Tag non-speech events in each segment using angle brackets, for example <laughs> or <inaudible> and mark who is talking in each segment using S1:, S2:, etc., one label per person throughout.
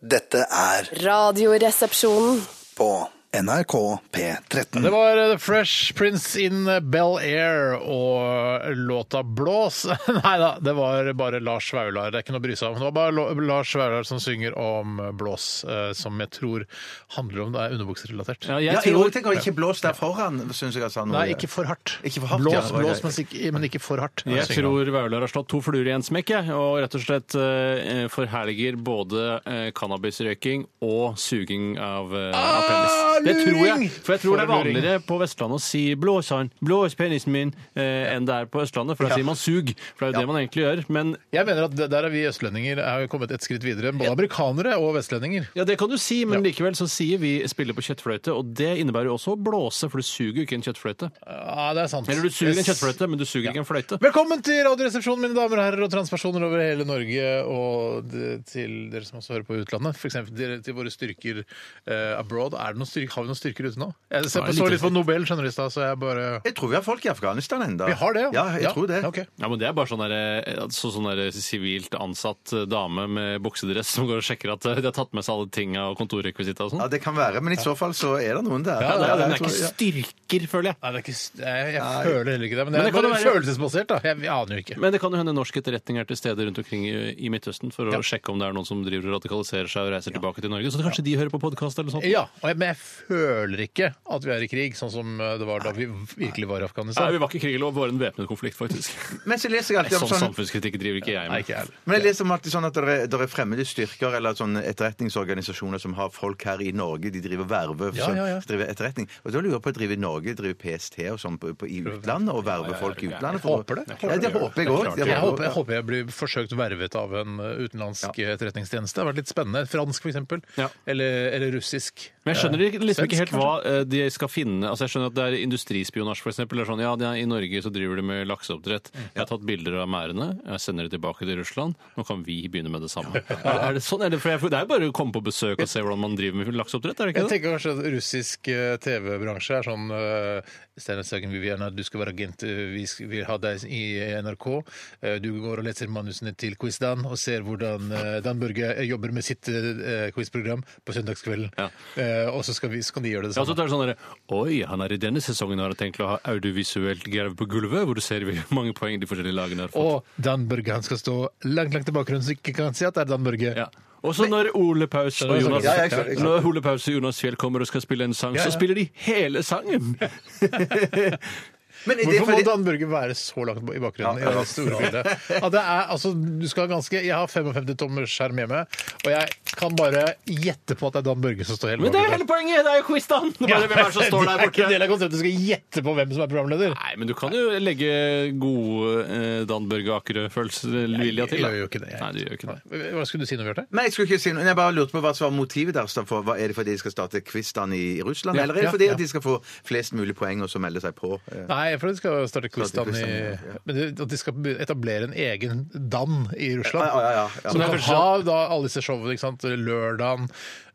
S1: Dette er
S2: Radioresepsjonen.
S1: på NRK P13.
S3: Det var eh, The Fresh Prince in Bel-Air og låta Blås. <laughs> Nei da, det var bare Lars Vaular. Det er ikke noe å bry seg om. Det var bare Lo- Lars Vaular som synger om blås, eh, som jeg tror handler om det er underbukserelatert.
S4: Ja,
S5: Ja,
S4: jeg
S5: jeg
S4: tror,
S5: også tenker ikke blås der foran, syns jeg. at Sånn,
S3: Nei, ikke for hardt.
S5: Ikke for hardt, ja,
S3: blås,
S5: det var
S3: blås,
S5: greit.
S3: men ikke, men ikke for hardt.
S4: jeg
S3: synger han.
S4: tror Vaular har slått to fluer i en smekk, jeg, og rett og slett eh, forherliger både eh, cannabisrøyking og suging av, eh, av penis. Det tror jeg, for jeg tror det er
S3: For en Ah, luring.
S4: vanligere på Vestlandet å si 'blåsann', 'blås penisen min', eh, enn det er på Østlandet, for da sier man 'sug', for det er jo det man egentlig gjør. Men
S3: Jeg mener at der er vi østlendinger er jo kommet et skritt videre. Både amerikanere og vestlendinger.
S4: Ja, det kan du si, men likevel så sier vi 'spille på kjøttfløyte', og det innebærer jo også å blåse, for du suger jo ikke en kjøttfløyte.
S3: Ja, det er sant.
S4: Eller du suger en
S3: Yes.
S4: kjøttfløyte, men du suger ikke en fløyte.
S3: Velkommen til Radioresepsjonen, mine damer og herrer og transpersoner over hele Norge. Og det- til dere som også hører på i utlandet, f.eks. Til, til våre styrker eh, abroad. Er det noen styrker, har vi noen styrker ute nå? Jeg ser
S4: Ja,
S3: på,
S4: litt
S3: så litt på Nobel skjønner du, i stad, så jeg bare
S5: Jeg tror vi har folk i Afghanistan ennå.
S3: Vi har det,
S5: ja. jeg tror det.
S3: ok.
S4: Ja, men Det er bare sånn der, eh, så sånn der sivilt ansatt eh, dame med buksedress som går og sjekker at eh, de har tatt med seg alle tinga og kontorrekvisitta og sånn.
S5: Ja, det kan være, men i så fall så er det noen der.
S4: Ja, det er, den er
S5: jeg
S4: ikke
S5: tror- ja.
S4: styrker, føler jeg.
S3: Nei, det er ikke, jeg, jeg føler heller ikke det. Men det er
S4: Men det kan jo
S3: bare
S4: være-
S3: følelsesbasert, da. Jeg, jeg aner jo ikke.
S4: Men det kan jo hende norsk etterretning er til stede rundt omkring i, i Midtøsten for å sjekke om det er noen som driver og radikaliserer seg og reiser tilbake til Norge. Så kanskje de hører på podkast eller sånt.
S3: Ja, og jeg, Men jeg føler ikke at vi er i krig, sånn som eh, det var da vi virkelig var i
S4: Nei,
S3: Afghanistan.
S4: vi var ikke i krig, det var bare en væpnet konflikt, faktisk.
S5: Men så leser jeg alltid om
S4: <laughs> Sånn
S5: sånn
S4: samfunnskritikk driver ikke jeg
S3: Nei,
S4: med.
S3: ikke jeg heller.
S5: men jeg leser om alltid sånn at det er, der er fremmede styrker eller sånne etterretningsorganisasjoner som har folk her i Norge. De driver verve
S3: Ja,
S5: som
S3: ja, ja.
S5: driver etterretning. Og da lurer jeg på driver Norge, driver PST og sånn på, på, i utlandet og verver folk i utlandet? for å-
S3: håper det.
S5: Ja, det håper jeg òg.
S3: Jeg håper, jeg håper jeg blir forsøkt vervet av en eh, utenlandsk etterretningstjeneste. Det har vært litt spennende. Fransk, for eksempel.
S4: Ja.
S3: Eller, eller russisk.
S4: Men jeg skjønner ikke- liksom ikke
S3: Svensk,
S4: helt hva eh, de skal finne. Altså jeg skjønner at det er industrispionasje, f.eks. Sånn, ja, det er- I Norge så driver de med lakseoppdrett. Jeg har tatt bilder av merdene, jeg sender det tilbake til Russland. Nå kan vi begynne med det <laughs> samme. Er, er det sånn? Er det, for jeg, det er jo bare å komme på besøk og se hvordan man driver med lakseoppdrett, er
S3: Jeg
S4: det ikke det?
S3: tenker kanskje at russisk eh, TV-bransje er sånn uh, Steinar Sagen Viviana, du skal være agent, eh, vi sk- vil ha deg i NRK. Eh, du går og leser manusene til QuizDan og ser hvordan eh, Dan Børge jobber med sitt eh, quizprogram på søndagskvelden.
S4: Ja.
S3: Eh, og så skal, vi, så kan de gjøre det
S4: Ja, så
S3: samme.
S4: tar det sånn der, Oi, han er i denne sesongen har tenkt å ha audiovisuelt grev på gulvet, hvor du ser hvor <laughs> mange poeng de forskjellige lagene har fått.
S3: Og Dan Børge han skal stå langt langt i bakgrunnen, så ikke kan si at det er Dan Børge.
S4: Ja. Og så når Ole Paus og
S3: Ja,
S4: Jonas,
S3: ja,
S5: jeg skjønner, jeg skjønner.
S4: når Ole Paus og Jonas Fjell kommer og skal spille en sang,
S3: Ja,
S4: så
S3: ja.
S4: spiller de hele sangen!
S5: Men er det
S3: Hvorfor må
S5: fordi
S3: Dan Børge være så langt i bakgrunnen i det store bildet? Ja, det er, altså, du skal ha ganske, jeg har 55 tommer skjerm hjemme, og jeg kan bare gjette på at det er Dan Børge som står helt
S4: Men det er jo
S3: der.
S4: hele poenget! Det er jo quiz-dagen! Det er bare hvem er det som
S3: <laughs> Det
S4: står der
S3: er ikke en
S4: borte.
S3: del av konseptet. Du skal gjette på hvem som er programleder.
S4: Nei, men du kan jo legge gode eh, Dan Børge Akerø-følelsesvilja eh, til. da.
S3: Jeg gjør jo ikke det. jeg.
S4: Nei, du gjør jo ikke det.
S3: Nei. Hva skulle du si nå, Bjarte?
S5: Nei, jeg skulle ikke si noe. Jeg bare lurte på hva som var motivet deres. da, for hva Er det fordi de skal starte quizene i Russland, eller
S3: ja,
S5: er det fordi
S3: ja.
S5: at de skal få flest mulig poeng og så melde seg på? Eh,
S3: Nei, for de skal starte quizene i
S5: quizene, ja.
S3: Men det- At de skal etablere en egen dan i Russland.
S5: Ja, ja, ja, ja.
S3: Som
S5: Men
S3: kan
S4: kanskje-
S3: ha da alle disse showene. ikke sant? Lørdagen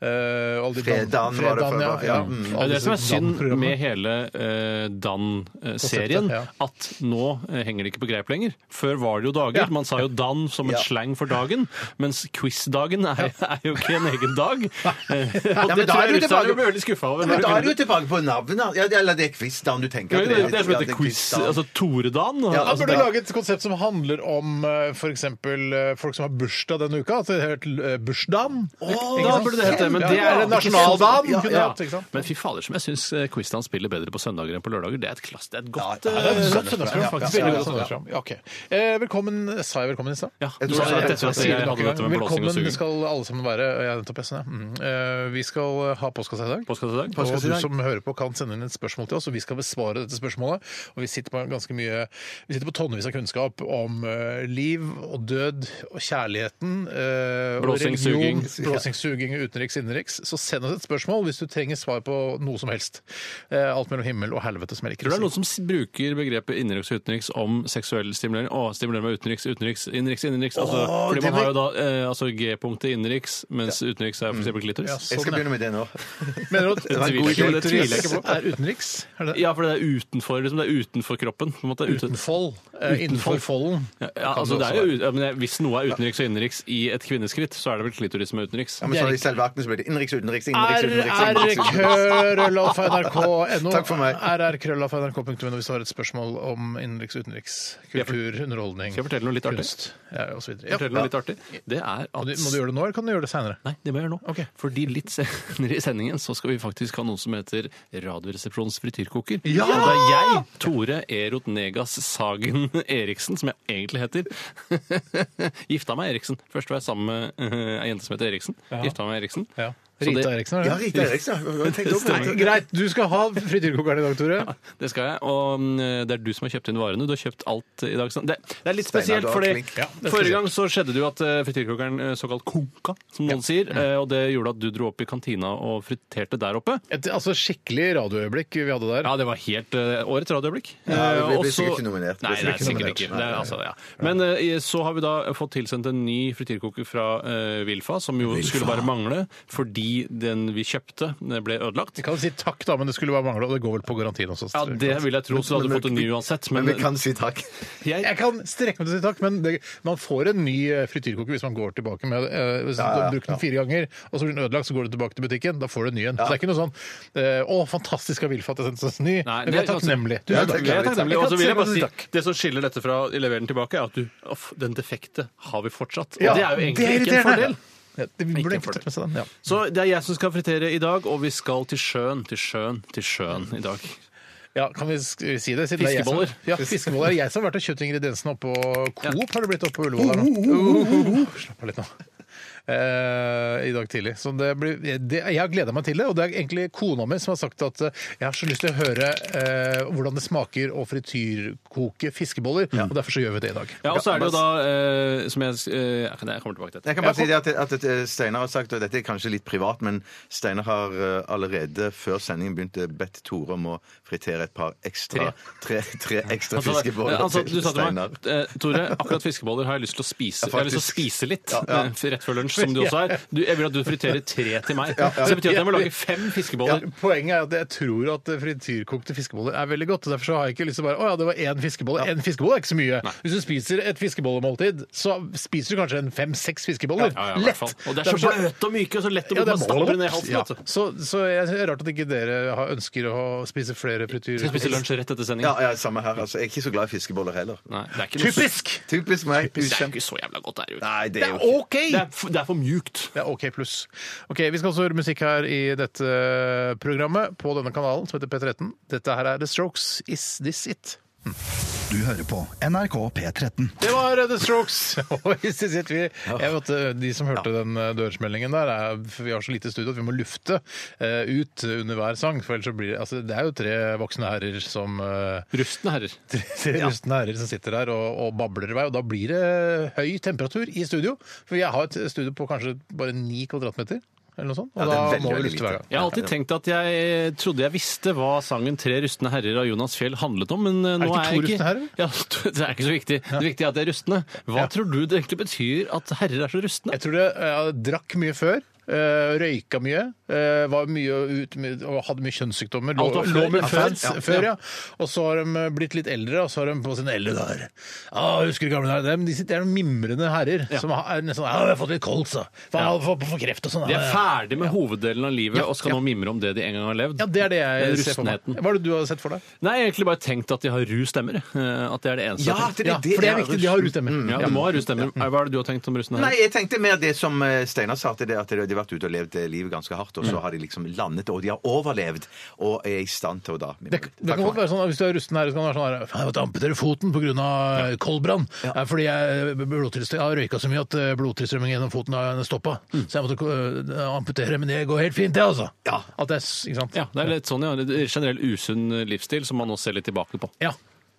S3: eh, alle de dan-
S5: Fredagen var det
S3: Fredagen,
S5: før,
S3: ja.
S5: da.
S3: ja.
S5: Mm.
S3: Alle
S4: Det er det som er
S3: disse
S4: synd
S3: dan-programmene.
S4: med hele eh, Dan-serien,
S3: Konseptet,
S4: at nå eh, henger det ikke på greip lenger. Før var det jo dager. Man sa jo Dan som et slang for dagen, mens quiz-dagen er, er jo ikke en egen
S5: <laughs>
S4: dag. Eh, og
S5: men
S4: det
S5: da
S4: tror
S5: er
S4: jeg
S5: du
S4: russerne
S5: tilbake-
S4: blir veldig skuffa over.
S5: Men da er du jo tilbake på navnet. Ja, eller det er quizdagen du tenker
S4: Ja,
S5: at
S4: det, det er som
S5: Ja, det
S4: heter
S5: er
S4: quiz.
S5: quizdagen.
S4: Altså Tore-Dan.
S3: Han
S4: altså,
S3: burde
S4: da-
S3: lage et konsept som handler om eh, f.eks. eh, folk som har bursdag denne uka. At det heter eh, bursdagen.
S4: da burde det hete, men det er
S3: Eller
S4: en
S3: nasjonaldagen.
S5: Ja,
S3: kunne
S5: ja.
S3: hatt, ikke sant?
S4: Men fy fader, som jeg syns quizene spiller bedre på søndager enn på lørdager. Det er et, klass, det er et godt
S3: Det er
S4: eh,
S3: et godt søndagsprogram, faktisk.
S4: Ja, ja, ja.
S3: Veldig godt søndagsprogram. Ja, ok. Eh, Velkommen, sa jeg velkommen i stad?
S4: Ja,
S5: Jeg
S4: du
S5: tror
S4: sa
S5: det er
S4: rett
S5: rett
S4: etter at
S3: Sier
S4: jeg
S3: det nok i
S4: hadde
S3: dag.
S4: dette med blåsing og
S3: Velkommen
S4: suging.
S3: skal alle sammen være. Ja, nettopp, jeg sa det. Mm. Eh, Vi skal ha postkassa i dag.
S4: Postkassa i dag.
S3: Og
S5: Postkassa i
S3: du
S5: dag.
S3: som hører på kan sende inn et spørsmål til oss, og vi skal besvare dette spørsmålet. Og vi sitter på ganske mye Vi sitter på tonnevis av kunnskap om eh, liv og død og kjærligheten. eh, og
S4: Blåsing,
S3: religion,
S4: suging.
S3: Blåsing, suging, utenriks, innenriks. Så send oss et spørsmål hvis du trenger svar på noe som helst. Eh, Alt mellom himmel og helvete som jeg liker å
S4: Tror du det er
S3: si.
S4: noen som s- bruker begrepet innenriks og utenriks om seksuell stimulering? Å, stimulerer meg utenriks, utenriks, innenriks, innenriks. Altså, fordi man har jo da eh, altså G-punktet innenriks, mens utenriks er f.eks.
S3: Ja,
S4: klitoris.
S5: Jeg skal
S3: sånn, ja.
S5: begynne med det nå.
S3: Mener du at
S4: <laughs> tviler jeg ikke på, det tviler jeg ikke
S3: klitoris er utenriks? Er det?
S4: Ja, for det er utenfor. Liksom, det det er utenfor kroppen. på en måte. Ute-
S3: Uten fold. Eh, innenfor folden.
S4: Ja, ja,
S3: Kan
S4: altså,
S3: det
S4: det er
S3: også
S4: jo, ut- ja, men jeg- hvis noe er utenriks og innenriks i et kvinneskritt, så er det vel klitoris som er utenriks.
S5: Ja, men så i selve akten så blir det innenriks, utenriks, innenriks, utenriks. innenriks, utenriks.
S3: rrkrøllalfa.nrk.no.
S5: Takk for meg.
S3: rrkrøllalfa.nrk.no hvis du har et spørsmål om innenriks, utenriks, kultur, underholdning,
S4: Skal jeg fortelle noe litt artig?
S3: kunst ja, og så videre.
S4: Fortelle noe
S3: Ja.
S4: litt artig. Det er at
S3: Må, du, må du gjøre det nå, eller kan du gjøre det seinere?
S4: Nei, det må jeg gjøre nå. Fordi litt <laughs> senere i sendingen så skal vi faktisk ha noe som heter Radioresepsjonens frityrkoker.
S3: Ja!
S4: Og det er jeg, Tore Erot Negas Sagen <laughs> Eriksen, som jeg egentlig heter, <laughs> gifta meg Eriksen. Først var jeg sammen med <laughs> eh, ei jente som heter Eriksen. Gifta meg med Eriksen.
S3: Ja.
S4: Så
S3: Rita
S4: det-
S3: Eriksen, er
S5: Ja,
S3: det?
S5: Rita Eriksen. ja. Jeg tenkte også på det.
S3: Greit, du skal ha frityrkokeren i dag, Tore.
S4: Det skal jeg, og mm, det er du som har kjøpt inn varene. Du har kjøpt alt i dag. sant? Det, det er litt
S5: Steinar,
S4: spesielt,
S5: du har
S4: fordi
S5: klink.
S3: Ja, det er
S4: forrige gang så skjedde det jo at eh, frityrkokeren eh, såkalt konka, som noen sier, eh, og det gjorde at du dro opp i kantina og friterte der oppe.
S3: Et altså, skikkelig radioøyeblikk vi hadde der.
S4: Ja, det var helt eh, årets radioøyeblikk.
S5: Ja, vi ble
S4: Eh, og
S5: sikkert
S4: så-
S5: ikke nominert.
S4: Nei,
S5: Vi
S4: det
S5: ble
S4: er
S5: sikkert
S4: sikkert
S5: ikke
S4: ikke. Det
S5: nominert.
S4: er, altså, ja. Men eh, så har vi da fått tilsendt en ny frityrkoker fra eh, Vilfa, som jo skulle bare mangle, fordi den vi kjøpte, den ble ødelagt.
S3: Vi kan si takk, da, men det skulle bare mangle, og det går vel på garantien også.
S4: Ja, det vil jeg tro, så du hadde
S5: Men-
S4: fått en ny uansett.
S5: Men
S4: Men,
S5: vi kan si takk.
S4: jeg,
S3: Jeg kan strekke meg til å si takk, men det, man får en ny eh, frityrkoker hvis man går tilbake med eh, Hvis
S5: Ja, ja,
S3: du
S5: ja.
S3: har brukt den fire ganger, og så blir den ødelagt, så går du tilbake til butikken, da får du en ny en. Så det er ikke noe sånn eh, 'Å, fantastisk av Vilfa at jeg sendte oss en ny'.
S4: Nei,
S3: men vi er
S4: det-
S3: takknemlige.
S4: Ja,
S5: takk.
S4: vi er takknemlige. Og så vil jeg bare si,
S5: Takk.
S4: det som skiller dette fra leverer den tilbake, er at du, off, den defekte har vi fortsatt. Og
S3: Ja,
S4: det er jo egentlig
S3: det er
S4: ikke en
S3: irriterende.
S4: fordel.
S3: Ja, det, vi
S4: Ikke
S3: burde
S4: en
S3: egentlig
S4: fordel.
S3: tatt med seg den. Ja.
S4: Så det er jeg som skal fritere i dag, og vi skal til sjøen, til sjøen, til sjøen i dag.
S3: Ja, kan vi sk- si det? siden det er jeg som-
S4: Fiskeboller.
S3: Ja, fiskeboller. Jeg som har vært og kjøpt ingrediensene oppå Coop, har det blitt oppå Ullevål her nå. Uh,
S4: Oh,
S3: Slapp av litt nå. Eh, I dag tidlig. Så det blir, det, jeg har gleda meg til det, og det er egentlig kona mi som har sagt at eh, jeg har så lyst til å høre eh, hvordan det smaker å frityrkoke fiskeboller, og derfor så gjør vi det i dag.
S4: Ja, og så er det jo da, eh, som jeg eh, Jeg kan- jeg kommer tilbake til dette.
S5: Jeg kan bare si det at, at eh, Steinar har sagt, og dette er kanskje litt privat, men Steinar har eh, allerede før sendingen begynt eh, bedt Tore om å fritere et par ekstra tre, tre ekstra
S4: Altså,
S5: fiskeboller
S4: altså, du
S5: til
S4: sa til
S5: Steinar.
S4: meg, eh, Tore, akkurat fiskeboller har jeg lyst til å spise. jeg har lyst til å spise litt eh, rett før lunsj, som du også er. Du, jeg vil at du friterer tre til
S3: <laughs>
S4: meg. Så det betyr at jeg må lage fem
S3: Ja,
S4: fiskeboller.
S3: poenget er at jeg tror at frityrkokte fiskeboller er veldig godt. og Derfor så har jeg ikke lyst til å bare Å ja, det var én fiskebolle. Én fiskebolle er ikke så mye. Hvis du spiser et fiskebollemåltid, så spiser du kanskje en fem-seks fiskeboller.
S4: Ja, ja, i hvert
S3: lett.
S4: fall. Og det er så
S3: Derfor
S4: bløte og myke og så lett
S3: ja,
S4: å
S3: det
S4: bare
S3: er
S4: stappe det ned i
S3: målet.
S4: halsen.
S3: Ja.
S4: vet du.
S3: Så, så jeg det er rart at ikke dere har, ønsker å spise flere frityr...
S4: Skal vi spise lunsj rett etter sending?
S5: Ja, ja, samme her. Altså, jeg er ikke så glad i fiskeboller heller.
S4: Nei, det er ikke noe-
S3: Typisk!
S5: Typisk meg.
S4: Det er jo
S5: Ukjent.
S4: ikke så jævla godt, det er jo ikke.
S5: Nei, det
S3: Det
S5: er
S3: er
S5: jo ikke
S3: OK!
S4: Det er, for- det er for mjukt.
S3: Det er OK pluss. Ok, Vi skal også høre musikk her i dette programmet på denne kanalen som heter P13. Dette her er The Strokes. Is this it?
S1: Du hører på NRK P13.
S3: Det var The Strokes! <laughs> Og hvis det sitter vi, jeg vet, eh, de som hørte den dørsmeldingen der, er, for vi har så lite studio at vi må lufte eh, ut under hver sang. For ellers så blir det altså, Det er jo tre voksne herrer som eh, <laughs>
S4: Rustne herrer.
S3: Tre, tre rustne herrer som sitter her og, og babler i vei, og da blir det høy temperatur i studio. For jeg har et studio på kanskje bare ni kvadratmeter, eller noe sånt. Og
S5: Ja, det er
S3: da
S5: veldig,
S3: må
S5: veldig
S3: vi lufte hver
S5: lite.
S3: gang.
S4: Jeg har alltid tenkt at jeg trodde jeg visste hva sangen 'Tre rustne herrer' av Jonas Fjell handlet om, men eh, nå
S3: ikke
S4: er
S3: to
S4: jeg ikke
S3: rustne herrer?
S4: Ja, <laughs> det er ikke så viktig. Det viktige er at de er rustne. Hva tror du det egentlig betyr at herrer er så rustne?
S3: Jeg tror jeg, jeg drakk mye før. eh, røyka mye, eh, var mye ut, mye- og hadde mye kjønnssykdommer. Lå,
S4: Alt var før,
S3: lå med
S4: ja,
S3: før,
S4: før, ja.
S3: før, ja. Og så har de blitt litt eldre, og så har de på sine eldre dager ah, Husker du gamle dager? Det er- De sitter der mimrende herrer som har- er nesten sånn ah, 'Jeg har fått litt kols, da. Faen, jeg har fått- fått kreft og sånn.'
S4: De er
S3: ah, ja.»
S4: ferdig med hoveddelen av livet og skal
S3: ja.
S4: nå mimre om det de en gang har levd.
S3: Ja, det er det jeg
S4: Den
S3: ser for meg.
S4: rustenheten.
S3: Hva er det du har sett for deg?
S4: Nei, jeg har egentlig bare tenkt at de har ru stemmer. eh, At det er det eneste.
S5: Ja, det-
S3: Ja, for det er viktig. De har russtemmer.
S4: Ja, du må ha ru stemmer. Hva er det du har tenkt om rustne
S5: Nei,
S4: herrer?
S5: jeg tenkte mer det som eh, Steinar sa, til det at de har vært ute og levd eh, livet ganske hardt, og så har de liksom landet, og de har overlevd, og er i stand til å da
S3: Det, det kan godt være sånn at Hvis du er rusten her, så kan det være sånn her, «Faen, jeg måtte amputere foten pga. eh, koldbrann. Det er Fordi jeg, blodtilstrøm- jeg har røyka så mye at eh, blodtilstrømmingen gjennom foten har stoppa. Så jeg måtte eh, amputere, men det går helt fint, det, altså.
S5: Mm. Ja.
S3: At det er, s- ikke sant?
S4: Ja, det er litt sånn, ja. Det er Generell usunn livsstil som man nå ser litt tilbake på.
S3: Ja.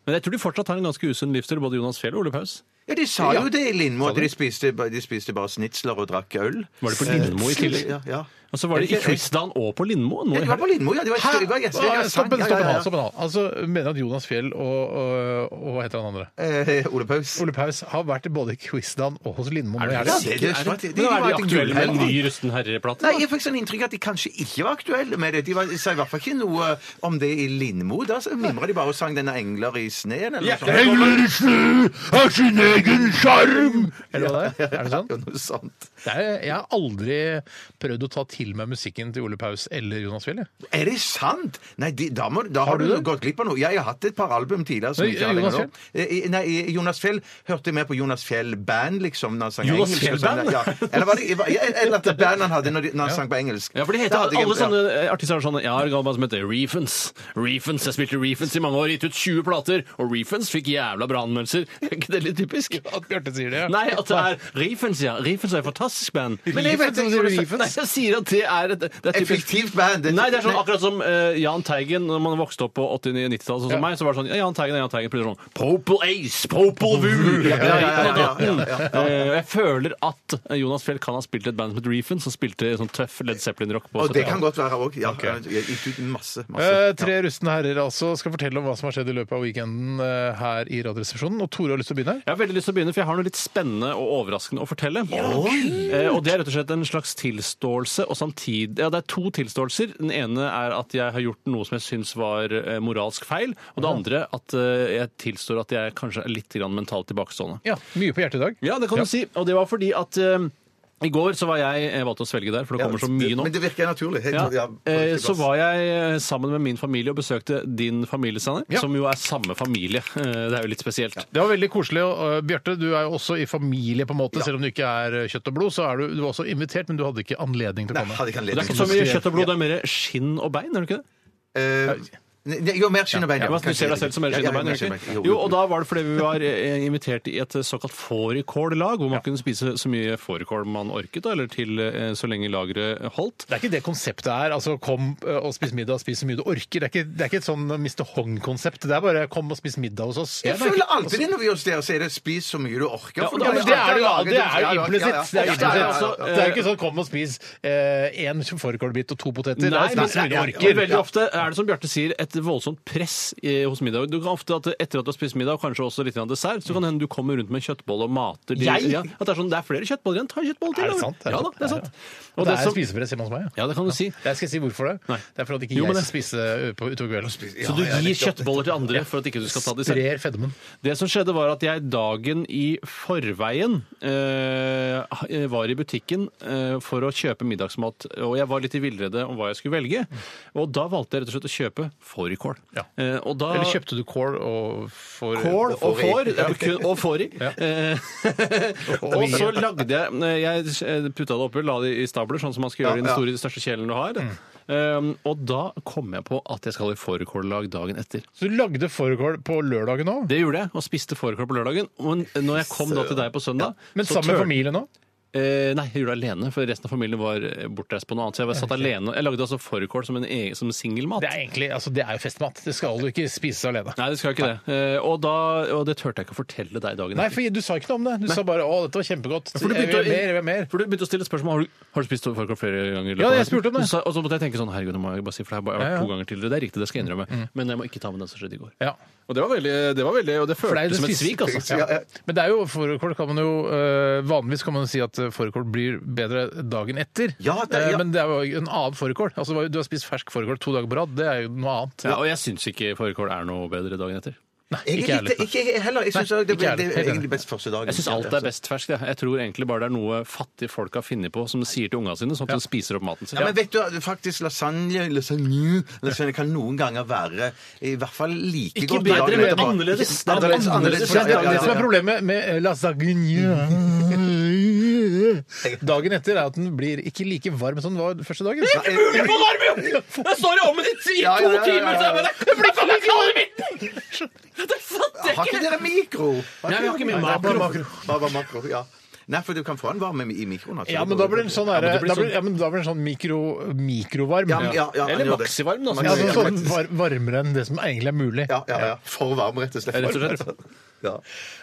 S4: Men jeg tror de fortsatt har en ganske usunn livsstil, både Jonas Fjell og Ole Paus.
S5: Ja, de sa jo
S3: Ja.
S5: det i Lindmo. at De spiste, de spiste bare snitsler og drakk øl. Eh,
S4: Var det på Lindmo i tillegg?
S5: Ja, ja.
S4: Og så var det i Quizdagen og på Lindmo. Nå
S5: Ja,
S4: i
S5: det var på
S4: helgen.
S5: Lindmo, ja. De var,
S3: Hæ?
S5: de var gjester.
S3: Stopp
S5: Ja,
S3: en,
S5: sant.
S3: stopp en,
S5: Ja, ja, ja.
S3: stopp en hal. Altså, mener at Jonas Fjell og, og, og hva heter han andre?
S5: Eh, Ole Paus.
S3: Ole Paus har vært både i Quizdan og hos Lindmo. nå i
S5: Ja,
S3: helgen.
S5: det- det-
S4: Er det-
S5: de- de
S4: Men er
S5: var
S4: de
S5: et
S4: aktuelle med en
S5: gullhelg.
S4: ny Rusten Herre-plate?
S5: Nei, Jeg fikk sånn inntrykk at de kanskje ikke var aktuelle med det. De var, sa i hvert fall ikke noe eh, om det i Lindmo. Da mimra de bare og sang 'Denne engler i sneen'. Eller noe sånt.
S3: Engler i snø har sin egen sjarm! Er det hva det er? Er det sånn?
S5: Ja, noe sånt.
S3: Det er, jeg har aldri prøvd å ta til meg musikken til Ole Paus eller Jonas Fjell. jeg.
S5: Er det sant?! Nei, de, da, må, da har,
S3: du
S5: du
S3: det?
S5: gått glipp av noe. Ja, jeg har hatt et par album tidligere. Som
S3: Nei,
S5: ikke har
S3: Jonas
S5: lenger nå. Eh, i- Nei, i- Jonas Fjell hørte jeg mer på Jonas Fjell Band, liksom. Når han sang
S4: Jonas
S5: engelsk,
S4: Fjell
S5: og sånn,
S4: Band?
S5: Ja. Eller, var det, ja, eller at det band han hadde når, de, når han sang på engelsk.
S4: Ja, for de
S5: Da
S4: heter
S5: hadde jeg-
S4: alle
S5: ja.
S4: sånne eh, artister har sånne Jeg har et album som heter Reefens. Reefens, Jeg spilte Reefens i mange år, gitt ut 20 plater, og Reefens fikk jævla bra anmeldelser. <laughs> Er ikke det litt typisk?
S3: At Bjarte sier det, ja.
S4: Nei, at det er Reefens, ja. Reefens er et fantastisk band.
S3: Men jeg vet ikke hva du sier, Reefens.
S4: Nei, jeg sier at det er et, det er
S5: Et
S4: typisk-
S5: fiktivt band. Det-
S4: Nei, det er sånn
S5: Nei.
S4: akkurat som eh, Jahn Teigen når man vokste opp på 80- og 90-tallet, sånn som
S3: Ja.
S4: meg, så var det sånn ja, Jahn Teigen er Jahn Teigen. Plutselig sånn Popel Ace, Popel Vu!
S5: Ja, ja, ja, ja, ja, ja,
S4: Eh, Jeg føler at eh, Jonas Fjell kan ha spilt et band som het Reefens, som spilte sånn tøff Led Zeppelin-rock på
S5: Og det
S4: 70-tallet.
S5: kan godt være òg. Ja, Jeg gikk ut masse. masse.
S3: Eh, tre rustne herrer altså skal fortelle om hva som har skjedd i løpet av weekenden eh, her i Radioresepsjonen. Og Tore har lyst til å begynne.
S4: Jeg har veldig lyst til å begynne, for jeg har noe litt spennende og overraskende å fortelle. Eh, og Det er rett og slett en slags tilståelse. og samtidig, ja Det er to tilståelser. Den ene er at jeg har gjort noe som jeg syns var eh, moralsk feil. Og det andre at eh, jeg tilstår at jeg kanskje er litt grann mentalt tilbakestående.
S3: Ja, Mye på hjertet i dag.
S4: Ja, det kan du si. Og det var fordi at eh, i går så var jeg Jeg valgte å svelge der, for det kommer så mye nå.
S5: Men det virker naturlig. Helt, ja,
S4: Ja. eh, Så var jeg eh, sammen med min familie og besøkte din familie, Steinar.
S3: Ja.
S4: Som jo er samme familie. Eh, Det er jo litt spesielt.
S3: Det var veldig koselig. og, eh, Bjarte, du er jo også i familie, på en måte, selv om du ikke er eh, kjøtt og blod. så er Du du var også invitert, men du hadde ikke anledning til å
S5: Nei,
S3: komme.
S5: hadde ikke
S4: Det er
S5: anledning.
S4: ikke så mye kjøtt og blod, det er mer skinn og bein, er det ikke det?
S5: Eh, ne- jo, mer skinn og bein.
S4: Ja,
S5: ja.
S4: men du ser deg selv som mer
S5: Ja,
S4: skinn
S5: ja,
S4: og bein,
S5: mer
S4: er det
S5: skinn
S4: ikke?
S5: og
S4: Jo, og da var det fordi vi var eh, invitert i et såkalt fårikål-lag, hvor man kunne spise så mye fårikål man orket, da, eller til eh, så lenge lageret holdt.
S3: Det er ikke det konseptet er. altså Kom eh, og spis middag, spis så mye du orker. Det er ikke, det er ikke et sånn Mr. Hong-konsept. Det er bare kom og spis middag hos oss.
S5: Jeg føler alltid det når vi er hos dere, så er det 'spis så mye du orker'.
S4: Ja,
S5: for
S4: men
S5: da-
S3: Ja, men det er det jo, det er
S5: Ja,
S3: jo
S5: ja,
S3: implisitt. Det
S5: ja,
S3: er jo
S5: ja, ja, ja, ja, ja.
S3: implisitt. Det er jo ikke sånn kom og spis én eh, fårikålbit og to poteter. Nei,
S4: men-
S3: spis så mye du
S4: nei,
S3: orker.
S4: og Veldig ofte er det som Bjarte sier, et voldsomt press i, hos middag. Du kan ofte at Etter at du har spist middag, og kanskje også litt grann dessert, så kan det hende du kommer rundt med en kjøttbolle og mater de-
S3: Jeg?
S4: Ja, at det er sånn, det er flere kjøttboller igjen, ta en kjøttbolle til.
S3: Er det
S4: da.
S3: sant? Er det
S4: Ja da,
S3: sant?
S4: det er sant.
S3: Og det er
S4: som-
S3: spisepress hjemme hos meg.
S4: Ja, det kan du si.
S3: Jeg skal si hvorfor det.
S4: Nei.
S3: Det er for at ikke
S4: Jo, men
S3: jeg
S4: det-
S3: skal spise ø, på utover kvelden.
S4: Så du gir kjøttboller til andre for at ikke du skal ta de selv?
S3: Sprer fedmen.
S4: Det som skjedde var at jeg dagen i forveien eh, var i butikken eh, for å kjøpe middagsmat, og jeg var litt i villrede om hva jeg skulle velge. Og da valgte jeg rett og slett å kjøpe fårikål.
S3: Ja.
S4: Eh, og da...
S3: Eller kjøpte du kål og får
S4: Kål og får, ja, <laughs> kun- og får i.
S3: Ja.
S4: Eh, <laughs> og så lagde jeg eh, Jeg putta det oppi, la det i stabler, sånn som man skal gjøre i den
S5: ja.
S4: store, største kjelen du har. Um, og da kom jeg på at jeg skal i fårikållag dagen etter.
S3: Så du lagde fårikål på lørdagen òg?
S4: Det gjorde jeg, og spiste fårikål på lørdagen. Men når jeg kom da til deg på søndag
S3: Men
S4: så
S3: sammen med
S4: tør-
S3: familien òg?
S4: Eh, nei, jeg gjorde det alene, for resten av familien var eh, bortreist på noe annet. Så jeg var satt alene. Jeg lagde altså fårikål som en e- som singelmat.
S3: Det er egentlig, altså det er jo festmat. Det skal du ikke spise alene.
S4: Nei, det skal ikke det. Eh, og, da, og det turte jeg ikke å fortelle deg dagen
S3: Nei, for du sa ikke noe om det. Du sa bare 'Å, dette var kjempegodt'.
S4: For du
S3: Jeg
S4: begynte,
S3: vil ha mer, jeg vil ha
S4: å,
S3: mer.
S4: for du begynte å stille spørsmål har du, har du spist fårikål flere ganger. i løpet
S3: Ja,
S4: av
S3: jeg
S4: høsten?
S3: spurte om det.
S4: Du sa- Og så måtte jeg tenke sånn Herregud, nå må jeg bare si, for det har bare
S3: Ja,
S4: vært
S3: Mm. ja.
S4: to ganger tidligere. Det er riktig, det skal jeg innrømme. Men jeg må ikke ta med den som skjedde i går.
S3: Ja.
S4: Og det var veldig, det var veldig Og det
S3: det er jo
S4: føltes
S3: det
S4: som et
S3: siste-
S4: svik, altså.
S5: ja, ja.
S3: Men det er jo fårikål kan man jo eh, Vanligvis kan man jo si at eh, fårikål blir bedre dagen etter.
S5: Ja, det er-
S3: Eh,
S5: ja.
S3: Men det er jo en annen fårikål. Altså, det var jo- du har spist fersk fårikål to dager på rad. Det er jo noe annet.
S4: Ja, og jeg syns ikke fårikål er noe bedre dagen etter.
S5: Jeg
S3: Ikke
S5: er litt-
S3: ærlig.
S5: Ikke jeg heller. Jeg syns
S3: Nei,
S5: det, det,
S3: ikke ærlig.
S5: det er
S3: Helt enig.
S5: egentlig best første dagen.
S4: Jeg syns alt er best ferskt. Jeg. jeg tror egentlig bare det er noe fattige folk har funnet på, som de sier til ungene sine, sånn at de spiser opp maten sin.
S5: Ja, men vet du, faktisk lasagne, lasagne, lasagne kan noen ganger være i hvert fall like
S4: Ikke
S5: godt
S4: bedre,
S5: dagen
S4: men
S5: etterpå.
S4: annerledes.
S5: Ikke- Annerledes, annerledes.
S3: Det
S5: Ja,
S3: er
S5: ja, ja,
S3: det som er
S5: ja.
S3: problemet med
S5: <laughs>
S3: lasagne Dagen etter er at den blir ikke like varm som den var første dagen. Det
S5: er mulig å
S3: få varm, jo! Jeg står i ovnen i to
S5: Ja, ja, ja, ja, ja. timer, så jeg bare,
S3: Det blir ikke kaldt i midten!
S5: Har ikke dere mikro? Har
S4: Nei, vi har ikke
S5: dere-
S4: mikro.
S5: Nei, Bare makro. Bare, bare makro, ja. Nei, for du kan få den varm i i mikroen. Altså.
S3: Ja, men da blir den sånn,
S4: Ja, men
S3: der,
S4: det blir
S3: da blir,
S4: sånn-
S3: ja, men da blir den sånn mikro, mikrovarm.
S5: Ja, men- ja, ja,
S4: Eller
S5: han gjør det.
S4: maxivarm, da, som
S3: Ja,
S5: Maxi-
S3: altså,
S5: ja,
S3: sånn var, varmere enn det som egentlig er mulig.
S5: Ja, ja, ja. For varm, rett og slett.
S4: Rett og slett.
S5: Ja.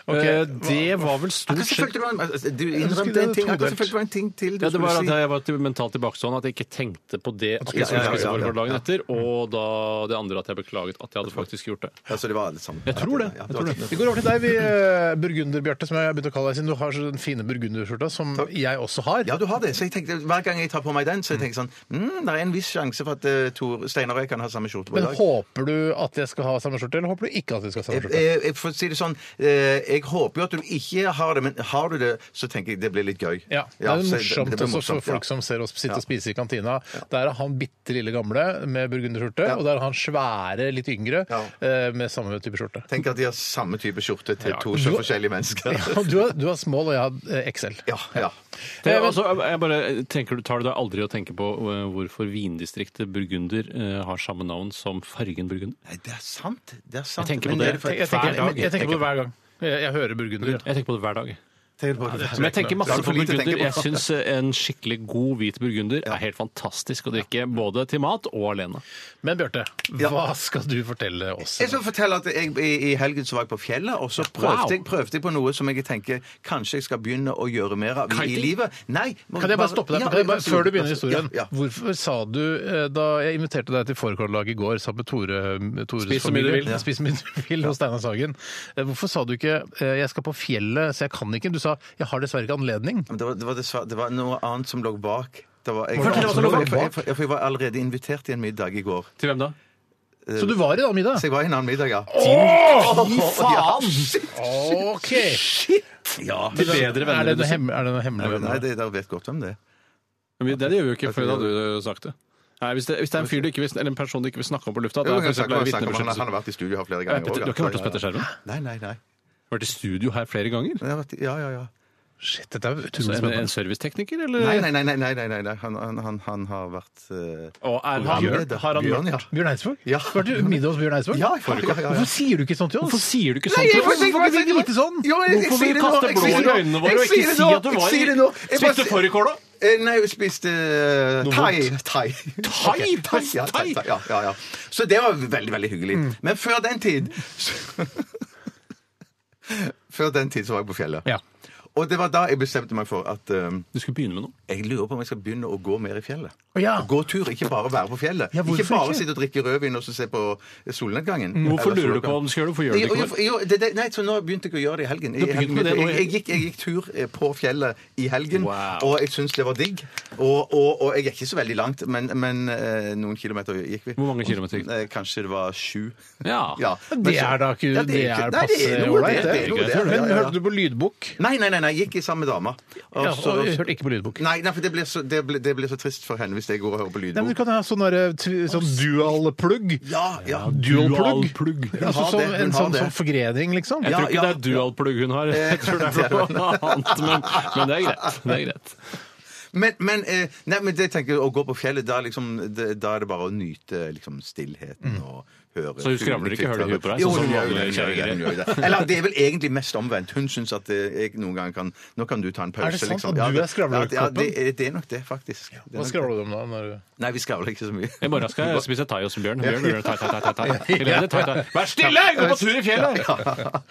S4: Eh, Det var vel
S5: Akkurat
S4: stort
S5: så
S4: sett
S5: følte det var en- altså, Du
S3: skulle
S5: innrømte en ting.
S3: todelt.
S5: Akkurat så følte det var en ting til du
S4: ja, det
S5: skulle
S4: var
S5: si.
S4: at jeg var til- mentalt tilbakestående, at jeg ikke tenkte på det at jeg
S5: Ja, ja,
S4: skulle
S5: ja,
S4: spise
S5: ja, ja.
S4: for dagen etter, og da det andre at jeg beklaget at jeg hadde faktisk gjort det.
S5: Altså, det var alle sammen.
S4: Jeg tror det.
S5: Ja,
S4: Jeg tror det.
S3: Vi går over til deg, vi, eh, burgunder Bjarte, som jeg har begynt å kalle deg siden du har så den fine burgunderskjorta som jeg også har.
S5: Ja, du har det. Så jeg tenkte, Hver gang jeg tar på meg den, så jeg tenker sånn mm, Det er en viss sjanse for at eh, Tor Steinar og jeg kan ha samme skjorte på i
S3: Men
S5: dag. Eh,
S3: håper du at jeg skal ha samme skjorte, eller håper du ikke at vi skal ha samme
S5: Jeg,
S3: skjorte?
S5: jeg, jeg, for å si det sånn, eh, jeg håper jo at du ikke har det, men har du det, så tenker jeg det blir litt gøy.
S3: Ja, Det er jo
S5: så
S3: morsomt
S5: det blir
S3: også for
S5: morsomt, ja.
S3: folk som ser oss sitte
S5: Ja.
S3: og spise i kantina. Der er han bitte lille gamle med burgunderskjorte,
S5: Ja.
S3: og der er han svære, litt yngre,
S5: Ja.
S3: eh, med samme type skjorte.
S5: Tenk at de har samme type skjorte til
S4: Ja,
S5: to
S3: du-
S5: så forskjellige mennesker.
S3: Ja, du, har, du har small, og jeg har eh, XL.
S5: Ja, <laughs> ja.
S4: Det,
S3: Eh, men-
S4: altså, jeg bare tenker, du Tar du deg aldri å tenke på eh, hvorfor vindistriktet Burgunder eh, har samme navn som fargen Burgunder?
S5: Nei, det er sant. Det er sant.
S4: Jeg tenker på
S5: Men
S4: det.
S5: er for-
S3: Jeg tenker,
S4: Hver dag,
S3: jeg tenker på det
S4: tenker
S3: hver gang. Jeg, jeg hører burgunder.
S4: Jeg tenker på det hver dag.
S5: Tenker du på det?
S4: Men jeg tenker
S5: Det
S4: masse
S5: er
S4: på
S5: for lite å
S4: burgunder.
S5: tenke
S4: Jeg
S5: på.
S4: syns en skikkelig god hvit burgunder er helt fantastisk å drikke, både til mat og alene.
S3: Men Bjarte, hva skal du fortelle oss?
S5: Jeg skal fortelle at jeg, i, I helgen så var jeg på fjellet, og så prøvde,
S4: Wow.
S5: jeg, prøvde jeg på noe som jeg tenker kanskje jeg skal begynne å gjøre mer av i
S4: Kiting?
S5: livet. Nei, må-
S3: Kan jeg bare stoppe deg?
S5: Ja,
S3: Kan jeg bare,
S5: vær så
S3: før du
S5: god,
S3: begynner
S5: vær så god.
S3: historien.
S5: Ja, ja.
S3: Hvorfor sa du eh, da jeg inviterte deg til fårikållag i går sammen med Tore eh, Tores
S4: Spis så mye du
S3: familie,
S4: vil.
S3: Ja. Spis så mye du vil hos Steinar Sagen. Eh, Hvorfor sa du ikke eh, 'jeg skal på fjellet, så jeg kan ikke'? Du sa 'jeg har dessverre ikke anledning'.
S5: Men det, var, det, var, dessverre- det var noe annet som lå bak. Det var, jeg,
S3: Fortell hva som lå bak.
S5: Jeg, jeg, jeg, jeg var allerede invitert i en middag i går.
S4: Til hvem da?
S5: Eh,
S3: Så du var i den
S5: Så
S3: middagen?
S5: jeg var i en annen middag, ja.
S3: Fy
S5: <laughs>
S3: faen! OK!
S5: ja.
S4: Til bedre
S3: Er
S4: venner.
S3: det noe hem- er det noe hemmelig? hvem
S5: Nei,
S3: det er?
S5: det, dere vet godt hvem det er.
S4: Men Det, det gjør vi jo ikke før da du sagt det. Nei, hvis det, hvis det er en fyr du ikke vil, eller en person du ikke vil snakke om på lufta
S5: Jo,
S4: det er
S5: jeg
S4: for eksempel
S5: snakker- jeg snakker om han, han
S4: vitnebeskyttelse.
S5: har vært i studio her flere
S4: Ja,
S5: ganger.
S4: Petter- Du har ikke hørt oss Petter Skjerven?
S5: Nei, nei, nei.
S4: Vært i studio her flere ganger?
S5: Men jeg har vært i- Ja, ja, ja.
S3: Shit, dette er utrolig
S4: Så En, en
S3: spennende.
S4: servicetekniker, eller?
S5: Nei, nei, nei, nei, nei, nei, nei. Han, han, han, han har vært eh,
S4: Og er han,
S5: Bjørn,
S4: har han
S5: Bjørn, ja.
S3: Bjørn Eidsvåg?
S5: Ja.
S3: Var du middag hos Bjørn Eidsvåg?
S5: Ja, ja, ja, ja, ja.
S3: Hvorfor sier du ikke sånn til oss?
S4: Hvorfor sier du ikke
S5: Nei,
S4: sånt
S5: jeg
S4: til
S5: får
S4: oss?
S5: si-
S3: Hvorfor vil du vite sånn?
S5: Jo, jeg- jeg sier
S4: Hvorfor vil du
S5: det nå,
S4: kaste
S5: jeg
S4: blår
S5: sier det
S4: i
S5: nå,
S4: øynene våre og
S5: jeg sier
S4: ikke
S5: det
S4: si
S5: nå,
S4: at du
S5: jeg
S4: var
S5: sier det nå. Jeg bare
S4: Spiste
S5: sier-
S4: fårikål, da?
S5: Eh, Nei, hun spiste eh, thai. Thai,
S4: Thai? Mm.
S5: Ok, <laughs> ja,
S4: Thai?
S5: thai, thai, ja, ja, ja. Så det var veldig, veldig hyggelig. Men før den tid så- <laughs> Før den tid så var jeg på fjellet.
S3: Ja.
S5: Og det var da jeg bestemte meg for at eh,
S4: Du skulle begynne med noe.
S5: jeg lurer på om jeg skal begynne å gå mer i fjellet.
S3: Å, ja.
S5: Gå tur, ikke bare være på fjellet.
S3: Ja, hvorfor
S5: ikke bare
S3: ikke?
S5: sitte og drikke rødvin og så se på solnedgangen.
S4: Mm. Hvorfor
S5: Eller
S4: lurer du
S5: soloppgang.
S4: på om du skal gjøre det? Hvorfor gjør du det
S5: Jo,
S4: ikke
S5: jo, jo, det, det, nei, så nå begynte jeg å gjøre det i helgen. I
S4: Du begynte
S5: helgen
S4: med det nå,
S5: jeg, jeg, gikk, jeg gikk tur eh, på fjellet i helgen,
S4: Wow.
S5: og jeg syns det var digg. Og, og, og jeg er ikke så veldig langt, men, men eh, noen kilometer gikk vi.
S4: Hvor mange kilometer gikk du?
S5: Eh, Kanskje det var sju.
S4: Ja.
S5: men
S3: Det
S5: så-
S3: er da ikke
S5: Ja,
S3: Det
S5: ikke-
S3: er
S5: Nei, det
S3: passe
S5: er noe,
S3: ålreit,
S5: det. det, er noe, det,
S3: Men
S5: ja, ja, ja.
S3: hørte du på lydbok? Altså,
S5: Nei, nei, nei, nei, jeg gikk i sammen med dama. Og
S3: Ja,
S5: så-
S3: og jeg hørte ikke på lydbok.
S5: Nei, nei, for det blir, så, det, blir, det blir så trist for henne hvis jeg går og hører på
S3: Nei, men Du
S5: lydbok.
S3: kan ha sånn, derre tv- sånn dual-plugg.
S5: Ja, ja.
S3: Dual plug.
S4: Dual-plugg. Hun
S3: Altså
S5: har
S3: som
S5: det, hun
S3: en
S5: har
S3: sånn,
S5: det.
S3: sånn forgrening, liksom.
S4: Jeg
S5: Ja,
S4: tror ikke
S5: ja.
S4: det er dual-plugg hun har. Jeg tror det er noe annet, men, men det er greit. Det er greit.
S5: Men, men, eh, nei, men det tenker jeg, å gå på fjellet, da, liksom, det, da er det bare å nyte liksom, stillheten og høre
S4: Så hun skravler ikke høl i huet på deg,
S5: Jo,
S4: sånn som
S5: hun gjør jo det,
S4: vanlige
S5: hun gjør jo det, hun gjør jo det. Eller det er vel egentlig mest omvendt. Hun syns at eh, jeg noen ganger kan Nå kan du ta en pause,
S3: Er det sant at
S5: liksom.
S3: du er skravlekoppen?
S5: Ja, det, ja, det, det er nok det, faktisk. Det er
S3: Hva
S5: nok
S3: skravler du om da? Når...
S5: det. Nei, vi skravler ikke så mye.
S4: I morgen skal jeg spise thai hos Bjørn. Bjørn, Bjørn, thai, thai, thai, thai, thai. Helene, thai, thai. Vær stille! Gå på tur i fjellet!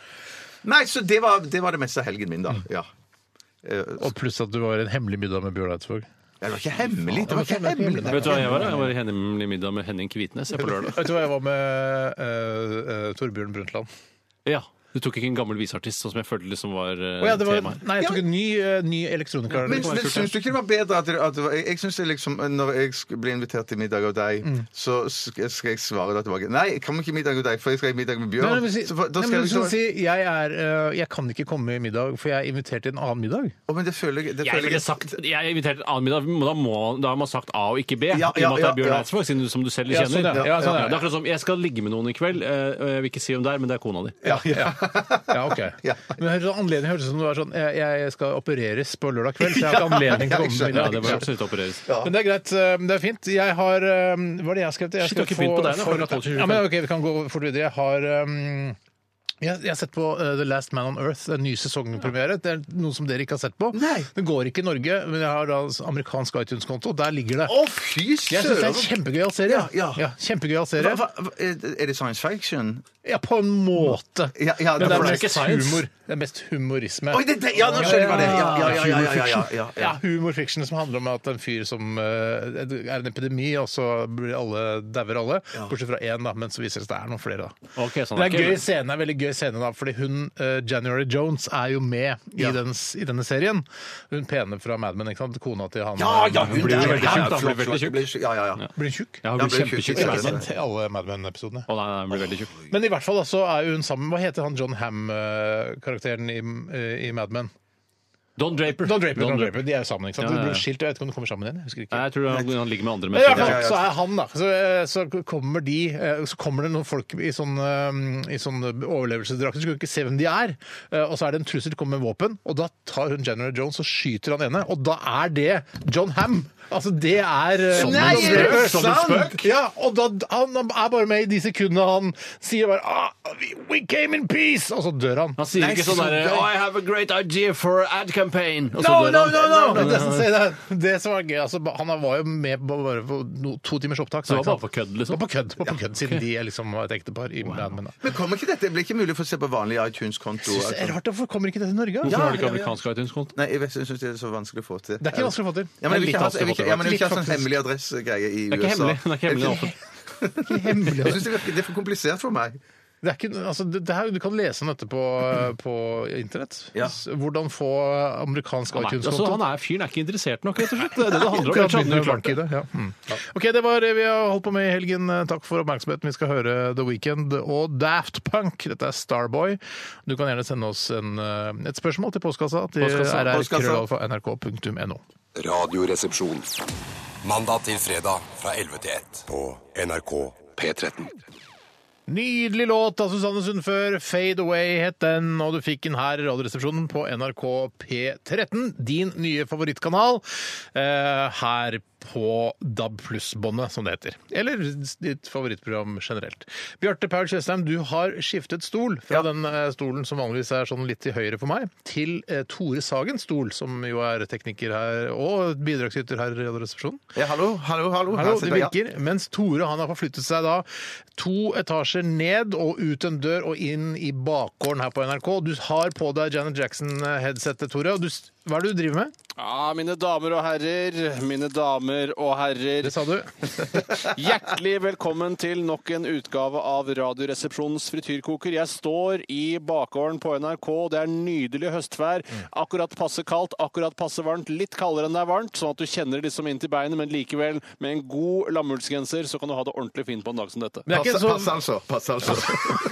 S5: Nei, så det var det, var det meste av helgen min, da. Ja. Eh,
S3: Og pluss at du var i en hemmelig middag med Bjørn Eidsvåg.
S5: Det var ikke hemmelig! Det var ikke
S3: Faen, det var ikke
S5: hemmelig.
S4: Vet du hva jeg var? da? Jeg var i hemmelig middag med Henning Kvitnes jeg, på lørdag.
S3: Vet du hva, jeg var med eh, eh, Torbjørn Brundtland.
S4: Ja. Du tok ikke en gammel viseartist, sånn som jeg følte liksom var eh,
S3: Å ja, det var,
S4: temaet.
S3: nei, jeg tok en ny, eh, ny elektroniker.
S5: Men, men syns du ikke det var bedre at, det- at det var, jeg, jeg synes det liksom, Når jeg sk- blir invitert til middag av deg,
S3: Mm.
S5: så skal, skal jeg svare da tilbake Nei, jeg kommer ikke i middag av deg, for jeg skal i middag med
S3: Nei,
S5: Bjørn.
S3: nei, men si,
S5: så, for, da
S3: nei, men
S5: skal jeg
S3: du skal
S5: liksom,
S3: si jeg, er, eh, jeg kan ikke komme i middag, for jeg er invitert til en annen middag.
S5: Å, men det føler jeg det
S4: Jeg
S5: føler
S4: ville sagt Jeg inviterte til annen middag, men da, må, da har man sagt A og ikke B.
S5: ja,
S4: I og med at det
S5: ja,
S4: er Bjørn
S5: ja.
S4: Eidsvåg, siden du, som du selv
S3: Ja,
S4: kjenner.
S3: sånn, ja. Ja, sånn, ja.
S4: Det er akkurat som Jeg skal ligge med noen i kveld, eh, og jeg vil ikke si hvem det er, men det er kona di.
S3: Ja, ja. ja ok.
S5: <laughs> Ja.
S3: Men hører du anledning høres det ut som du er sånn jeg, jeg skal opereres på lørdag kveld, så jeg
S5: <laughs>
S3: har ikke anledning til å komme.
S4: Ja,
S3: i
S4: det
S3: middag.
S4: bør absolutt opereres.
S3: Men det er greit. eh, Det er fint. Jeg har eh, Hva er det jeg har skrevet? Jeg
S4: Shit, du har ikke begynt på deg nå, klokka 12.25.
S3: ja, men ok, Vi kan gå fort videre. Jeg har eh, Jeg, jeg har sett på eh, The Last Man on Earth, det er en ny sesongpremiere. Det er noe som dere ikke har sett på.
S5: Nei.
S3: Det går ikke i Norge, men jeg har da altså amerikansk iTunes-konto. Der ligger det.
S5: Å, fy
S3: Jeg syns det er en
S5: søren!
S3: kjempegøyal serie.
S5: Ja, ja.
S3: kjempegøyal
S5: Hva-
S3: serie.
S5: hva- hva- Er det science fiction?
S3: Ja, på en måte.
S5: Ja, ja,
S3: Men det er
S5: for
S3: mest
S6: science.
S3: humor. Det er mest humorisme.
S5: Oi, det, det, ja, nå skjønner jeg hva det er. Ja, ja, ja, ja, ja, ja, ja, ja.
S3: Ja, humorfiction som handler om at en fyr som eh, det er en epidemi, og så blir alle, dauer alle. Bortsett fra én, da, men så viser det seg at det er noen flere. da.
S6: Ok, sånn
S3: det er
S6: ikke-
S3: en gøy scene, en veldig gøy scene da, fordi hun, eh, January Jones er jo med i,
S5: Ja.
S3: den, i denne serien. Hun pene fra Mad Men, ikke sant? kona til han
S5: Ja, ja, hun
S6: blir jo
S5: der,
S6: veldig
S5: ja,
S6: tjukk,
S5: ja,
S6: da.
S5: flott,
S6: Blir veldig
S5: flott,
S6: tjukk.
S5: blir tjukk. Ja, ja, ja.
S3: Blir hun tjukk?
S6: Ja,
S5: Ja,
S6: hun blir
S5: blir tjukk,
S6: kjempetjukk.
S5: ja,
S3: Ikke
S6: er det
S5: ja,
S3: sett
S6: sant?
S5: ja.
S3: i alle Mad Men-episodene.
S6: Å nei, nei, hun blir veldig tjukk.
S3: Men i hvert fall da, så er hun sammen Hva heter han John Ham-karakteren i, eh, i Mad Men?
S6: Don Draper.
S3: Don Draper,
S6: Don
S3: Don Draper. De er jo sammen, ikke sant?
S6: Ja, ja, ja.
S3: De blir skilt, jeg vet ikke om de kommer sammen igjen. jeg husker ikke.
S6: Nei, jeg tror han, han ligger med andre
S3: Men i hvert
S6: mennesker.
S5: Ja,
S3: fall
S5: ja, ja.
S3: så er han, da. Så, eh, så kommer de eh, Så kommer det noen folk i sånn, eh, i sånn overlevelsesdrakt. Du skal jo ikke se hvem de er. Eh, Og så er det en trussel, kommer med våpen, og da tar hun General Jones og skyter han ene. Og da er det John Ham! Altså, det er eh,
S5: Som Nei, en spøk. er det
S3: Som en
S5: sant?
S3: spøk. Ja, og da han er bare med i de sekundene han sier bare ah, we, 'We came in peace', og så dør han.
S6: Han sier
S5: Nei,
S6: ikke sånn
S5: så
S6: derre
S5: gøy.
S6: oh, I have a great idea for ad campaign. Og så
S3: No,
S6: dør
S3: no,
S6: han.
S3: no, no! Det, er det,
S6: sånn
S3: som sier det, det som var gøy, altså, han var jo med på bare på no, to timers opptak.
S6: Så det
S3: ikke
S6: var
S3: sant?
S6: bare på kødd, liksom?
S3: Bare på kødd, bare på kødd siden de er liksom var et ektepar i Mad Men. da.
S5: Men kommer ikke dette? Det blir ikke mulig for å se på vanlig iTunes-konto? Altså.
S3: Synes
S6: sånn.
S3: det er rart, Hvorfor kommer ikke det til Norge?
S6: Hvorfor
S3: Ja.
S6: har du ikke amerikansk iTunes-konto?
S5: Nei, jeg vet- jeg syns det er så vanskelig å få til.
S3: Det er ikke vanskelig å få til.
S5: Ja, men jeg vil ikke ha jeg vil ikke- ja, men jeg vil ikke ha
S3: Litt
S5: sånn hemmelig adressegreie i USA.
S6: Det er ikke hemmelig. Det er ikke hemmelig.
S3: Hemmelig. altså.
S5: Jeg synes det, virker, det er for komplisert for meg.
S3: Det er ikke, altså, det, det her, du kan lese om
S6: <clears throat>
S3: dette på, på internett.
S5: Ja.
S3: S- Hvordan få amerikansk
S6: Han er, altså,
S3: iTunes-konto.
S6: han er fyren er ikke interessert nok, rett og slett. Det er det det handler om.
S3: Akkurat
S6: Kanskje han
S3: begynner
S6: hadde
S3: å
S6: klart
S3: klarte i
S6: det.
S3: det, ja. Mm. Ok, Det var det vi har holdt på med i helgen. Eh, Takk for oppmerksomheten. Vi skal høre The Weekend og Daft Punk. Dette er Starboy. Du kan gjerne sende oss en, eh, et spørsmål til postkassa til
S6: Postkassa,
S3: rr.nrk.no.
S7: Radioresepsjon. Mandag til fredag fra 11 til 1 på NRK P13.
S3: Nydelig låt av Susanne Sundfør. 'Fade Away' het den, og du fikk den her i Radioresepsjonen på NRK P13, din nye favorittkanal, eh, her på DAB pluss-båndet, som det heter. Eller ditt favorittprogram generelt. Bjarte Paul Tjøstheim, du har skiftet stol fra den eh, stolen som vanligvis er sånn litt til høyre for meg, til eh, Tore Sagens stol, som jo er tekniker her og bidragsyter her i Radioresepsjonen.
S5: Ja, hallo, hallo, hallo.
S3: Hallo,
S5: Her
S3: det
S5: sitter jeg.
S3: virker. Mens Tore han har forflyttet seg da to etasjer ned og ut en dør og inn i bakgården her på NRK. Du har på deg Janet Jackson-headsetet, Tore. Og du, s- hva er det du driver med?
S4: Ja, mine damer og herrer, mine damer og herrer.
S3: Det sa du.
S4: Hjertelig velkommen til nok en utgave av Radioresepsjonens frityrkoker. Jeg står i bakgården på NRK, det er nydelig høstvær.
S3: Mm.
S4: Akkurat passe kaldt, akkurat passe varmt. Litt kaldere enn det er varmt, sånn at du kjenner det liksom inn til beinet, men likevel, med en god lammullsgenser, så kan du ha det ordentlig fint på en dag som dette.
S3: Men det er
S5: Pass,
S3: ikke
S5: pass
S3: så
S5: altså. Pass altså.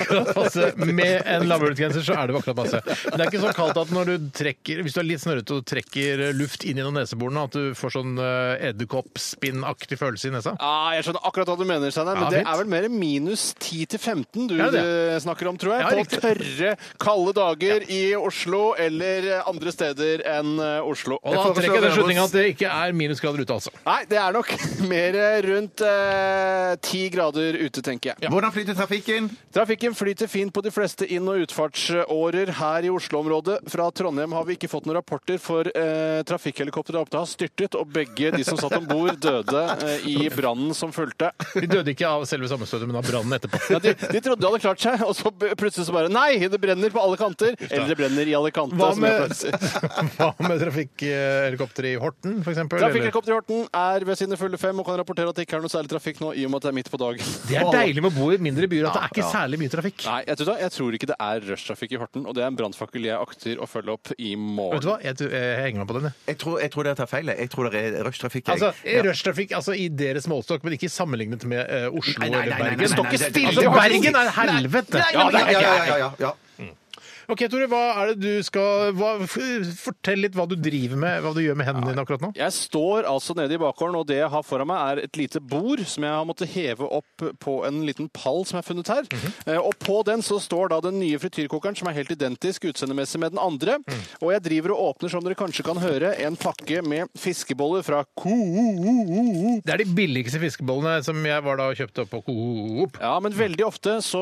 S3: akkurat <laughs> passe. Med en lavmulighetsgenser så er det akkurat passe. Men det er ikke så kaldt at når du trekker, hvis du er litt snørrete og trekker luft inn gjennom neseborene, at du får sånn eh, edderkoppspinnaktig følelse i nesa.
S4: Ah, jeg skjønner akkurat hva du mener, Steinar. Men
S3: Ja,
S4: det
S3: fint.
S4: er vel mer minus 10-15 du
S3: Ja, det.
S4: eh, snakker om, tror jeg.
S3: Ja,
S4: på
S3: riktig.
S4: tørre, kalde dager i Oslo eller eh, andre steder enn eh, Oslo.
S3: Og da
S5: Jeg foreslår
S3: trekker jeg den
S5: Ramos-
S3: slutninga at det ikke er minusgrader ute, altså.
S4: Nei, det er nok <laughs> mer eh, rundt eh, 10 grader ute, tenker jeg.
S5: Hvordan flyter trafikken?
S4: Trafikken flyter fint på de fleste inn- og utfartsårer her i Oslo-området. Fra Trondheim har vi ikke fått noen rapporter, for eh, trafikkhelikopteret oppe har styrtet, og begge de som satt om bord, døde eh, i brannen som fulgte.
S3: De døde ikke av selve sammenstøtet, men av brannen etterpå.
S4: Ja, de, de trodde de hadde klart seg, og så b- plutselig så bare Nei, det brenner på alle kanter! Eller det brenner i Alicante.
S3: Hva
S4: som jeg
S3: med,
S4: pleier å si.
S3: <laughs> hva med trafikkhelikopter i Horten, for eksempel? eller?
S4: Trafikkhelikopter i Horten er ved sine fulle fem og kan rapportere at det ikke er noe særlig trafikk nå, i og med at det er midt på dagen.
S3: Det er deilig med å bo i mindre byer at det er ikke særlig mye trafikk.
S4: Nei, jeg tror, jeg tror ikke det er rushtrafikk i Horten, og det er en brannfakkel jeg akter å følge opp i
S3: Vet du
S4: morgen.
S3: hva, jeg, tror- jeg henger meg på den. jeg.
S5: Jeg tror, jeg tror dere tar feil. jeg. Jeg tror det er rushtrafikk. jeg.
S3: Altså, Rushtrafikk altså, i deres målestokk, men ikke sammenlignet med eh, Oslo
S5: Nei, nei, nei,
S3: eller
S5: nei, nei,
S3: Bergen. Altså, Det står
S5: nei, nei,
S3: ikke
S5: nei,
S3: stille!
S5: det-
S3: Altså, Bergen er helvete!
S5: Ja, ja, ja, ja, ja, ja.
S3: OK, Tore, hva er det du skal hva, f- Fortell litt hva du driver med, hva du gjør med hendene dine akkurat nå.
S4: Jeg står altså nede i bakgården, og det jeg har foran meg er et lite bord som jeg har måttet heve opp på en liten pall som jeg har funnet her.
S3: Mhm.
S4: Eh, Og på den så står da den nye frityrkokeren som er helt identisk utseendemessig med den andre.
S3: Mhm.
S4: Og jeg driver og åpner, som dere kanskje kan høre, en pakke med fiskeboller fra Coop.
S3: Det er de billigste fiskebollene som jeg var da og kjøpte opp på Coop.
S4: Ja, men veldig ofte så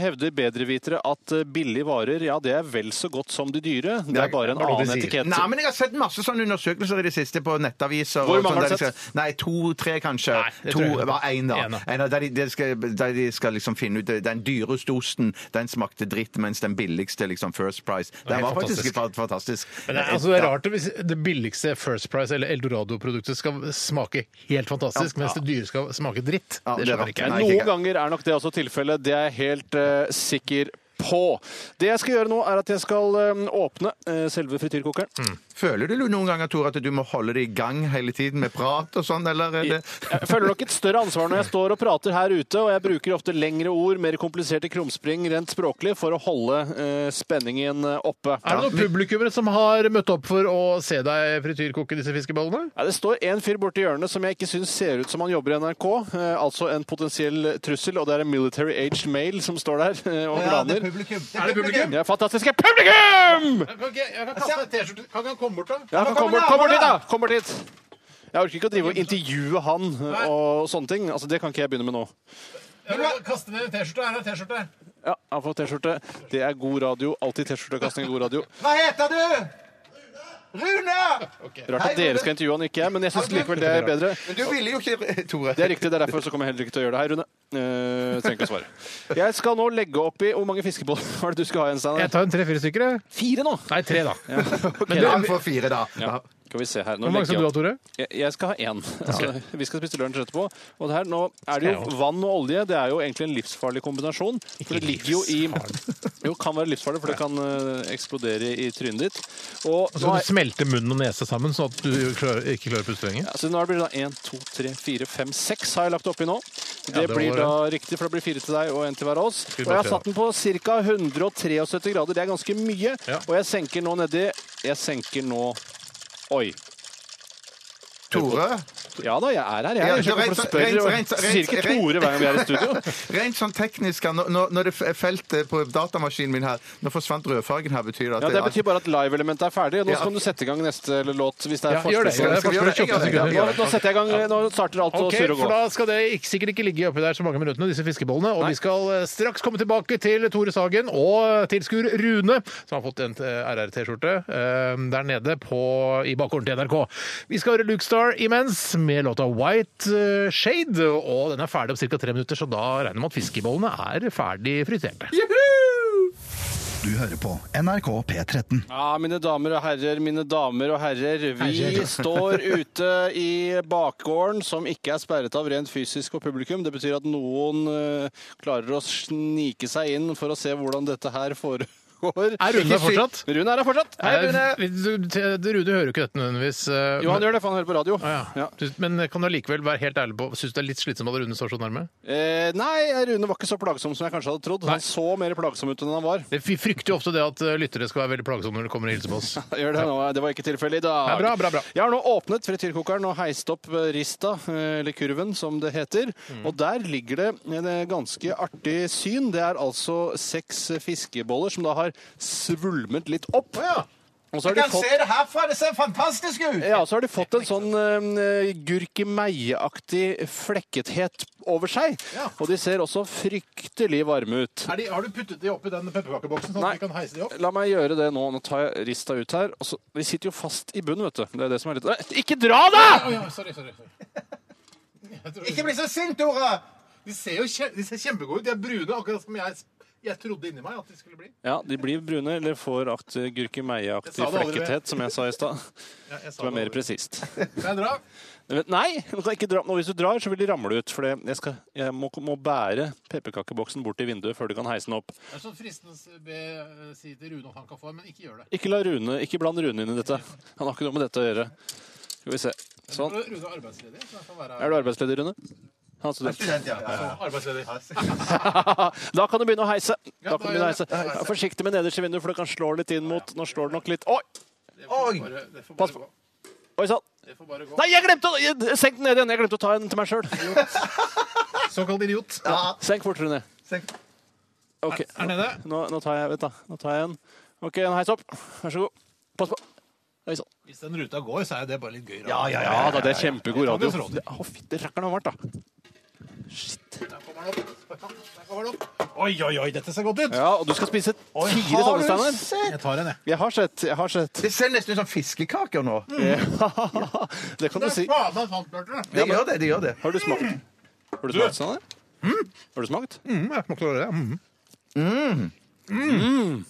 S4: hevder bedrevitere at eh, billige varer, ja det er vel så godt som de dyre. Det er bare en
S3: det er det
S4: annen
S3: de sier.
S4: etikett.
S5: Nei, men jeg har sett masse sånne undersøkelser i det siste på nettaviser.
S4: Hvor
S5: og
S4: mange
S5: sånn
S4: har du
S5: der de
S4: sett?
S5: Skal, nei, to-tre kanskje.
S3: Nei, det
S5: to,
S3: tror jeg ikke.
S5: var en da.
S3: En, da.
S5: En, da. der, de, de skal, der de skal liksom finne ut Den dyreste osten, den smakte dritt, mens den billigste, liksom First Price, den
S3: helt
S5: var faktisk
S3: fantastisk.
S5: fa- fantastisk.
S3: Men det, er- altså, det er rart hvis det billigste First Price eller Eldorado-produktet skal smake helt fantastisk, mens det dyre skal smake dritt.
S5: Ja,
S3: Det
S5: det er
S3: skjønner ikke
S5: rart.
S3: jeg.
S5: Nei,
S4: Noen
S5: ikke-
S4: ganger er nok det også tilfellet. Det er jeg helt eh, sikker på. Det jeg skal gjøre nå, er at jeg skal eh, åpne eh, selve frityrkokeren.
S3: Mm.
S5: Føler du noen ganger, Tor, at du må holde det i gang hele tiden med prat og sånn, eller er det
S4: Jeg føler nok et større ansvar når jeg står og prater her ute, og jeg bruker ofte lengre ord, mer kompliserte krumspring rent språklig for å holde eh, spenningen eh, oppe.
S3: Er det noen publikummere som har møtt opp for å se deg frityrkoke disse fiskebollene?
S4: Ja, det står en fyr borti hjørnet som jeg ikke syns ser ut som han jobber i NRK. eh, altså en potensiell trussel, og det er en military aged male som står der eh, og glaner.
S5: publikum?
S3: Er det publikum?
S4: Det er fantastiske publikum!
S3: Kan ikke- jeg kan kaste deg en T-skjorte. Kan ikke han komme bort, da?
S4: Ja, kom, bort, kom bort hit, da! Kom bort hit. Jeg orker ikke å drive og intervjue han eh, og sånne ting. Altså, Det kan ikke jeg begynne med nå.
S3: Kaste ned en T-skjorte. Her er en T-skjorte.
S4: Ja, Han får T-skjorte. Det er god radio. Alltid T-skjortekasting er god radio.
S5: Hva heter du? Rune!
S4: Rart at dere skal intervjue han, ikke jeg, men jeg syns likevel det er bedre.
S5: Men du ville jo ikke Tore.
S4: Det er riktig, det er derfor så kommer jeg heller ikke til å gjøre det. Hei, Rune. Eh, trenger ikke å svare. <laughs> Jeg skal nå legge opp i Hvor mange fiskeboller var det du skulle ha igjen,
S3: Jeg
S4: Steinar?
S3: tar en tre-fire stykker, jeg.
S4: Fire nå!
S3: Nei, tre, da.
S5: Men han får fire, da. Ja.
S4: Skal vi se her. Nå
S3: Hvor mange
S4: legger
S3: skal du
S4: jeg
S3: ha,
S4: opp.
S3: Tore?
S4: Jeg- Jeg skal ha én. Altså, vi skal spise lunsj etterpå. Og det her, nå er det jo vann og olje. Det er jo egentlig en livsfarlig kombinasjon. For det ligger jo i Jo, kan være livsfarlig, for det kan eh, eksplodere i trynet ditt. Og
S3: Så
S4: nå
S3: skal
S4: er,
S3: du smelte munn og nese sammen, sånn at du klarer, ikke klarer å puste lenger?
S4: altså, nå blir det da én, to, tre, fire, fem, seks har jeg lagt oppi nå. Det,
S3: Ja, det
S4: blir
S3: var
S4: da riktig, for det blir fire til deg og én til hver av oss.
S3: vi
S4: Og jeg har
S3: bare
S4: satt den på ca. 173 grader. Det er ganske mye.
S3: Ja.
S4: Og jeg senker nå nedi Jeg senker nå Oi.
S5: Tore?
S4: Ja da, jeg er her, jeg.
S5: Ja,
S4: jeg. skjønner
S5: rent-
S4: hvorfor du spør,
S5: rent-
S4: og
S5: rent- rent-
S4: sier ikke
S5: rent-
S4: Tore hver gang vi er i studio.
S5: <laughs> Rent sånn teknisk, ja, nå- nå- når det f- felt eh, på datamaskinen min her Nå forsvant rødfargen her, betyr det at
S4: Ja, Det betyr bare at live-elementet er ferdig. og Nå
S5: Ja.
S4: kan du sette i gang neste låt. hvis det er
S3: Ja, gjør det.
S4: forspill.
S3: Gjør det.
S5: Skal vi gjøre det?
S3: Forspill i 28
S5: Ja,
S3: sekunder.
S5: ja,
S4: Nå,
S5: ja.
S4: nå setter jeg i gang, nå starter alt å
S3: Ok,
S4: surre og
S3: for
S4: gå.
S3: da skal det ikke, sikkert ikke ligge oppi der så mange minuttene, disse fiskebollene. Og vi skal eh, straks komme tilbake til Tore Sagen og eh, tilskuer Rune, som har fått en eh, RR-T-skjorte eh, der nede på, i bakgården til NRK. Vi skal høre Luke Star imens med låta White eh, Shade, og den er ferdig om ca. tre minutter, så da regner vi med at fiskebollene er ferdig friterte.
S1: Du hører på NRK P13.
S4: Ja, mine damer og herrer, mine damer og herrer. Vi
S3: <laughs>
S4: står ute i bakgården, som ikke er sperret av rent fysisk og publikum. Det betyr at noen eh, klarer å snike seg inn for å se hvordan dette her foregår.
S3: Er Rune der fortsatt?
S4: Rune er her fortsatt. Hei, Rune.
S3: Eh, du- du- Rune hører jo ikke dette nødvendigvis. eh,
S4: Jo, han
S3: men-
S4: gjør det, for han hører på radio.
S3: Ah, ja.
S4: Ja.
S3: Du- Men kan du allikevel være helt ærlig på Syns du det er litt slitsomt at Rune står så nærme?
S4: Eh, nei, Rune var ikke så plagsom som jeg kanskje hadde trodd. Han så mer plagsom ut enn han var.
S3: Det- Vi frykter jo ofte det at eh, lyttere skal være veldig plagsomme når de kommer og hilser på oss.
S4: Gjør det nå. Det var ikke tilfellet i dag.
S3: Ja, bra, bra, bra.
S4: Jeg har nå åpnet frityrkokeren og heist opp rista, eh, eller kurven som det heter.
S3: Mm.
S4: Og der ligger det en eh, ganske artig syn. Det er altså seks eh, fiskeboller som da har svulmet litt opp. Og så har de fått
S5: det herfra! Det ser fantastisk ut!
S4: ja, så har de fått en sånn uh, gurkemeieaktig flekkethet over seg. Og de ser også fryktelig varme ut.
S3: har du puttet de oppi den pepperkakeboksen, sånn
S4: Nei. vi kan
S3: heise de opp?
S4: La meg gjøre det nå. Nå tar jeg rista ut her. Og så, de sitter jo fast i bunnen, vet du. Det er det som er litt Nei, Ikke dra, da!
S3: sorry, sorry.
S5: Ikke bli så sint, Tore!
S3: De ser jo kjempegode ut. De er brune, akkurat som jeg, trodde inni meg at de skulle bli.
S4: Ja, de blir brune eller får akt-
S3: Jeg
S4: gurkemeieaktig
S3: sa det allerede.
S4: flekkethet, som jeg sa i stad. Det var mer presist.
S3: Kan jeg dra?
S4: Men Nei! Du kan ikke dra. Nå, hvis du drar, så vil de ramle ut. For det- jeg, skal, jeg må, må bære pepperkakeboksen bort til vinduet før du kan heise den opp.
S3: Det er sånn fristende å be eh, si til Rune at han kan få, men ikke gjør det.
S4: Ikke, la Rune, ikke bland Rune inn i dette. Han har ikke noe med dette å gjøre. Skal vi se. Sånn.
S3: Rune er arbeidsledig, så han kan være
S4: Er du arbeidsledig, Rune? Han er student.
S3: Arbeidsledig.
S4: da kan du begynne å heise. Da
S3: Ja, da
S4: kan du
S3: gjør
S4: begynne å heise.
S3: jeg det.
S4: Ja, Forsiktig med nederste vindu, for det kan slå litt inn mot Nå slår det nok litt Oi!
S5: Oi!
S3: Bare- Det får
S4: Pass
S3: bare
S4: på.
S3: gå.
S4: Oi sann!
S3: Det får bare gå.
S4: Nei, jeg glemte å jeg- Senk den ned igjen. Jeg glemte å ta en til meg sjøl.
S3: Såkalt idiot.
S4: Senk fortere ned.
S5: Senk.
S4: OK.
S3: Er nede.
S4: Nå, nå tar jeg Vent, da. Nå tar jeg en. OK, en heis opp. Vær så god. Pass på. Oi sånn. sann.
S3: Hvis den ruta går, så er det bare litt gøy.
S5: Ja, ja, ja.
S4: Ja da, det er kjempegod
S3: ja.
S4: radio.
S3: Det er radio.
S4: Det- Å, fytti rakkeren, det var varmt, da.
S3: Der kommer den opp. Der kommer den opp. Oi, oi, oi, dette ser godt ut.
S4: Ja, og du skal spise fire
S5: Har
S4: sånne,
S5: du
S4: Steinar.
S5: sett?
S3: Jeg tar en, jeg.
S4: Jeg har sett. Jeg har sett. Mm.
S5: Det ser nesten ut som fiskekaker nå.
S4: Ja, <laughs> det kan du si.
S3: faen meg sant, Bjarte.
S5: Det gjør det. det gjør det.
S4: Har du smakt? Har du smakt, Steinar? Har du smakt?
S3: Mm, jeg smakte Mm. det. Mm.
S5: Mm.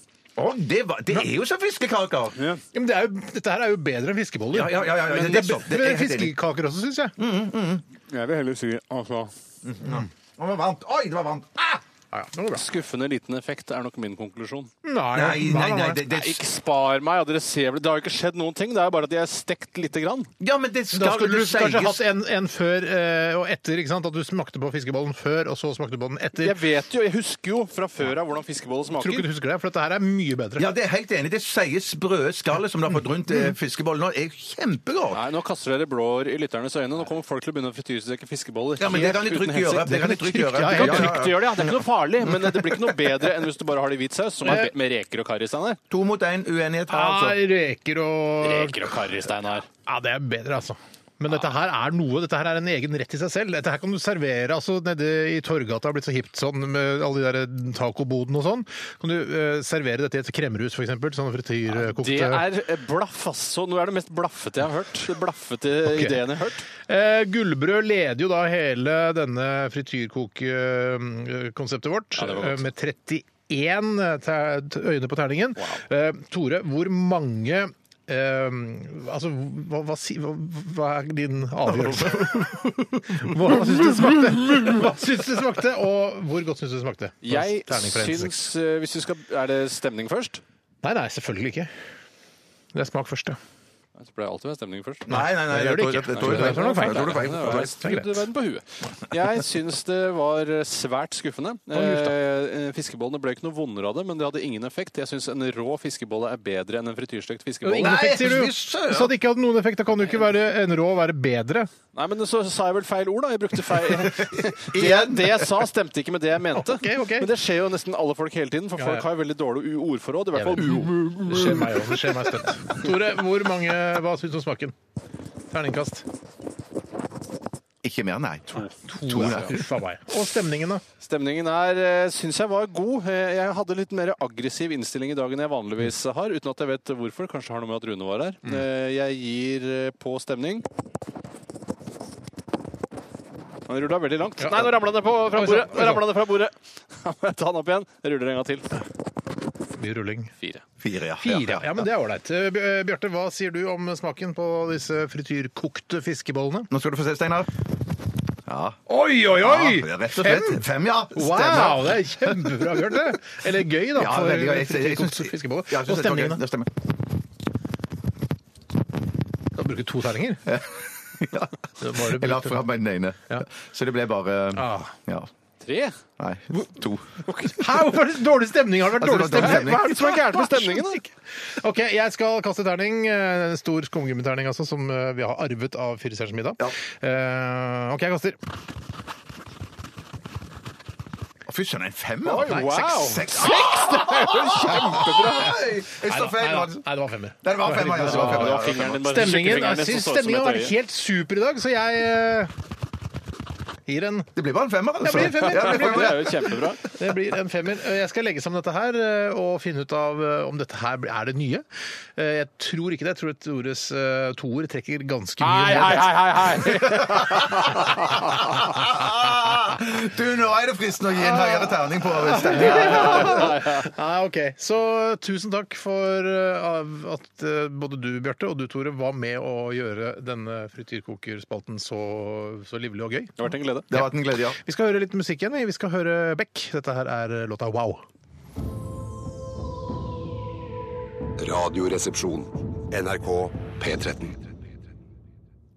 S5: Å, det, var, det er jo som fiskekaker!
S3: Ja, men det er jo, dette her er jo bedre enn fiskeboller.
S5: Ja, ja, ja, ja,
S3: men
S5: det-
S3: det,
S5: det er
S3: er
S5: sant.
S3: bedre
S5: Det er
S3: enn
S5: helt enig. Mm.
S3: fiskekaker også, syns jeg.
S4: Jeg vil heller si altså
S5: Å, det var varmt. Oi, det var varmt.
S3: Ja, ja, det var bra.
S4: Skuffende liten effekt er nok min konklusjon.
S5: Nei, nei, nei. Det, det,
S4: Ikke spar meg, ja, dere ser vel Det har jo ikke skjedd noen ting, det er jo bare at jeg er stekt lite grann.
S5: ja, men det skal
S3: Da skulle
S5: det
S3: du kanskje
S5: sies-
S3: hatt en, en før eh, og etter. ikke sant? At du smakte på fiskebollen før, og så smakte du på den etter.
S4: Jeg vet jo, jeg husker jo fra før av hvordan fiskeboller
S3: Jeg tror ikke
S4: smaker.
S3: du husker det, for dette her er mye bedre.
S5: Ja, det er helt enig. Det sier sprø skallet som du har
S3: Mm.
S5: fått rundt eh, fiskebollen nå, er kjempegodt.
S4: Nei, nå kaster dere blår i lytternes øyne. Nå kommer folk til å begynne å frityrsteke fiskeboller.
S5: Ja, men det
S4: helt
S5: kan de
S4: uten
S5: trygt
S4: hensikt.
S5: gjøre. Det kan de trygt gjøre.
S3: Ja,
S4: Du
S3: ja,
S4: kan
S3: ja,
S4: trygt gjøre det, ja. Det er ikke noe farlig, men det blir ikke noe bedre enn hvis du bare har det i hvit saus, som
S5: Eh.
S4: er med reker og karri, Steinar.
S5: To mot én uenighet her,
S3: Ah,
S5: altså.
S3: reker og
S4: Reker og karri, Steinar.
S3: Ja, det er bedre, altså. Men dette her er noe, dette her er en egen rett i seg selv. Dette her kan du servere altså, nede i Torgata, har blitt så hipt sånn med alle de der tacobodene og sånn. Kan du eh, servere dette i et kremrus, for eksempel? Sånn frityrkokte
S4: Det er eh, blaff, altså. Nå er det mest blaffete jeg har hørt. Det blaffete ideen jeg har hørt.
S3: Eh, Gullbrød leder jo da hele denne frityrkokekonseptet vårt
S4: Ja, det var godt.
S3: eh, med 31 ter- t- øyne på terningen. Eh, Tore, hvor mange eh, altså, hva, hva, si- hva, hva er din
S4: <laughs>
S3: avgjørelse? Hva, hva syns du smakte? Hva syns du smakte, og hvor godt syns du det smakte?
S4: Jeg
S3: Terning fra 1 til
S4: syns
S3: 6.
S4: eh, hvis vi skal, Er det stemning først?
S3: Nei, nei, selvfølgelig ikke. Det er smak først, ja.
S4: Nei, Så ble det alltid med stemning først.
S5: Nei, nei, nei.
S3: Det gjør det
S5: Jeg
S3: ikke.
S5: tror jeg tror-
S3: Nei, det
S5: jeg
S3: er
S5: tror
S3: noe feil.
S5: jeg tror det er
S4: Nei, det
S5: feil.
S3: Det
S4: var-
S3: er greit.
S4: det var den på huet. Jeg syns det var svært skuffende.
S3: luft, da.
S4: Eh, eh, Fiskebollene ble ikke noe vondere av det, men det hadde ingen effekt. Jeg syns en rå fiskebolle er bedre enn en frityrstekt fiskebolle.
S3: Ingen
S5: Nei,
S3: effekt, sier
S5: fy
S3: du!
S5: søren!
S3: Så det ikke hadde noen effekt. Da kan jo ikke være en rå være bedre.
S4: Nei, men så sa jeg vel feil ord, da. Jeg brukte feil Det, jeg-
S5: Igjen.
S4: det jeg sa, stemte ikke med det jeg mente.
S3: Ok, ok.
S4: Men det skjer jo nesten alle folk hele tiden, for
S3: Ja,
S4: folk
S3: ja.
S4: har jo veldig dårlig u- ordforråd. I hvert
S3: Jeg
S4: fall u
S3: Det skjer meg òg. Det skjer meg støtt. Tore, hvor mange, hva syns du om smaken? Terningkast.
S5: Ikke mer, nei.
S3: To, ja. Uff a meg. Og stemningen, da?
S4: Stemningen her syns jeg var god. Eh, Jeg hadde litt mer aggressiv innstilling i dag enn jeg vanligvis har, uten at jeg vet hvorfor. Kanskje har noe med at Rune var her. Eh, Jeg gir eh, på stemning. Han rulla veldig langt. Nei, nå ramla det på, fra
S3: Oi,
S4: bordet!
S3: sant, oi,
S4: Nå ramla det fra bordet. <laughs> Da må jeg ta den opp igjen. Jeg ruller en gang til.
S3: Mye rulling.
S4: Fire.
S5: Fire, ja.
S3: Fire. Ja, men det er ålreit. Eh, Bj- eh, Bjarte, hva sier du om smaken på disse frityrkokte fiskebollene?
S5: Nå skal du få se, Steinar. Ja.
S3: Oi, oi, oi!
S5: Ja, rett og slett. Fem, ja.
S3: Wow, det er kjempebra, Bjarte. Eller gøy, da,
S5: Ja,
S3: for
S5: veldig gøy. Jeg- jeg- jeg synes-
S3: frityrkokte fiskeboller.
S5: Ja, jeg synes
S3: Og
S5: det var gøy.
S3: stemningen, da?
S5: Det stemmer.
S3: <laughs> Skal du bruke to terninger?
S5: Ja.
S3: Det var det
S5: Jeg la
S3: brukte.
S5: fra meg den ene.
S3: Ja.
S5: Så det ble bare
S3: Ah.
S5: Ja.
S4: Tre?
S5: Nei, to.
S3: Hæ, hvorfor er det dårlig stemning? Har det vært
S5: Altså,
S3: dårlig
S5: det var dårlig
S3: stemning?
S5: stemning.
S3: Hva er det som er gærent med
S4: Hva er det
S3: stemningen? da? Ok, jeg skal kaste terning. eh, En stor skumgummiterning altså, som eh, vi har arvet av Firestjerners middag. Eh, OK, jeg kaster.
S5: Å, Fy søren, en fem?
S4: Oi,
S5: Nei,
S4: wow.
S5: seks, seks. Oi, Jeg
S3: Nei
S5: sa
S3: da,
S5: feil.
S3: nei da,
S5: Mats.
S3: nei, det var femmer.
S5: Nei, altså. det var femmer, ja, det var femmer, ja.
S4: Ja, det var fingeren din. Bare
S3: Stemningen, jeg
S4: skykkefingeren din som
S3: synes
S4: så ut som
S3: stemningen har
S4: et øye.
S3: vært helt super i dag, så jeg eh, gir en
S5: Det blir bare en femmer, altså.
S3: blir en femmer.
S5: Ja, det
S3: Det
S5: blir
S3: blir
S5: en
S4: Det
S5: femmer.
S4: er jo kjempebra.
S3: Det blir en femmer. Eh, Jeg skal legge sammen dette her eh, og finne ut av eh, om dette her er det nye. Eh, Jeg tror ikke det. Jeg tror at Tores eh, toer trekker ganske mye.
S4: Hei,
S3: ned.
S4: hei, hei, hei, hei!
S5: <laughs> Du, nå er det fristende å gi en høyere terning på stemningen.
S3: <laughs> Nei, ok. Så tusen takk for eh, av- at eh, både du, Bjarte, og du, Tore, var med å gjøre denne frityrkokerspalten så, så livlig og gøy.
S4: Det har vært en glede.
S5: Det har vært en glede, ja.
S3: Vi skal høre litt musikk igjen. vi. Vi skal høre Beck. Dette her er eh, låta Wow.
S7: Radioresepsjon. NRK P13.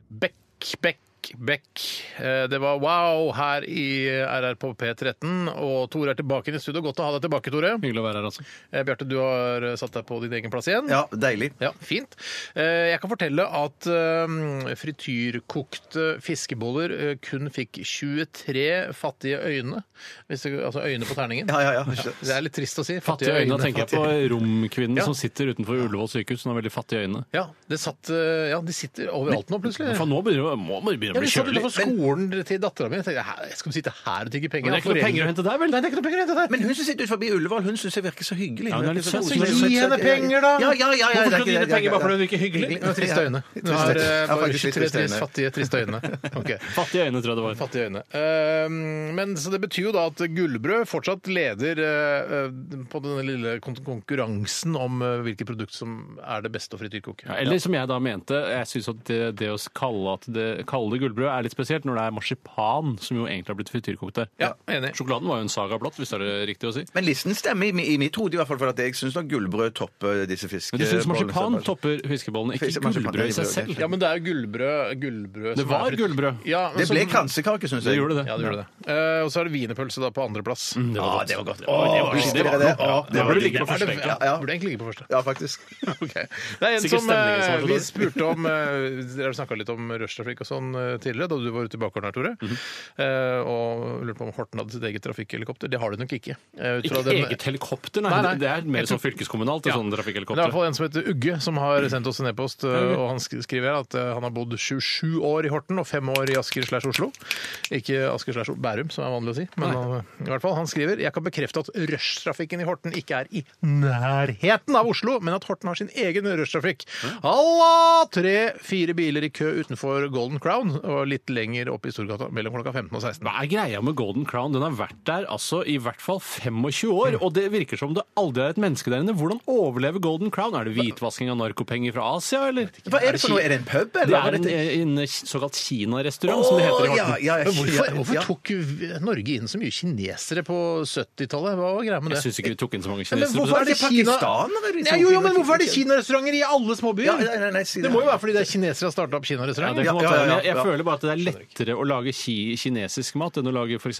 S3: Beck, Beck, Beck, Beck. Eh, Det var wow her i RR på P13. Og Tore er tilbake i studio. Godt å ha deg tilbake, Tore.
S4: Hyggelig å være her, altså.
S3: Eh, Bjarte, du har eh, satt deg på din egen plass igjen.
S5: Ja, deilig.
S3: Ja, fint. Eh, Jeg kan fortelle at eh, frityrkokte fiskeboller eh, kun fikk 23 fattige øyne. Hvis det, altså øyne på terningen.
S5: Ja, ja, ja.
S3: Det er litt trist å si.
S4: Fattige øyne, tenker jeg på
S3: fattige-
S4: romkvinnen
S3: Ja.
S4: som sitter utenfor Ullevål sykehus. Hun har veldig fattige øyne.
S3: Ja, det satt, eh, ja, de sitter overalt nå, plutselig.
S4: For nå begynner det å- må man begynne
S3: Ja,
S4: å
S3: vi
S4: bli
S3: satt
S4: kjølig.
S3: utenfor skolen til dattera mi. Jeg tenkte, "Hæ, skal vi sitte her og tygge penger?
S4: Men det er ikke noe penger å hente der, vel?
S3: Nei, det er ikke noe penger å hente der.
S5: Men hun som sitter ut forbi Ullevål, hun syns jeg virker så hyggelig.
S4: Ja, hun er litt søt.
S5: Hun er
S4: Så
S5: søt,
S3: gi
S5: søt,
S3: henne
S5: ja,
S3: penger, da!
S5: Ja, ja, ja, ja,
S4: Hvorfor
S5: det er
S4: skal du
S5: ikke
S4: gi
S5: det,
S4: henne penger
S5: ja,
S4: bare fordi
S5: ja.
S4: hun virker hyggelig?
S3: Med triste øyne. Du har eh,
S5: Ja,
S3: bare
S5: faktisk litt
S3: 23
S5: triste øyne.
S3: fattige, triste øyne.
S5: <laughs>
S3: Ok.
S4: Fattige øyne, tror jeg det var.
S3: Fattige øyne. Ehm, Men så det betyr jo da at Gullbrød fortsatt leder eh, eh, på denne lille kon- konkurransen om eh, hvilket produkt som er det beste å frityrkoke.
S4: Ja, eller som jeg da mente, jeg syns at det, det å kalle, at det, kalle det gullbrød er litt spesielt når det er marsipan, som jo egentlig har blitt frityrkokt der.
S3: Ja, enig.
S4: Sjokoladen var jo en saga blått, hvis det er det riktig å si.
S5: Men listen stemmer i, i mitt hode, i hvert fall, for at jeg syns nok gullbrød topper disse fiskebollene.
S4: Men du syns marsipan
S5: så-
S4: topper fiskebollene, ikke
S5: Fisk- marsipan,
S4: gullbrød i seg
S5: gullbrød,
S4: selv?
S3: Ja, men det er jo gullbrød, gullbrød
S4: Det
S3: som
S4: var
S3: er frityr-
S4: gullbrød.
S3: Ja, men
S5: Det ble
S3: som-
S5: kransekake, syns jeg.
S4: Det gjorde det.
S3: Ja, det gjorde det. Eh, og så er det wienerpølse da på andreplass. Mm,
S5: Ah,
S4: var godt.
S5: Visste dere det? Ja, det
S4: Da
S5: var
S4: burde du
S5: digg.
S4: ligge på første benk.
S3: ja,
S4: ja.
S5: ja.
S3: Burde egentlig ligge på første.
S5: Ja, <laughs> faktisk.
S3: Ok. Det er en
S4: Sikkert
S3: som, eh,
S4: stemningen som er så
S3: Vi
S4: dårlig.
S3: spurte om eh, Dere snakka litt om rushtrafikk og sånn eh, tidligere, da du var ute i bakgården her, Tore.
S4: Mhm.
S3: Eh, og lurte på om Horten hadde sitt eget trafikkhelikopter. Det har de nok ikke. Eh, ut fra
S4: Ikke
S3: den-
S4: eget helikopter, nei.
S3: Nei, nei.
S4: Det er mer
S3: Jeg tror-
S4: sånn fylkeskommunalt,
S3: Ja.
S4: sånn
S3: Men Det er i hvert
S4: trafikkhelikopter.
S3: fall en som heter Ugge, som har sendt oss en e-post. eh, Og han sk- skriver her at eh, han har bodd 27 år i Horten og 5 år i Asker slash Oslo. Ikke Asker slash Bærum, som er vanlig å si. Men han, eh, i hvert fall, han skriver jeg kan bekrefte at rushtrafikken i Horten ikke er i nærheten av Oslo, men at Horten har sin egen rushtrafikk. Halla! Tre-fire biler i kø utenfor Golden Crown og litt lenger opp i Storgata mellom klokka 15 og 16.
S4: Hva er greia med Golden Crown? Den har vært der altså i hvert fall 25 år, og det virker som det aldri er et menneske der inne. Hvordan overlever Golden Crown? Er det hvitvasking av narkopenger fra Asia, eller?
S5: Hva er det for noe? Er det en pub,
S4: Det
S5: eller?
S4: er en, eh, en såkalt Kina-restaurant, som det heter i
S5: Å, ja, ja,
S4: Horten.
S5: ja,
S3: Men hvorfor,
S5: ja,
S3: hvorfor
S5: ja.
S3: tok Norge inn så mye kinesere på 70-tallet? Hva var greia med det?
S4: Jeg syns ikke vi tok inn så mange
S3: Ja, Men
S4: kinesere.
S3: hvorfor er det
S5: Kina- Pakistanere, liksom?
S3: Nei, jo, jo, men hvorfor er det kinarestauranter i alle småbyer?
S5: Ja, nei, nei, nei, si det.
S3: det må jo være fordi det er kinesere som har starta opp
S4: Ja, det
S3: kinarestauranter.
S4: kan godt
S5: Ja, ja,
S4: være, men jeg,
S5: ja,
S4: jeg
S5: ja.
S4: føler bare at det er lettere å lage ki kinesisk mat enn å lage f.eks.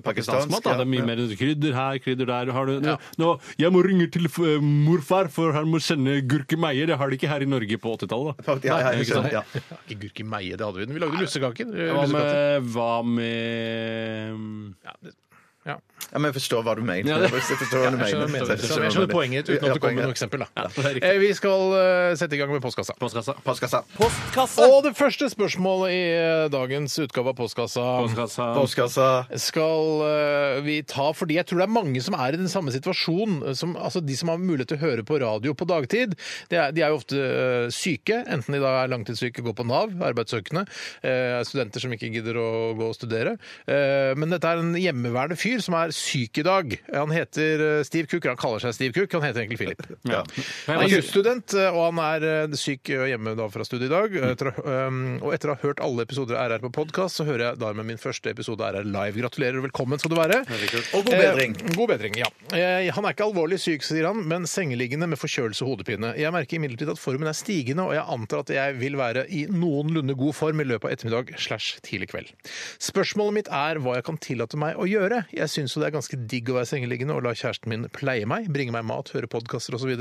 S4: pakistansk mat. Da. Det er mye
S5: ja.
S4: mer krydder her, krydder der. Har du, nå, 'Jeg må ringe til eh, morfar, for han må sende gurkemeier.' Det har de ikke her i Norge på 80-tallet.
S5: Ja,
S4: da.
S5: ja, ja,
S4: Nei, ikke
S5: jeg skjønner,
S4: sant?
S5: ja.
S3: Ja, Ikke gurke meie, det hadde vi. Vi lagde eh, lussekaker.
S4: Hva
S3: lussekaker.
S4: med, hva med eh,
S5: ja, men jeg forstår hva du mener.
S4: Ja,
S5: Jeg
S4: det-
S5: forstår hva du
S3: Jeg skjønner,
S5: mener.
S3: jeg skjønner, jeg skjønner poenget ditt uten
S5: Ja,
S3: at du kommer med noe
S5: poenget.
S3: eksempel. Da.
S4: det er riktig.
S3: Eh, Vi skal eh, sette i gang med postkassa.
S4: postkassa?
S5: Postkassa.
S3: Og det første spørsmålet i eh, dagens utgave av Postkassa,
S4: Postkassa.
S5: Postkassa.
S3: skal eh, vi ta Fordi jeg tror det er mange som er i den samme situasjonen. eh, Som, altså De som har mulighet til å høre på radio på dagtid, det er, de er jo ofte eh, syke. Enten de da er langtidssyke, går på Nav, arbeidssøkende, eh, studenter som ikke gidder å gå og studere. Eh, men dette er en hjemmeværende fyr som er syk i dag. Han heter eh, Steve Cook. Han kaller seg Steve Cook, han heter egentlig Philip.
S4: Ja.
S3: Han er jusstudent, og han er eh, syk og hjemme da fra studiet i dag. Etter, å- um, og etter å ha hørt alle episoder av RR på podkast, så hører jeg dermed min første episode av RR live. Gratulerer og velkommen skal du være.
S5: Og god bedring.
S3: Eh, god bedring, ja. Eh, han er ikke alvorlig syk, sier han, men sengeliggende med forkjølelse og hodepine. Jeg merker imidlertid at formen er stigende, og jeg antar at jeg vil være i noenlunde god form i løpet av ettermiddag slash tidlig kveld. Spørsmålet mitt er hva jeg kan tillate meg å gjøre. Jeg syns jo det er ganske digg å være sengeliggende og la kjæresten min pleie meg, bringe meg mat, høre podkaster osv.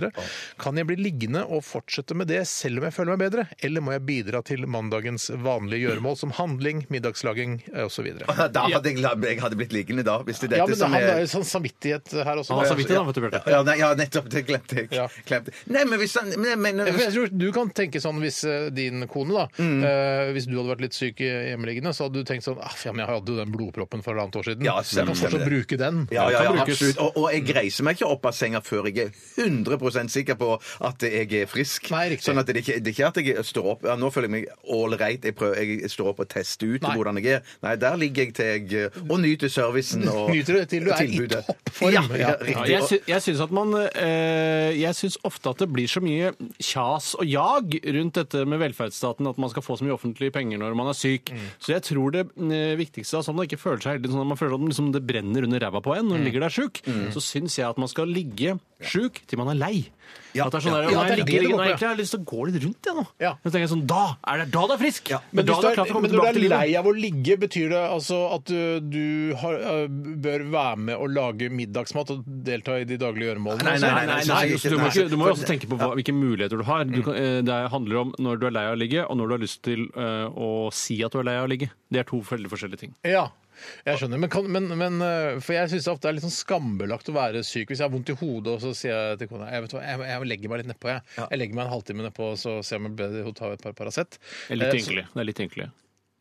S3: Kan jeg bli liggende og fortsette med det selv om jeg føler meg bedre, eller må jeg bidra til mandagens vanlige gjøremål som handling, middagslaging eh, osv.?
S5: Da hadde jeg, jeg hadde blitt liggende da, hvis det er
S3: Ja,
S5: dette
S3: men
S5: som
S3: han har
S5: er
S3: jo sånn samvittighet her også.
S4: Han har samvittighet, da, vet du, Bjarte.
S5: ja, nei, ja, nettopp. Det glemte jeg.
S3: Ja.
S5: Glemte. Nei, men hvis han men, men,
S3: Ja, for Jeg tror Du kan tenke sånn hvis eh, din kone, da eh, hvis du hadde vært litt syk i hjemmeliggende, så hadde du tenkt sånn ah, ja, men Jeg hadde jo den blodproppen for halvannet år siden.
S5: Ja,
S3: jeg
S5: stemmer,
S3: kan fortsatt
S5: stemmer
S3: bruke den.
S5: Ja, ja,
S4: kan
S5: ja,
S4: brukes.
S5: absolutt. Og, og jeg reiser meg ikke opp av senga før jeg er 100 sikker på at jeg er frisk.
S3: Nei, riktig.
S5: sånn at det, ikke, det er ikke at jeg står opp ja, Nå føler jeg meg ålreit. Jeg, prøver- jeg står opp og tester ut
S3: Nei.
S5: hvordan jeg er. Nei, der ligger jeg til jeg eh, Og nyter servicen og
S3: <laughs> Nyter det til du er i
S5: tilbudet.
S3: toppform.
S5: Ja,
S3: Ja.
S5: ja,
S4: Ja,
S5: riktig.
S4: jeg, sy jeg syns at man eh, Jeg syns ofte at det blir så mye kjas og jag rundt dette med velferdsstaten, at man skal få så mye offentlige
S3: Mm.
S4: penger når man er syk. Så jeg tror det eh, viktigste er sånn at man ikke føler seg heldig, sånn at man føler at det, liksom, det brenner under under ræva på en når
S3: Mm.
S4: en ligger der sjuk, så syns jeg at man skal ligge sjuk til man er lei. At det er sånn der,
S3: Ja,
S4: «Å,
S3: det er det
S4: jeg ligger,
S3: det går på,
S4: nei,
S3: ja.
S4: egentlig har jeg lyst til å gå litt rundt, jeg nå.
S3: Ja.
S4: Så tenker jeg sånn, da er det da det er frisk!
S3: Men,
S4: da
S3: hvis
S4: er
S3: du
S4: det
S3: er,
S4: klart for å komme
S3: men når du
S4: tilbake
S3: er
S4: til
S3: lei
S4: livet.
S3: av å ligge, betyr det altså at ø, du har, ø, bør være med å lage middagsmat og delta i de daglige gjøremålene? Altså,
S5: Nei, nei, nei, nei, nei,
S4: så du, må ikke, du må jo også tenke på hva, hvilke muligheter du har. Du kan, eh, det handler om når du er lei av å ligge, og når du har lyst til eh, å si at du er lei av å ligge. Det er to veldig forskjellige ting.
S3: Ja, jeg skjønner. Men, kan, men, men øh, For jeg syns det ofte er litt sånn skambelagt å være syk. Hvis jeg har vondt i hodet, og så sier jeg til kona jeg vet hva, jeg, jeg legger meg litt nedpå. Jeg. jeg legger meg en halvtime nedpå, så ser jeg om jeg blir bedre. Hun tar et par Paracet.
S4: Det er litt
S3: Eh, så-
S4: ynkelig. Det er litt ynkelig.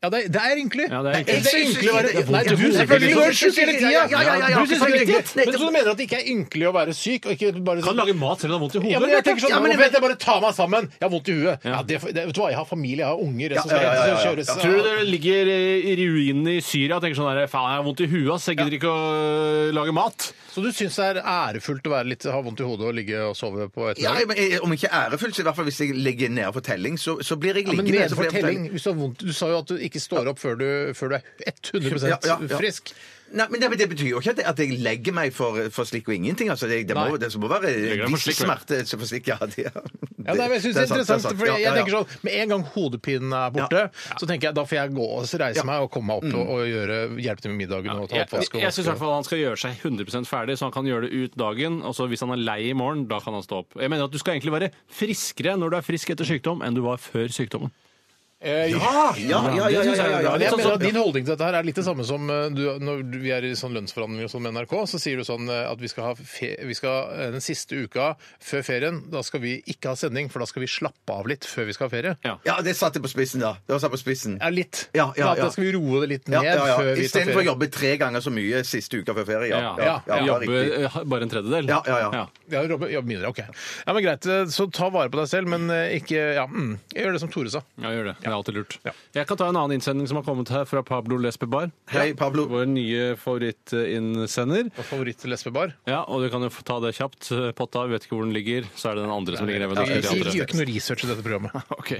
S3: Ja, det er, det er ynkelig.
S4: Ja, det er ynkelig.
S3: Det er ynkelig å være
S5: Det er vondt i
S3: Nei, du
S5: hodet.
S3: selvfølgelig du er syk hele tida!
S5: Ja, ja, ja, ja, ja,
S3: Du synes det er
S5: selvfølgelig.
S3: ynkelig. Men så du mener at det ikke er ynkelig å være syk? Og ikke bare
S4: Kan
S3: sånn
S4: lage mat selv om du har vondt i hodet.
S3: ja, men jeg tenker sånn,
S5: Ja, men
S3: nå
S5: jeg
S3: vet jeg bare ta meg sammen. Jeg har vondt i huet. Ja, det, det, vet du hva, jeg har familie, jeg har unger. Jeg som skal
S5: ja, ja, ja, ja.
S3: kjøres.
S4: Tror du det ligger eh, i ruinene i Syria og tenker sånn der, faen, jeg har vondt i huet, ass, jeg gidder ikke å eh, lage mat.
S3: Så du syns det er ærefullt å være litt, ha vondt i hodet og ligge og sove på
S5: Ja,
S3: ettermiddagen?
S5: men jeg- Om ikke ærefullt, så i hvert fall hvis jeg ligger nede for telling, så, så blir jeg
S3: Ja, men
S5: liggende.
S3: nede
S5: så
S3: for
S5: blir jeg på
S3: telling, hvis du, har vondt, du sa jo at du ikke står opp før du, før du er 100
S5: Ja, ja, ja.
S3: frisk.
S5: Nei, men det, men det betyr jo ikke at, at jeg legger meg for, for slikk og ingenting. Altså, det, det, må,
S3: Nei.
S5: det må være
S4: Legger deg for
S5: viss
S4: slikk, vel?
S5: smerte så for slikk. Ja, <laughs> det, ja.
S3: Ja, nei, men jeg synes det er interessant, for jeg, jeg tenker sånn, Med en gang hodepinen er borte, så tenker jeg da får jeg gå og reise meg og komme meg opp og, og gjøre, hjelpe til med middagen. og ta
S4: Jeg, jeg,
S3: oppvask og
S4: jeg syns i hvert
S3: vaske.
S4: fall han skal gjøre seg 100 ferdig, så han kan gjøre det ut dagen. Og så hvis han er lei i morgen, da kan han stå opp. Jeg mener at Du skal egentlig være friskere når du er frisk etter sykdom, enn du var før sykdommen.
S3: Eh, ja,
S5: Ja, ja, ja, ja, ja, ja, ja,
S3: men jeg
S5: sånn
S3: mener
S5: som-
S3: at Din holdning til dette her er litt det samme som eh, du, når du- vi er i sånn lønnsforhandlinger og sånn med NRK. Så sier du sånn eh, at vi skal ha fe, vi skal, eh, den siste uka før ferien da skal vi ikke ha sending, for da skal vi slappe av litt før vi skal ha ferie.
S5: ja, det satte jeg på spissen, da. Det var satt på spissen.
S3: Ja, litt. Sånn
S5: Ja, ja, ja.
S3: Da skal vi roe det litt ned
S5: Ja, ja, ja.
S3: før vi tar
S5: Istedenfor å
S3: ferie.
S5: jobbe tre ganger så mye siste uka før ferie. Ja, ja, ja, ja,
S4: Jobbe
S5: riktig.
S4: eh, bare en tredjedel.
S5: Ja, ja, ja.
S3: Ja, jobbe, jobbe mindre, ok. Ja, men Greit, eh, så ta vare på deg selv, men eh, ikke ja, mm, Gjør det som Tore sa.
S4: Ja, gjør det. Det er alltid lurt.
S3: Ja.
S4: Jeg kan ta en annen innsending som har kommet her fra Pablo Lesbebar.
S5: Hei, Pablo.
S4: Vår nye favorittinnsender.
S3: Og Favoritt-lesbebar.
S4: Ja, og du kan jo få ta det kjapt. eh, Potta, vi vet ikke hvor den ligger. Så er det den andre som ligger der. ved
S3: Vi
S4: norske
S3: vi
S4: teatre.
S3: gjør ikke noe research i dette programmet.
S4: Ok.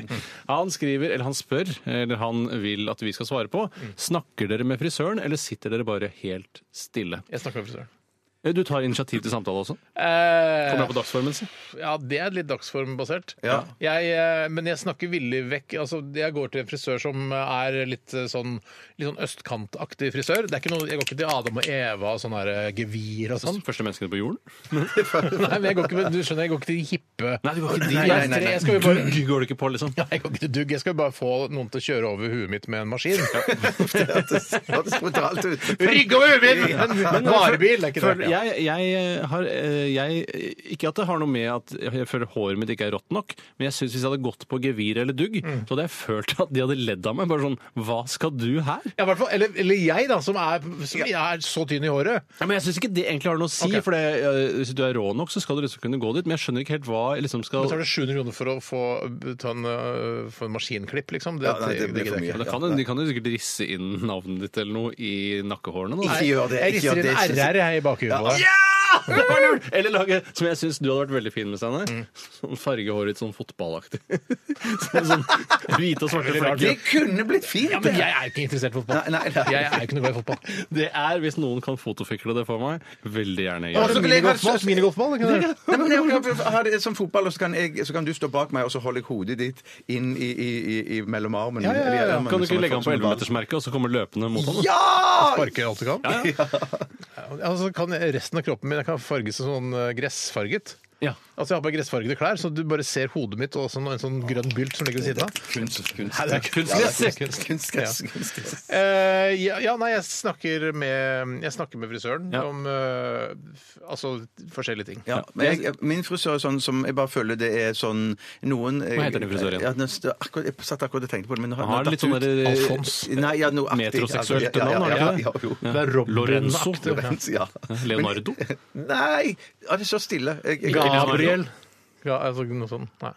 S4: Han skriver, eller han spør, eller han vil at vi skal svare på. Snakker dere med frisøren, eller sitter dere bare helt stille? Eh,
S3: Jeg snakker med frisøren.
S4: Du tar initiativ til samtale også.
S5: Eh.
S4: Kommer jeg på dagsformen sin?
S3: ja, det er litt dagsformbasert.
S5: Ja.
S3: Jeg, eh, men jeg snakker villig vekk. Altså, jeg går til en frisør som er litt eh, sånn, litt sånn østkantaktig frisør. Det er ikke noe, jeg går ikke til Adam og Eva og sånn her, eh, gevir og sånn.
S4: Første menneskene på jorden?
S3: Nei, men jeg går ikke, du skjønner, jeg går ikke til de hippe.
S4: Nei, du går ikke
S5: Nei,
S4: dit.
S5: nei, nei, nei.
S3: Jeg skal jo bare
S4: Dugg går du ikke på, liksom.
S3: Ja, jeg går ikke til dugg. Jeg skal jo bare få noen til å kjøre over huet mitt med en maskin.
S5: Det hørtes hørtes brutalt ut.
S3: Rygg over huet mitt! En en varebil, det er ikke det.
S4: Jeg, jeg har eh, jeg, Ikke at det har noe med at jeg føler håret mitt ikke er rått nok, men jeg synes hvis jeg hadde gått på gevir eller dugg, så hadde jeg følt at de hadde ledd av meg. Bare sånn Hva skal du her?
S3: Ja, i hvert fall, eller, eller jeg, da, som er, som er så tynn i håret.
S4: Ja, men jeg syns ikke det egentlig har noe å si.
S3: Ok.
S4: For det, eh, hvis du er rå nok, så skal du liksom kunne gå dit. Men jeg skjønner ikke helt hva jeg liksom skal
S3: Betaler 700 kroner for å få ta en, øh, få en maskinklipp, liksom. Det,
S5: Ja, nei, det
S3: gidder
S5: blir for
S3: jeg
S5: mye.
S3: ikke.
S4: Men det kan, jo- De kan jo sikkert risse inn navnet ditt eller noe i nakkehårene. Da.
S5: Ikke gjør det.
S3: Jeg
S5: Ikke gjør
S3: rister
S5: det.
S3: en RR her i bakhuet på deg.
S4: Det var lurt! Eller lage, som jeg syns du hadde vært veldig fin med, Steinar. Sånn farge håret ditt sånn fotballaktig. <laughs> Sånn, sånn hvite og svarte
S3: Veldig rart.
S5: Det
S4: flekker.
S5: kunne blitt fint.
S3: Ja, men jeg er ikke interessert i fotball.
S5: Nei, nei, nei.
S3: Jeg er ikke noe glad i fotball.
S4: Det er, hvis noen kan fotofikle det for meg, veldig gjerne
S5: Og
S4: gjør
S5: så
S4: det.
S5: vil jeg være-
S3: Minigolfball? minigolfball, ikke det?
S5: Nei, men jeg, har det som fotball, og så kan, jeg, så kan du stå bak meg, og så holder jeg hodet ditt inn i, i, i, i mellom armen.
S3: Ja, ja, ja, ja.
S5: Eller i armen,
S4: Kan du
S5: som
S4: ikke
S5: en-
S4: legge han på
S5: som en ball.
S4: 11-metersmerket, og så kommer løpende mot han? da?
S5: <laughs> Ja!
S3: Sparke alt du kan? Altså, kan jeg- resten av kroppen min jeg kan farges sånn øh, gressfarget?
S4: Ja.
S3: Altså Jeg har på meg gressfargede klær, så du bare ser hodet mitt og sånn, en sånn grønn bylt som ligger ved siden av.
S5: Kunst, kunst.
S3: Nei, det er
S5: Kunstgress.
S3: kunstgress.
S5: Kunstgress. kunstgress.
S3: Eh, ja, ja, nei, jeg snakker med, jeg snakker med frisøren
S4: Ja.
S3: om eh, f- altså, forskjellige ting.
S5: Ja, men jeg, min frisør er sånn som jeg bare føler det er sånn noen
S4: Hva heter den frisøren?
S5: Ja, nå st- akkurat- jeg satt akkurat og tenkte på det, men nå
S4: Han har litt sånn der-
S5: Alfons. Nei, ja, noe aktig.
S4: Metroseksuelt
S5: Ja, ja,
S4: navn,
S5: ja,
S4: har du
S5: ja,
S4: det?
S5: jo.
S4: Ja.
S3: Det er Rob
S4: Lorenzo.
S3: Benzo-aktig.
S5: Lorenz, ja.
S4: <laughs> Leonardo?
S5: Nei! Ja, det står stille. Jeg, jeg,
S4: Gabriel.
S3: Ja, altså, noe sånt. Nei.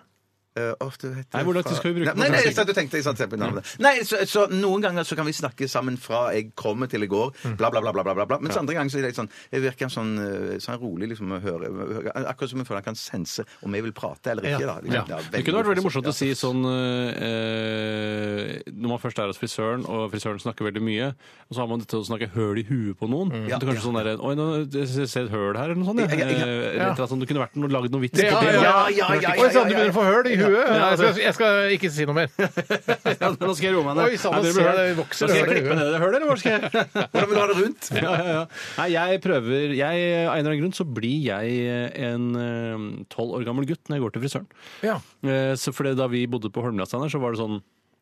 S5: Eh, eh, åh, du vet
S4: Nei,
S5: det
S4: hvor lang
S5: fra-
S4: tid skal vi bruke Mm. på
S5: Nei, nei,
S4: det?
S5: jeg satt og tenkte, jeg satt og tenkte på navnet. Nei, så, så noen ganger så kan vi snakke sammen fra jeg kommer til i går,
S4: Mm.
S5: bla, bla, bla, bla, bla, bla, bla. Mens andre ganger så er det litt sånn, jeg virker sånn, eh, sånn rolig liksom å høre, høre- akkurat som jeg føler jeg kan sense om jeg vil prate eller ikke da. Liksom, <laughs>
S4: Ja.
S5: det er
S4: Det kunne vært veldig morsomt
S5: Ja.
S4: å si sånn eh, Når man først er hos frisøren, og frisøren snakker veldig mye, og så har man det til å snakke høl i huet på noen. Mm. Du kanskje sånn der, Oi, nå ser jeg et høl her, eller noe sånt. Ja.
S5: Ja, ja, ja.
S4: Eh, eller et eller annet sånt. Du kunne vært noe, laget noe vits
S3: Ja,
S4: på det.
S3: ja,
S5: ja, ja, ja, ja,
S3: Oi sann, du
S5: ja,
S3: begynner å få høl i huet.
S4: Ja,
S3: Jeg skal, jeg skal ikke si noe mer.
S4: <laughs> Ja, Nå skal jeg roe meg
S3: Oi, sann,
S4: Nei,
S3: nå
S4: dere
S3: ser jeg
S4: blir hørt.
S3: det vokser
S4: Da Skal
S3: høl i
S4: jeg klippe
S3: huet.
S4: ned det hølet, eller hva skal jeg?
S5: Hvordan vil du ha det rundt?
S4: Ja, ja, ja. Nei, jeg prøver jeg, Av en eller annen grunn så blir jeg eh, en tolv år gammel gutt når jeg går til frisøren.
S3: Ja.
S4: Eh, Så fordi da vi bodde på Holmlandsteiner, så var det sånn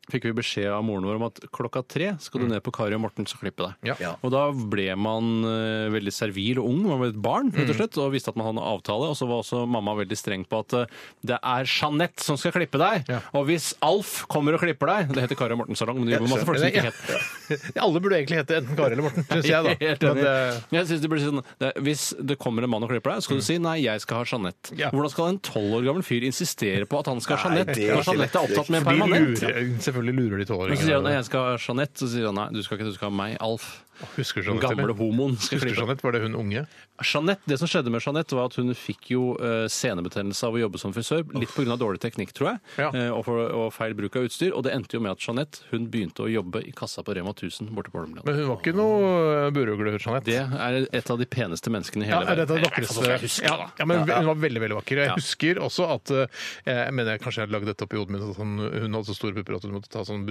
S4: fikk vi beskjed av moren vår om at klokka tre skal du ned på Kari og Mortens og klippe deg.
S3: Ja.
S5: Ja.
S4: Og da ble man eh, veldig servil og ung, man ble et barn rett og slett, og visste at man hadde en avtale. Og så var også mamma veldig streng på at eh, det er Jeanette som skal klippe deg.
S3: Ja.
S4: Og hvis Alf kommer og klipper deg Det heter Kari og Mortens salong, men det jobber masse folk som ikke heter
S3: <laughs> Alle burde egentlig hete enten Kari eller Morten, syns jeg, da.
S4: <laughs> Helt
S3: Men,
S4: enig.
S3: eh,
S4: Jeg synes det blir sånn, det, er- hvis det kommer en mann og klipper deg, skal du si nei, jeg skal ha Jeanette.
S3: Ja.
S4: Hvordan skal en tolv år gammel fyr insistere på at han skal ha
S5: Nei,
S4: Jeanette?
S5: det er
S4: Når
S5: ikke lett.
S4: Jeanette er opptatt med
S3: de
S4: permanent.
S3: lurer, selvfølgelig lurer de
S4: Men så sier han nei,
S3: tolvåringene.
S4: jeg skal ha Jeanette, så sier han nei, du skal ikke, du skal ha meg, Alf.
S3: Husker
S4: Den
S3: Jeanette,
S4: gamle
S3: eller?
S4: homoen skal
S3: Husker
S4: klippe.
S3: Jeanette, var det hun unge?
S4: Jeanette, det som skjedde med Jeanette var at hun fikk jo eh, senebetennelse av å jobbe som frisør, litt pga. dårlig teknikk, tror jeg,
S3: Ja.
S4: eh, og, for, og feil bruk av utstyr. Og det endte jo med at Jeanette hun begynte å jobbe i kassa på Rema 1000 borte på Holmland.
S3: Men hun var ikke noe burugle, Jeanette.
S4: Det er et av de peneste menneskene i
S3: Ja,
S4: hele
S3: er dette det
S4: verden.
S3: vakreste
S4: Eller i hvert fall sånn som jeg husker det,
S3: ja,
S4: da.
S3: ja, men
S4: Ja, ja.
S3: Hun var veldig veldig vakker. Jeg
S4: Ja.
S3: husker også at eh, Jeg mener jeg kanskje jeg lagde dette opp i hodet mitt, at hun, hun hadde så store pupper at hun måtte ta sånn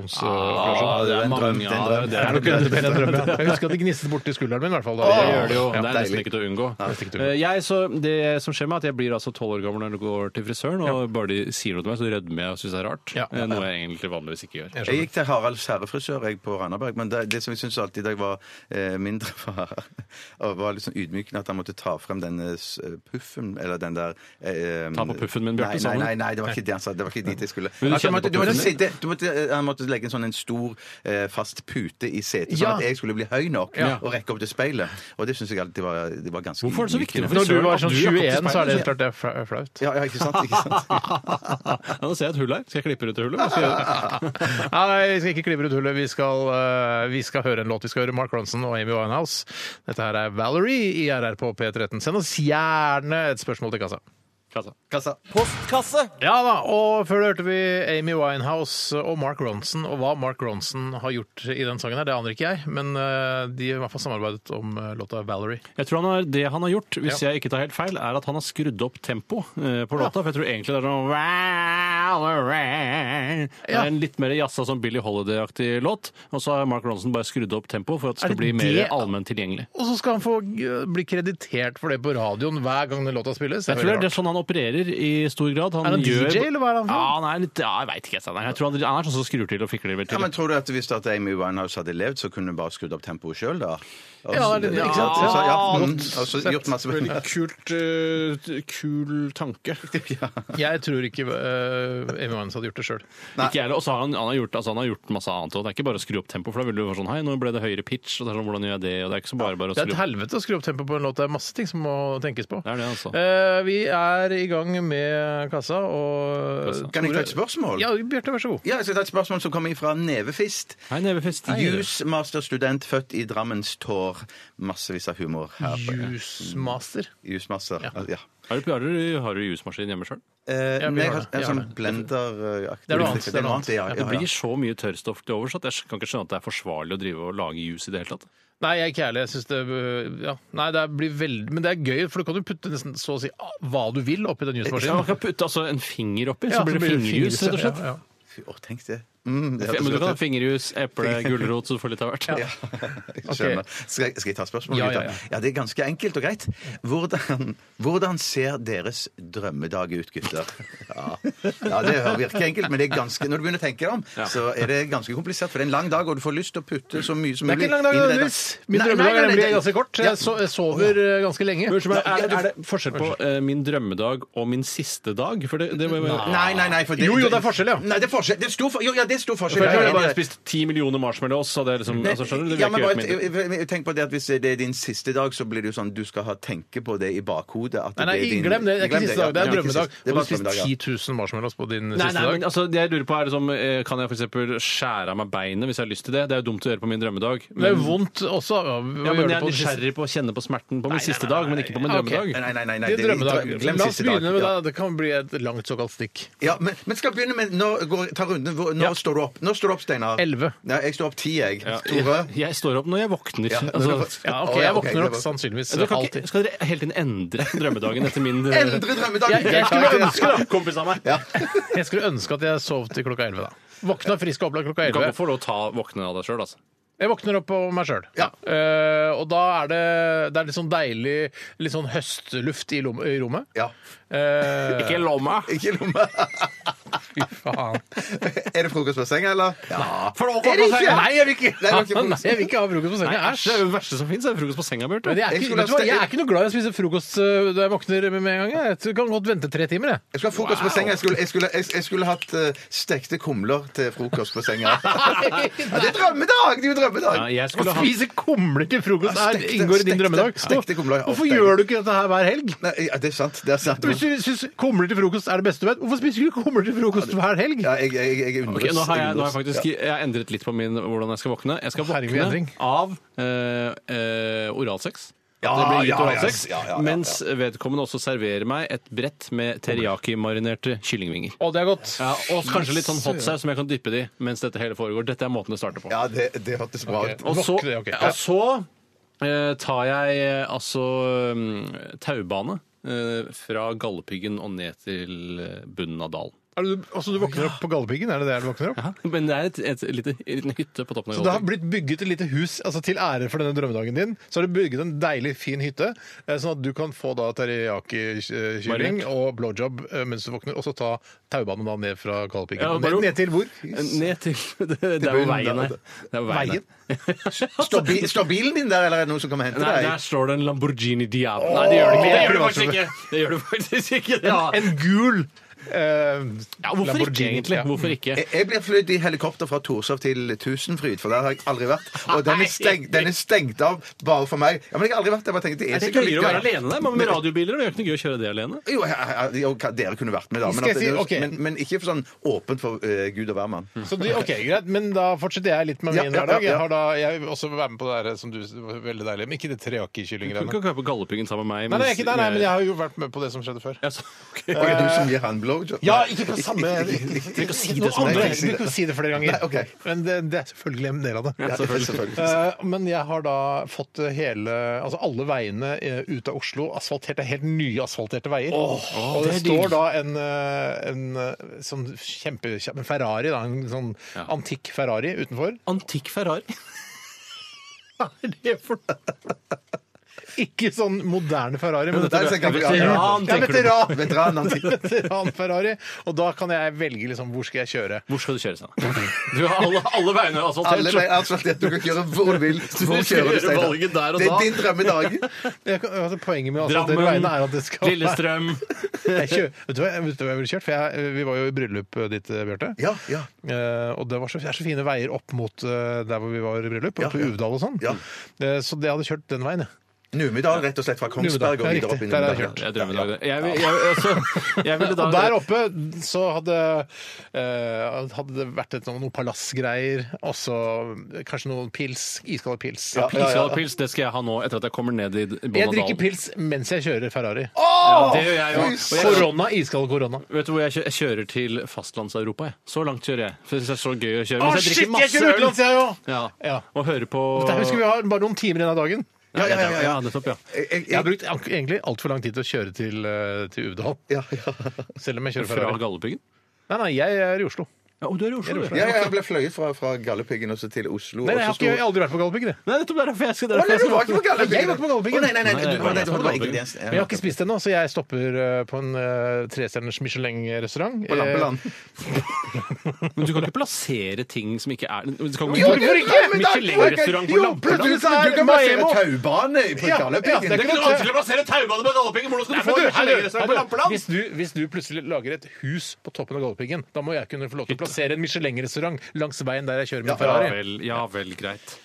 S3: brystreduksjonsoperasjon.
S4: Ah, det er
S5: en drøm,
S4: mange,
S5: det
S4: ja,
S5: er en drøm.
S4: det det
S3: Det er
S4: er
S3: <laughs> nok en bedre drøm, ja. Jeg husker at det gnisset borti skulderen min, i hvert fall. Da.
S4: det gjør det jo.
S3: Ja.
S4: Det er nesten
S5: deilig.
S4: ikke til å unngå.
S3: nesten ikke til å unngå.
S4: Eh, Jeg, så, det som skjer meg, er at jeg blir altså tolv år gammel når jeg går til frisøren, og bare de sier noe til meg, så rødmer jeg og syns det er rart.
S3: Ja.
S4: Eh, Noe jeg egentlig vanligvis ikke gjør.
S5: Jeg gikk til Haralds herrefrisør jeg på Randaberg, men det, det som jeg syns alltid da jeg var eh, mindre, <laughs> var, og var litt sånn ydmykende at han måtte ta frem den eh, s- puffen, eller den der eh,
S4: Ta på puffen min, Bjarte, sa
S5: Nei, nei,
S4: han.
S5: nei, nei, det var ikke det han sa. Det var ikke dit jeg skulle.
S4: Men du
S5: Altså,
S4: kjenner
S5: måtte,
S4: på
S5: du måtte,
S4: puffen
S5: sitte, du måtte, eh, han måtte legge en sånn en stor, eh, fast pute i setet, sånn
S3: Ja.
S5: at jeg skulle bli høy nok
S4: Ja.
S5: og rekke opp til speilet. Og det syns jeg alltid var, det var ganske
S4: Hvorfor er det så viktig
S5: ydmykende.
S4: for
S3: Når du
S4: frisøren
S3: var
S4: at
S3: sånn
S4: du rakk opp
S3: 21,
S4: til
S3: så er det
S4: speilet?
S3: helt klart det er fla- flaut.
S5: Ja, ja, ikke sant? Ikke sant?
S4: Ja, Nå ser jeg et hull her. Skal jeg klippe ut det hullet? Hva skal jeg gjøre?
S3: Nei, vi skal ikke klippe ut hullet. Vi skal, eh, vi skal høre en låt. Vi skal høre Mark Ronson og Amy Winehouse. Dette her er Valerie i RR på P13. Send oss gjerne et spørsmål til kassa.
S4: Kassa.
S5: Kassa.
S3: Ja da, og før det hørte vi Amy Winehouse og Mark Ronson. Og hva Mark Ronson har gjort i den sangen her, det aner ikke jeg, men eh, de har i hvert fall samarbeidet om eh, låta Valerie.
S4: Jeg tror han har, Det han har gjort, hvis jeg ikke tar helt feil, er at han har skrudd opp tempoet eh, på låta. For jeg tror egentlig det er sånn Det
S3: Ja.
S4: er en litt mer jazza, sånn Billie Holiday-aktig låt. Og så har Mark Ronson bare skrudd opp tempoet for at det
S3: Er det
S4: skal bli mer
S3: det-
S4: allment tilgjengelig.
S3: Og så skal han få eh, bli kreditert for det på radioen hver gang den låta spilles.
S4: Jeg tror det er det sånn han opererer i stor grad.
S3: Er han
S4: gjør-
S3: DJ, eller hva er han for?
S4: Ja, han er litt, ja, jeg veit ikke. jeg, Steinar. Jeg tror han, han er sånn som skrur til og fikler
S5: Ja,
S4: til.
S5: men Tror du at hvis at Amy Winehouse hadde levd, så kunne hun bare skrudd opp tempoet sjøl, da? Og
S3: Ja,
S5: så-
S3: det-
S5: ikke
S3: ja,
S5: sant? Så, ja,
S3: godt
S5: mm, og så gjort masse
S4: <laughs> Kult, eh, kul tanke.
S3: <laughs> Jeg tror ikke eh, Amy Winehouse hadde gjort det sjøl.
S4: Ikke jeg heller. Og så har han, han, har gjort, altså, han har gjort masse annet òg. Det er ikke bare å skru opp tempoet. For da vil du være sånn Hei, nå ble det høyere pitch. Og det er sånn, hvordan gjør jeg det? Og det er ikke så bare bare å
S3: Det er
S4: skru
S3: et
S4: opp.
S3: helvete å skru opp tempoet på en låt. Det er masse ting som må tenkes på.
S4: Det er det, altså.
S3: Eh, vi er i gang med kassa, og
S4: Kassa.
S5: Kan jeg ta et spørsmål?
S3: Ja, Bjarte, vær så god.
S5: Ja, jeg skal ta et spørsmål som kommer fra Nevefist.
S4: Hei, Nevefest.
S5: Jusmasterstudent født i Drammens tår. Massevis av humor her.
S3: Jusmaster.
S5: Jusmaster. Ja.
S4: Har du, har du, har du jusmaskin hjemme sjøl?
S5: Eh,
S3: vi
S5: nei,
S3: har det.
S5: jeg har
S3: Vi
S5: en
S3: har
S5: sånn
S3: det.
S5: blender-aktig
S3: Det er noe annet, det er noe annet.
S5: Ja,
S4: Det
S5: ja,
S4: blir
S5: ja.
S4: så mye tørrstoff til overs at jeg kan ikke skjønne at det er forsvarlig å drive og lage jus i det hele tatt.
S3: Nei, jeg er ikke ærlig. Jeg synes det, øh, ja. Nei, det blir veldig Men det er gøy, for du kan jo putte nesten så å si ah, hva du vil oppi den
S4: Ja, man
S3: jusmaskinen.
S4: kan putte altså, en finger oppi,
S3: Ja,
S4: så blir det fingerjus, rett og slett.
S3: Ja, ja.
S5: Fy, Å, tenk det. Mm, det
S4: Men du kan ha
S5: hørtes godt ut.
S4: fingerjus, eple, <laughs> gulrot, så du får litt av hvert.
S5: <laughs> Jeg skjønner. Skal, jeg, skal jeg ta spørsmålet?
S3: Ja,
S5: gutta?
S3: ja, ja.
S5: ja, det er ganske enkelt og greit. Hvordan, hvordan ser deres drømmedag ut, gutter? Ja, ja Det virker enkelt, men det er ganske, når du begynner å tenke deg om, så er det ganske komplisert. For det er en lang dag, og du får lyst til å putte så mye som
S3: Det er
S5: mulig
S3: ikke en lang dag,
S5: inn i den
S3: nødvendigvis.
S5: dagen.
S3: Min
S5: Nei,
S3: drømmedag
S5: nei,
S3: er
S5: nei,
S3: nemlig
S5: nei,
S3: ganske kort.
S5: ja.
S3: Jeg so- jeg sover øh, ganske lenge.
S4: Unnskyld
S5: Ja,
S4: meg,
S5: ja,
S4: er,
S5: du-
S4: er det forskjell på eh, min drømmedag og min siste dag? For det, det,
S5: Nei, nei, nei. For det,
S3: Jo, jo, det er forskjell, ja.
S5: Nei, det er forskjell. Det er stor for... Jo, ja, det det er stor
S4: For
S5: forskjell. Jeg
S4: jeg
S5: er enig
S4: hadde
S5: i
S4: bare
S5: det.
S4: spist ti millioner marshmallows, så hadde jeg liksom altså, skjønner du? Det
S5: ja,
S4: vil
S5: men
S4: jeg
S5: bare,
S4: ikke
S5: jeg- jeg- jeg- tenk på det at Hvis det er din siste dag, så blir det jo sånn du skal ha tenke på det i bakhodet. At
S3: Nei, nei,
S5: det er din-
S3: glem det. Det er ikke
S5: glem
S3: siste dag. Det
S5: ja.
S3: er drømmedag.
S5: Det er
S3: Og
S5: bare
S3: du spiste
S5: drømmedag, ja.
S3: 10 000 marshmallows på din
S4: Nei, nei,
S3: siste
S4: men
S3: dag.
S4: altså, det jeg lurer på er liksom, eh, Kan jeg f.eks. skjære av meg beinet hvis jeg har lyst til det? Det er jo dumt å gjøre på min drømmedag.
S3: Men det er jo vondt også. Ja, å
S4: ja,
S3: gjøre
S4: men
S3: det
S4: jeg er
S3: på den siste-
S4: nysgjerrig på å kjenne på smerten på min
S3: nei,
S4: siste
S3: nei,
S4: dag, men
S3: nei,
S4: ikke på min
S3: nei,
S4: drømmedag.
S3: ok.
S5: Nei, nei, nei, nei.
S3: Det er drømmedag.
S5: drømmedag. Glem
S3: La oss
S5: siste dag.
S3: begynne med
S5: Ja.
S3: det. Det kan bli et langt såkalt stikk.
S5: Ja, men, men skal jeg begynne med Når går, ta runden, hvor, når
S3: Ja.
S5: står du opp? Når står du opp, Steinar?
S3: Elleve.
S5: Nei, jeg står opp ti, jeg.
S4: Ja,
S5: Tore?
S4: jeg, jeg står opp når jeg våkner.
S5: Ja,
S4: altså,
S5: når du-
S3: Ja, OK,
S5: Å, ja,
S3: jeg
S5: ok,
S3: våkner
S5: det
S3: nok
S5: var-
S3: sannsynligvis
S4: dere kan
S3: alltid.
S4: ikke, skal dere hele tiden endre drømmedagen
S3: <laughs>
S4: etter min
S5: Endre drømmedagen!
S4: Jeg, jeg skulle ønske, da, kompis av meg.
S3: Jeg skulle ønske at jeg sov til klokka 11 da. Våkna frisk og opplagt klokka
S4: Du kan
S3: 11.
S4: godt få lov å ta våkne av deg sjøl, altså.
S3: Jeg våkner opp på meg sjøl.
S5: Ja.
S3: og da er det, det er litt sånn deilig litt sånn høstluft i, lom, i rommet.
S5: Ja.
S3: Eh,
S4: Ikke lomma!
S5: Ikke
S3: <laughs>
S5: lomma.
S3: fy <laughs> faen.
S5: Er det frokost på senga, eller? Ja.
S4: For det
S5: Er det ikke?
S3: Nei, jeg vil ikke,
S5: Nei, det var
S3: <laughs>
S5: ikke
S3: Nei,
S5: frokost.
S3: jeg vil ikke ha frokost på
S4: Nei,
S3: senga.
S4: æsj, det er jo det verste som fins, er frokost på senga, Bjarte.
S3: Men jeg er,
S5: Jeg
S3: ikke,
S5: skulle
S3: vet du hva,
S5: ha-
S3: jeg er ikke noe glad i å spise frokost øh, da jeg våkner med en gang. Jeg Jeg kan godt vente tre timer. jeg.
S5: Jeg skulle ha frokost på senga. Jeg skulle, jeg skulle, jeg, jeg skulle hatt eh, stekte kumler til frokost på
S4: <laughs>
S5: senga. ja, det er drømmedag! Det er jo drømmedag!
S4: Ja, jeg
S3: Å
S4: skulle ha
S3: spise kumler til frokost
S5: Ja,
S3: er,
S5: stekte-
S3: inngår i din
S5: stekte-
S3: drømmedag.
S5: stekte kumler, ja.
S3: Hvorfor
S5: Deilig.
S3: gjør du ikke dette her hver helg?
S5: Nei, ja, det er sant. Det er sant.
S3: Hvis du syns kumler til frokost er det beste du vet, hvorfor spiser du ikke kumler til frokost hver helg?
S5: Ja, jeg, jeg, jeg undres.
S4: Ok, nå har jeg, nå har jeg
S5: undres.
S4: faktisk jeg har endret litt på min, hvordan jeg skal våkne. Jeg skal
S3: Herregud, endring.
S4: våkne av eh, eh, oralsex.
S5: Ja,
S4: det blir gitt
S5: ja, ja,
S4: oralsex.
S5: ja, ja, ja, ja.
S4: Mens vedkommende også serverer meg et brett med teriyaki-marinerte kyllingvinger.
S3: Å, det er godt.
S4: Ja, og kanskje litt sånn hotsaus som jeg kan dyppe det i mens dette hele foregår. Dette er måten det starter på.
S5: Ja, det, det hørtes bra ut.
S4: Og så,
S3: Våkne, ok. Ja.
S4: og så eh, tar jeg eh, altså mm, taubane eh, fra Galdhøpiggen og ned til eh, bunnen av dalen.
S3: Er du, altså, du våkner opp på Galdhøpiggen? Er det det du våkner opp?
S4: Men det er et, et, lite, en liten hytte på toppen av
S3: Så det har
S4: Galdhøpiggen.
S3: blitt bygget et lite hus altså til ære for denne drømmedagen din. Så har du bygget en deilig, fin hytte, eh, sånn at du kan få da teriyaki-kylling
S4: Marinert.
S3: og blowjob eh, mens du våkner, og så ta taubanen da ned fra Galdhøpiggen.
S4: Ja, bare-
S3: ned, ned til hvor?
S4: Ned til <laughs> Det, det er jo veien her. Det er jo veien? her.
S5: Står, bi, står bilen din der, eller er det noen som kommer og henter
S4: Nei,
S5: deg?
S4: der står det en Lamborghini Diablo. Nei, det gjør det ikke. Det gjør det faktisk ikke. Det gjør det faktisk ikke. Ja.
S3: En gul eh,
S4: Ja, hvorfor ikke,
S3: Lamborghini,
S4: egentlig?
S3: ja.
S4: Hvorfor ikke?
S5: Jeg- Jeg blir flydd i helikopter fra Torshov til Tusenfryd, for der har jeg aldri vært. Og den er stengt, den er stengt av bare for meg. Ja, men jeg har aldri vært der. Jeg bare tenkte, det er
S4: Det er
S5: sikkert
S4: gøyere å være
S5: litt gøy.
S4: alene der, men med radiobiler det er jo ikke noe gøy å kjøre det alene.
S5: Jo, ja, ja, ja, jo, hva- dere kunne vært med, da. Men,
S3: Skal
S5: at
S3: jeg
S5: det-
S3: si- ok.
S5: men, men ikke sånn åpent for eh, Gud og hvermann.
S3: Så du, ok, greit, Men da fortsetter jeg litt med
S5: Ja,
S3: min
S5: ja, ja,
S3: hverdag.
S5: ja.
S3: Jeg har da, jeg vil også være med på det her som du veldig deilig, men ikke det
S4: Du kan
S3: teriyaki-kyllinggreiene.
S4: ikke gå på Galdhøpiggen sammen
S3: Nei,
S4: med meg.
S3: nei,
S4: mens
S3: ikke der, nei, men jeg har jo vært med på det som skjedde før.
S4: Ja, så- ok.
S5: Og er det du som gir han blowjob?
S3: Eh, Ja, ikke på samme
S5: <laughs>
S4: Trenger ikke å si
S3: Noen
S4: det som
S3: andre-
S4: det
S5: Nei,
S4: er.
S5: ikke si det.
S3: Du kan si det flere ganger.
S5: Nei, ok.
S3: Men det, det er selvfølgelig en del av det.
S5: Ja, selvfølgelig.
S3: Eh, Men jeg har da fått hele Altså alle veiene eh, ut av Oslo asfalterte, helt nyasfalterte veier. og det,
S4: det er digg.
S3: står da en, eh, en eh, sånn kjempekjapp en Ferrari, da, en sånn antikk Ferrari utenfor.
S4: Antikk Ferrari.
S3: <laughs> Hva er det for Ikke sånn moderne Ferrari, men
S5: Nei,
S3: dette
S5: så
S3: er
S5: jeg kan-
S4: Veteran,
S3: Ja,
S4: tenker du på.
S5: Veteran! Veteran han <laughs> sier.
S3: veteran-Ferrari. Og da kan jeg velge liksom, hvor skal jeg kjøre.
S4: Hvor skal du kjøre, Steinar? Du har alle, alle veiene asfaltert.
S5: Alle
S4: så-
S5: veier er asfaltert. Du kan kjøre
S3: <laughs>
S5: hvor du vil. Hvor
S4: skal
S5: kjører du,
S4: gjøre
S5: Steinar?
S4: valget der og
S5: Det er
S4: da.
S5: din drømmedag.
S3: Jeg kan, altså, poenget med altså, dere
S4: Drammen,
S3: veiene er at det skal
S4: Lillestrøm.
S3: Jeg kjø, vet, du hva, jeg- vet du hva jeg ville kjørt? For jeg, vi var jo i bryllupet ditt, eh, Bjarte.
S5: Ja, ja.
S3: Eh, og det var så, det er så fine veier opp mot eh, der hvor vi var i bryllup, oppe i
S5: ja.
S3: Uvdal og sånn.
S5: Ja.
S3: Eh, så det hadde kjørt den veien, jeg.
S5: Numedal, rett og slett fra Kongsberg og
S3: Numedal, ja,
S5: videre opp i
S3: riktig. Der er det
S5: Numedal.
S4: Jeg drømmer i dag. det. Jeg, vil- jeg, altså, jeg ville da
S3: Og der oppe så hadde, eh, hadde det vært et, sånn- noen palassgreier, og så kanskje noen pils, iskalde pils.
S5: Ja, ja, ja.
S4: Iskallepils, det skal jeg ha nå etter at jeg kommer ned i bunnen
S3: Jeg
S4: av
S3: drikker
S4: dalen.
S3: pils mens jeg kjører Ferrari.
S4: Ja, det gjør jeg jo. Og jeg-
S3: Korona, iskald korona.
S4: Vet du hvor jeg kjører? Jeg kjører til fastlandseuropa. Jeg. Så langt kjører jeg. For jeg synes det er så gøy å kjøre. Mens jeg drikker masse øl.
S3: Ah, jeg òg!
S4: Ja.
S3: Ja.
S4: Og hører på
S3: Dette husker vi har bare noen timer igjen av dagen.
S4: Ja, ja, ja, ja. nettopp, ja.
S5: Jeg- jeg-
S3: Jeg har brukt ak- egentlig altfor lang tid til å kjøre til, eh, til Uvdal.
S5: Ja,
S3: <laughs>
S5: ja.
S3: Selv om jeg kjører
S4: Fra
S3: Ferrari.
S4: Galdhøpiggen.
S3: Nei, nei, jeg er i Oslo.
S4: Ja, og du er i Oslo, du.
S5: Ja, ja, jeg ble fløyet fra, fra Galdhøpiggen også til Oslo. Oh,
S3: Nei, nei, jeg har
S5: og så
S3: ikke, jeg
S5: sto-
S3: har aldri vært på Galdhøpiggen. jeg.
S4: Nei, nettopp derfor jeg skal
S5: Å, nei,
S4: derfor jeg
S5: du var
S4: skal
S5: ikke på Galdhøpiggen!
S3: Jeg var på Galdhøpiggen.
S5: Å, nei, nei, nei,
S4: Nei,
S5: du-
S4: jeg var
S5: å, nei, du
S4: ikke på
S5: var
S4: Galdhøpiggen.
S5: ingrediens-
S3: Men jeg har ikke spist ennå, så jeg stopper eh, på en eh, trestjerners Michelin-restaurant.
S5: På Lampeland.
S4: Men du kan ikke plassere ting som ikke er Du kan
S3: Jo,
S4: ikke
S3: hvorfor ikke?
S5: Men da-
S4: Michelin-restaurant på
S5: Jo,
S4: Lampeland.
S5: plutselig så er Du kan bare se taubane på
S3: Ja,
S5: Galdhøpiggen.
S3: ja, det er ikke noe annet.
S4: å plassere taubane på Galdhøpiggen! Hvordan
S3: Nei, men du, hei, du, hei, du. Hvis du, hvis du plutselig lager et hus på toppen av Galdhøpiggen, da må jeg kunne få lov til å passerer en Michelin-restaurant langs veien der jeg kjører min
S4: Ja
S3: Ferrari.
S4: vel, ja vel, greit.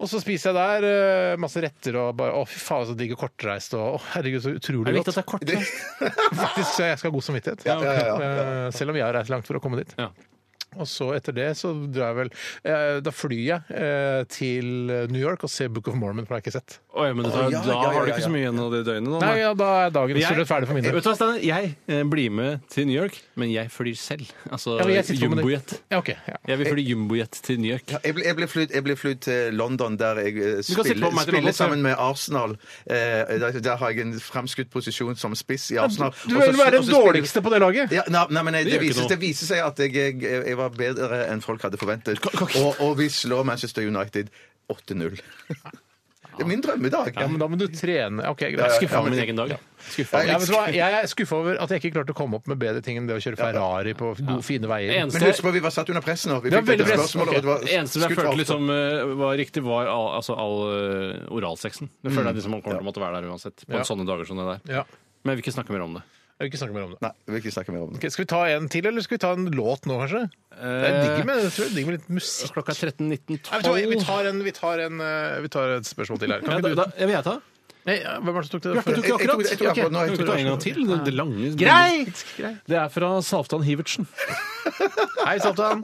S3: Og så spiser jeg der eh, masse retter og bare Å, fy faen, så digg og kortreist og Å, herregud, så utrolig
S4: Jeg vet
S3: godt.
S4: at det er kort. da.
S3: Faktisk så jeg skal ha god samvittighet. Eh, Selv om jeg har reist langt for å komme dit.
S4: Ja.
S3: Og så etter det så drar jeg vel eh, Da flyr jeg eh, til New York og ser Book of Mormon, for det har jeg ikke sett.
S4: Oi, men det tar,
S5: ja,
S4: da
S5: ja,
S4: har du
S5: ja,
S4: ikke
S5: ja.
S4: så mye igjen av det døgnet nå.
S3: Nei,
S4: nei.
S3: ja, da er dagen stort sett ferdig for min
S4: Vet
S3: del.
S4: du hva, Steiner? Jeg eh, blir med til New York, men jeg flyr selv. Altså
S3: Ja, men jeg sitter på med det.
S4: jumbojet.
S3: Ja, ok, ja.
S4: Jeg vil fly jumbojet til New York.
S5: Ja, Jeg ble, jeg ble flydd- jeg ble flydd til London, der jeg eh,
S4: sitte på meg til
S5: spiller,
S4: London,
S5: spiller
S4: så-
S5: sammen med Arsenal. Eh, der, der har jeg en framskutt posisjon som spiss i Arsenal.
S3: Du
S5: Og så-
S3: vil være
S5: og
S3: den
S5: så spiller-
S3: dårligste på det laget!
S5: Ja, nei, nei, men jeg, det,
S4: gjør ikke
S5: viser,
S4: noe.
S5: det viser seg at jeg, jeg, jeg var bedre enn folk hadde forventet. Og, og vi slår Manchester United 8-0. Det er min drømmedag.
S3: Ja, men da må du trene. Ok, greit.
S4: Skuffa
S3: Skuffa
S4: over min
S3: meg.
S4: egen dag.
S3: Skuffa. Ja, vet du hva? Jeg er skuffa over at jeg ikke klarte å komme opp med bedre ting enn det å kjøre Ferrari på gode, fine
S4: Det
S3: veier.
S4: eneste
S5: Men husk på, vi var satt under press nå. Vi
S3: Det var
S5: fikk dette
S3: veldig press.
S5: spørsmålet,
S3: Ok.
S5: og det var
S4: Det eneste jeg
S5: skutt
S4: følte
S5: for
S4: liksom eh, var riktig, var all, altså all eh, oralsexen. Det føler
S5: Mm.
S4: jeg liksom man kommer til å måtte være der uansett. På
S3: Ja.
S4: sånne dager som det der.
S3: Ja.
S4: Men jeg vil ikke snakke mer om det.
S3: Jeg vil ikke snakke mer om det.
S5: Nei, vi vil ikke snakke mer om det.
S3: Ok, skal vi ta en til, eller skal vi ta en låt nå, kanskje? Det er digg med, jeg tror det er digg med litt musikk.
S4: Eh, Klokka er
S3: Eh. Nei, vet du hva, vi
S4: 13.19.12.
S3: tar, en, vi, tar en, eh, vi tar et spørsmål til her. Kan
S4: Ja,
S3: ikke
S4: da,
S3: du-
S4: da, jeg vil jeg ta.
S3: Nei, ja, hvem var det som tok det?
S4: Bjarte tok
S3: før?
S4: jo
S5: Jeg- jeg tok-
S4: akkurat.
S5: jeg tok akkurat nå, jeg
S4: Ok,
S5: tok
S4: du tar en gang
S5: akkurat
S4: til. Det, det lange
S3: Greit! Greit.
S4: Det er fra Salvtan Hivertsen.
S3: Hei, Saltan.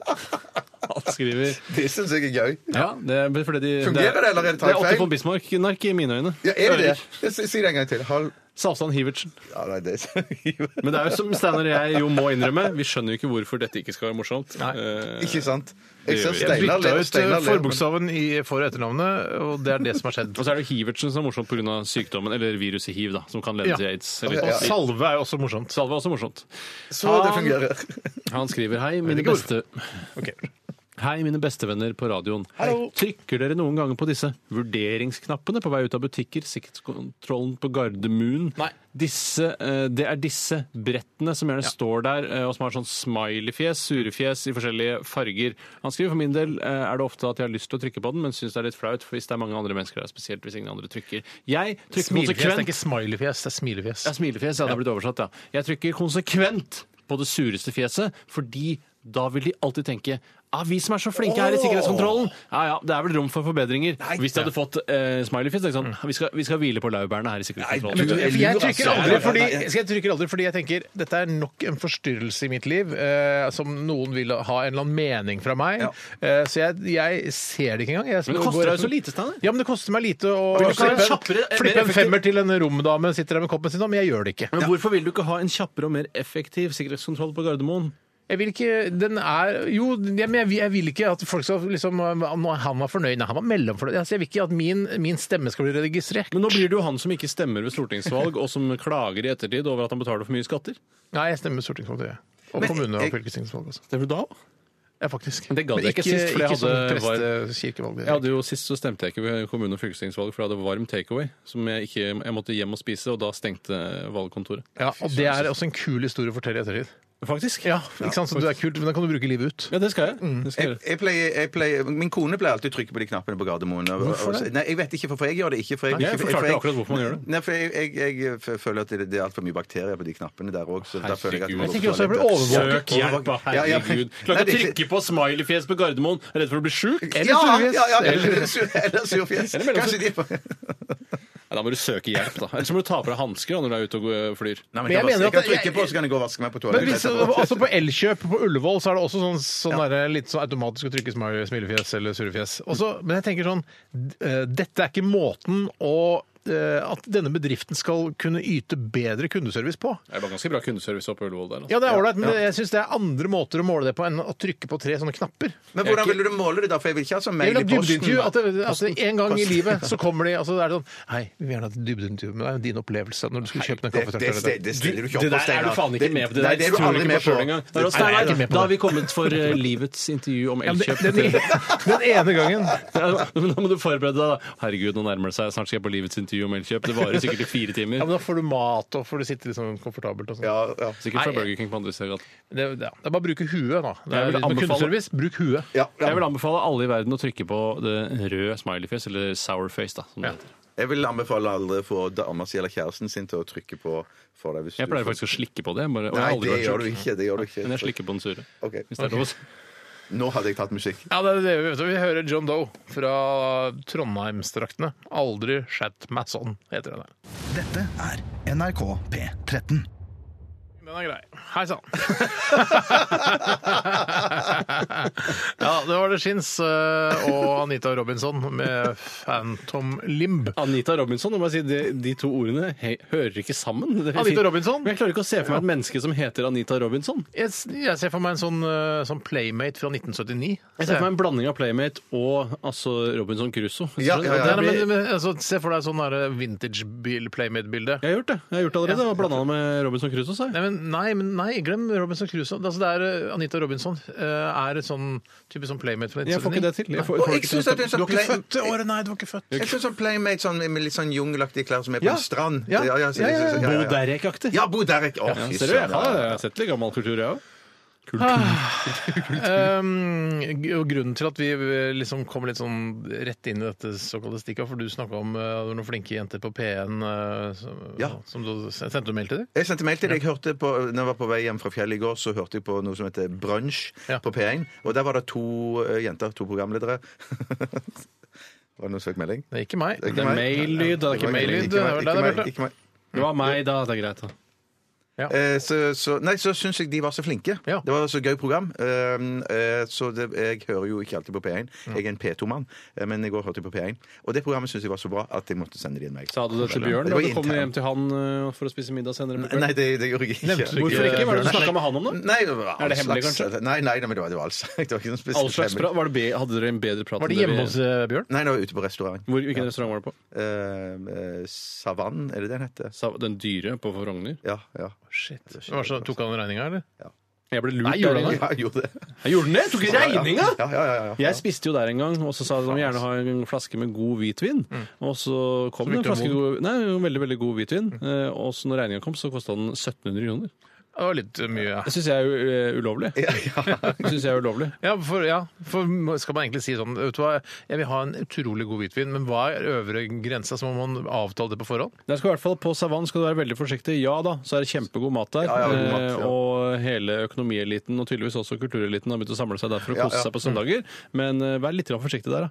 S4: Han skriver
S5: Det syns jeg er gøy.
S4: Ja, det er fordi de
S5: Fungerer det, eller er det
S4: Det er
S5: tatt
S4: Åtte
S5: feil?
S4: von Bismarck-nark i mine øyne.
S5: Ja, er det det? Si si det en gang til. Halv
S4: Salvtan Hivertsen.
S5: Ja, nei, det <laughs>
S4: Men det er jo som Steinar og jeg jo må innrømme, vi skjønner jo ikke hvorfor dette ikke skal være morsomt. Eh,
S5: Ikke sant? Jeg ser
S4: Det
S5: Steinar
S4: gjør vi.
S3: Bytta
S5: ler.
S3: ut
S5: Steinar
S3: eh,
S5: ler, men-
S3: forbokstaven i for- og etternavnet, <laughs> og det er det som har skjedd.
S4: og så er det Hivertsen som er morsomt pga. sykdommen, eller viruset hiv, da, som kan lede
S3: Ja.
S4: til aids. Eller,
S3: Og salve er jo også morsomt.
S4: Salve er også morsomt.
S5: Så det <laughs> fungerer.
S4: Han skriver hei, mine
S3: ikke hvorfor.
S4: beste... Hei, mine bestevenner på radioen.
S3: Hallo.
S4: Trykker dere noen ganger på disse vurderingsknappene på vei ut av butikker, sikkerhetskontrollen på Gardermoen?
S3: Nei.
S4: Disse, eh, det er disse brettene som gjerne står der, eh, og som har sånn smileyfjes, surefjes i forskjellige farger. Han skriver for min del eh, er det ofte at jeg har lyst til å trykke på den, men syns det er litt flaut for hvis det er mange andre mennesker der, spesielt hvis ingen andre trykker. Jeg trykker
S3: Smilefjes, det er
S4: konsekvent
S3: ikke smileyfjes, det er smilefjes.
S4: ja, smilefjes. Ja, det er blitt oversatt, ja. Jeg trykker konsekvent på det sureste fjeset, fordi da vil de alltid tenke ah, vi som er så flinke her i sikkerhetskontrollen! Ja, ja, Det er vel rom for forbedringer. Hvis de hadde fått eh, smileyfjes, det er ikke sånn, vi, skal, vi skal hvile på laurbærene her i
S5: Nei,
S4: sikkerhetskontrollen.
S5: du-
S3: For Altså, jeg trykker aldri
S5: Nei, nei,
S3: fordi
S5: nei, nei.
S3: jeg trykker aldri fordi jeg tenker dette er nok en forstyrrelse i mitt liv eh, som noen vil ha en eller annen mening fra meg. Eh, så jeg, jeg ser det ikke engang. Jeg,
S4: Men det
S3: går
S4: koster
S3: rett
S4: deg jo så
S3: og-
S4: lite, Steiner.
S3: Ja, men det koster meg lite å
S4: Men du kan
S3: slippe,
S4: være kjappere,
S3: en,
S4: mer
S3: slippe en
S4: effektiv.
S3: femmer til en romdame som sitter der med koppen sin, nå, men jeg gjør det ikke.
S4: Men hvorfor vil du ikke ha en kjappere og mer effektiv sikkerhetskontroll på Gardermoen?
S3: Jeg vil ikke, den er, jo, jeg, men jeg, vil- jeg vil ikke at folk skal liksom Når han var fornøyd, nei, han var mellomfornøyd. Altså, jeg vil ikke at min, min stemme skal bli registrert.
S4: Men nå blir det jo han som ikke stemmer ved stortingsvalg, og som klager i ettertid over at han betaler for mye skatter.
S3: Nei, jeg stemmer stortingsvalget. Og
S5: Men
S3: kommune- og
S5: jeg-
S3: fylkestingsvalg også.
S4: Stemmer du da òg?
S3: Ja, faktisk.
S4: Men det gadd jeg ikke sist, for jeg
S3: ikke
S4: hadde-
S3: sånn
S4: var-
S3: prestekirkevalg.
S4: Jeg hadde jo Sist så stemte jeg ikke ved kommune- og fylkestingsvalg, for jeg hadde varm takeaway. Som jeg ikke jeg måtte hjem og spise, og da stengte valgkontoret.
S3: Ja, og det er også en kul historie å fortelle i ettertid.
S4: Faktisk?
S3: Ja, ikke sant? Så du er kult, men da kan du bruke livet ut.
S4: Ja, det skal jeg. Det skal
S5: Jeg,
S4: jeg gjøre.
S5: jeg pleier, jeg pleier, min kone pleier alltid å trykke på de knappene på Gardermoen. Og, og, og, nei, jeg vet ikke, hvorfor jeg gjør det ikke. For jeg,
S4: Nei, jeg
S5: for-
S4: forklarte
S5: for jeg-
S4: akkurat hvorfor man gjør det.
S5: Nei, for jeg, jeg, jeg f- føler at det, det er altfor mye bakterier på de knappene der òg. Jeg
S4: Herregud.
S5: må
S4: Jeg
S3: tenker også jeg
S5: gå på
S3: blir
S5: toalettet.
S4: Søk
S5: Overvåk-
S4: hjelp, da.
S5: Ja, ja.
S4: herregud.
S5: Nei,
S4: Klart
S5: det
S4: å
S5: er ikke-
S4: trykke på smileyfjes på Gardermoen. Er redd for å bli sjuk? Nei,
S5: Ja,
S3: surfjes.
S5: ja, ja, eller sur- eller surfjes.
S4: Eller mellom-
S5: Kanskje de på
S4: da må du søke hjelp, da. Ellers må du ta på deg hansker når du er ute og går- flyr.
S5: Nei,
S3: Men jeg
S5: kan vaske-
S3: mener at
S5: jeg kan
S3: det-
S5: trykke på, så kan jeg gå og vaske meg på
S3: Men
S5: toalettet.
S3: hvis,
S5: etterpå.
S3: altså På Elkjøp på Ullevål så er det også sånn, sånn der, litt sånn automatisk å trykke smile- smilefjes eller surrefjes. Også- Men jeg tenker sånn d- eh, Dette er ikke måten å eh, at denne bedriften skal kunne yte bedre kundeservice på.
S4: Det var ganske bra kundeservice oppe i Ullevål der. altså.
S3: Ja, det er ålreit, men det- jeg syns det er andre måter å måle det på enn å trykke på tre sånne knapper.
S5: Men hvordan vil du måle det, da? For jeg vil ikke ha sånn
S3: Jeg
S5: mail
S3: vil
S5: i
S3: ha
S5: posten.
S3: dybdeintervju. At, det, at det en gang i livet <laughs> så kommer de altså det er sånn Hei, vi vil gjerne ha et dybdeintervju med deg. Din opplevelse når du skulle kjøpe den
S5: Det, det,
S3: kaffetraktoren.
S5: det, det stiller du ikke opp
S4: Det
S5: på,
S4: der er du faen ikke med på. Det
S5: Nei, det
S4: der
S5: er du
S4: tror jeg
S5: aldri
S4: ikke
S5: med
S4: på
S5: på.
S4: sjøl engang. Det er også-
S3: Nei, jeg er ikke med på
S4: Da har vi kommet for eh, livets intervju om
S3: Ja, men
S4: Elkjøp.
S3: den, <laughs> den ene gangen.
S4: Ja, Men da må du forberede deg, da. Herregud, nå nærmer det seg. Snart skal jeg på Livets intervju om Elkjøp. Det varer sikkert i fire
S3: Ja,
S4: timer.
S3: men da får du mat, og får du sitte litt sånn komfortabelt og sånn.
S5: Ja, ja.
S4: Sikkert fra
S3: Nei.
S4: Burger King på andre siden av gaten.
S3: Det, det er bare å bruke huet, da. Det er,
S4: Jeg vil
S3: med
S4: anbefale-
S3: kundeservice, bruk huet.
S5: Ja, ja.
S4: Jeg vil anbefale alle i verden å trykke på det røde smileyfjes, eller sourface, da. Som det
S3: Ja.
S4: heter.
S5: Jeg vil anbefale alle å få dama si eller kjæresten sin til å trykke på for deg. Hvis
S4: Jeg
S5: du-
S4: pleier faktisk å slikke på det. Bare, og jeg har
S5: Nei,
S4: aldri
S5: det
S4: vært
S5: gjør du
S4: sjuk.
S5: ikke. Det gjør du ikke.
S4: Men jeg slikker på den sure.
S5: Ok.
S4: Hvis det er lov å si.
S5: Nå hadde jeg tatt musikk.
S3: Ja, det er det vi vet. Vi hører John Doe fra Trondheimsdraktene. Aldri skjætt meg sånn, heter den. der.
S1: Dette er NRK P13.
S3: Den er grei. Hei sann. <laughs> ja, det var det Shins eh, og Anita Robinson med Phantom Limb.
S4: Anita Robinson, jeg må bare si de, de to ordene he, hører ikke sammen. Det-
S3: Anita Robinson?
S4: Men Jeg klarer ikke å se for meg et menneske som heter Anita Robinson.
S3: Jeg, s- jeg ser for meg en sånn, eh, sånn playmate fra 1979.
S4: Jeg ser for meg en blanding av Playmate og altså Robinson Crusoe.
S5: Ja, ja,
S3: Nei,
S5: ja.
S4: Det
S3: nei,
S4: blir-
S3: men, men, altså, se for deg sånn der vintage-playmate-bilde.
S4: Jeg har gjort det jeg har gjort det allerede. og Blanda det med Robinson Crusoe, sa jeg.
S3: Nei, men, nei, men nei, glem Robinson Crusoe. Altså, det er, eh, Anita Robinson eh, er et sånn type sånn playmate fra 1979.
S4: Jeg får ikke det til. Jeg får,
S5: Og
S4: får
S5: jeg
S4: ikke
S5: syns at det
S3: Du
S5: er en sånn
S3: var ikke
S5: play...
S3: født det året, nei, du var ikke født.
S5: Jeg synes sånn playmate sånn, med litt sånn jungelaktige klær som er på
S3: Ja.
S5: en strand.
S3: Ja.
S5: så- så-
S3: Ja, ja, ja.
S5: så-
S4: Bo Derek-aktig.
S5: Ja, Bo Derek. Å, fy
S4: Ser du, jeg
S5: søren.
S4: har,
S5: ja.
S4: jeg har sett litt gammel kultur, jeg òg.
S3: Um, g- og grunnen til at vi eh, liksom kom litt sånn rett inn i dette såkalte stikket, for du snakka om eh, det var noen flinke jenter på P1 eh, som,
S5: Ja.
S3: som du sendte du mail til? dem?
S5: Jeg sendte mail til deg. Jeg hørte på, når jeg var på vei hjem fra fjellet i går, så hørte jeg på noe som heter Brunch
S3: Ja.
S5: på P1. Og der var det to eh, jenter, to programledere. <laughs> var det noen søk melding?
S3: Det er ikke meg.
S5: Det
S4: Det er mail-lyd, det er ikke
S5: var-
S4: mail.
S3: mail-lyd,
S5: ikke
S3: det
S5: meg,
S3: var det
S5: ikke
S3: det
S5: meg,
S3: hørte.
S5: ikke meg.
S4: Det var meg, da. Det er greit, da.
S5: Eh, Så, så, nei, så syns jeg de var så flinke.
S3: Ja.
S5: Det var så gøy program. Eh, eh, Så det, jeg hører jo ikke alltid på P1. Jeg er en P2-mann, eh, men i går hørte jeg på P1. Og det programmet syns jeg var så bra at jeg måtte sende de en mail.
S4: Sa du det til
S5: Veldig.
S4: Bjørn
S5: Det
S4: da
S5: var
S4: du kom
S5: internt.
S4: hjem til han eh, for å spise middag senere?
S5: Nei,
S4: på kvelden?
S5: det, det gjorde jeg ikke.
S3: Nevnte du ikke-
S4: Hvorfor ikke? Hva er det du
S3: Bjørn-
S4: snakka med han om, da?
S5: Nei, det var
S4: Er det
S5: all
S4: hemmelig,
S5: slags-
S4: kanskje?
S5: Nei, nei, nei, men det var, det var all slags. Det var ikke noe spesielt
S4: All slags
S5: hemmelig.
S4: bra? Var det be, hadde dere en bedre prat?
S3: Var de
S4: enn
S3: hjemme
S4: vi-
S3: hos eh, Bjørn?
S5: Nei, det var ute på restaurant.
S4: Hvor, hvilken restaurant var det på?
S5: Uh, Savann, er det det den heter?
S4: Sa- Den dyre på Frogner?
S5: Ja. ja.
S3: Shit. Det var så, tok han regninga, eller?
S4: Jeg ble lurt.
S3: Nei, gjorde
S4: der
S3: han
S4: en
S3: det?
S5: ja
S4: gang.
S5: jeg gjorde det.
S4: Jeg gjorde den det! Jeg tok ikke regninga!
S5: Ja, ja, ja, ja.
S4: Jeg spiste jo der en gang, og så sa de at de gjerne ha en flaske med god hvitvin.
S5: Mm.
S4: Og så kom det en
S3: brukte
S4: flaske
S3: de
S4: god, nei, jo, veldig veldig god hvitvin,
S5: Mm.
S4: eh, og så når regninga kom, så kosta den 1700 kroner.
S3: Det var litt mye. ja.
S4: Det syns jeg er jo, eh, ulovlig. <laughs> Det synes jeg er ulovlig.
S3: Ja for, ja, for skal man egentlig si sånn Vet du hva, jeg vil ha en utrolig god hvitvin, men hva er øvre grensa? Så må man avtale det på forhånd?
S4: Der skal i hvert fall På Savann skal du være veldig forsiktig. Ja da, så er det kjempegod mat der.
S5: Ja, ja, god mat, ja.
S4: Eh, Og hele økonomieliten, og tydeligvis også kultureliten, har begynt å samle seg der for å
S5: Ja, Mm.
S4: kose
S5: ja.
S4: seg på søndager. Men eh, vær litt grann forsiktig der, da.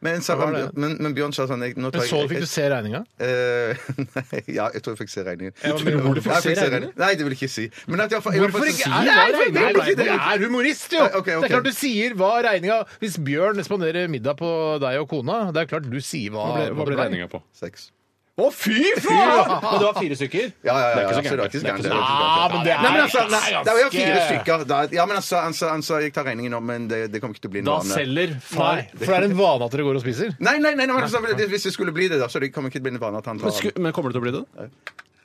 S5: Men, Savan, men, men Bjørn sa sånn jeg, nå tar
S3: Men
S5: jeg,
S3: så fikk du se regninga?
S5: Eh, <laughs> nei, ja, jeg tror jeg fikk se regningen.
S4: Ja, men hvor du fikk
S5: Nei, jeg
S4: se regningen?
S5: Nei, det vil jeg ikke si. Men at jeg, jeg,
S3: Hvorfor ikke?
S5: Nei,
S3: Nei, for jeg
S5: nei,
S3: vil ikke
S5: nei,
S3: det.
S5: nei.
S3: Du er humorist, jo!
S5: Nei, ok, ok.
S3: Det er klart du sier hva regninga Hvis Bjørn responderer middag på deg og kona, det er klart du sier hva
S4: Hva ble, hva ble regninga
S5: <laughs>
S4: på?
S5: Sex.
S4: Å, fy faen! Men det var fire stykker?
S5: Ja, ja, ja.
S4: Det er ikke så
S5: altså, det er ikke
S4: gærent.
S5: så gærent.
S4: Det er ikke så
S3: Ja, men det
S5: Nei, men
S3: er
S5: altså, nei, det var jo fire stykker. Da, ja, men altså, han sa- han sa jeg tar regningen nå, men det, det kommer ikke til å bli
S4: Da
S5: noe annet.
S4: selger
S3: Nei,
S4: far
S3: for det er en vane at dere går og spiser.
S5: Nei, nei, nei, nei, men altså, det- hvis det skulle bli det, da, så det kommer ikke til å bli noe annet. Han
S4: Men,
S5: tar
S4: sku, men kommer det til å bli det?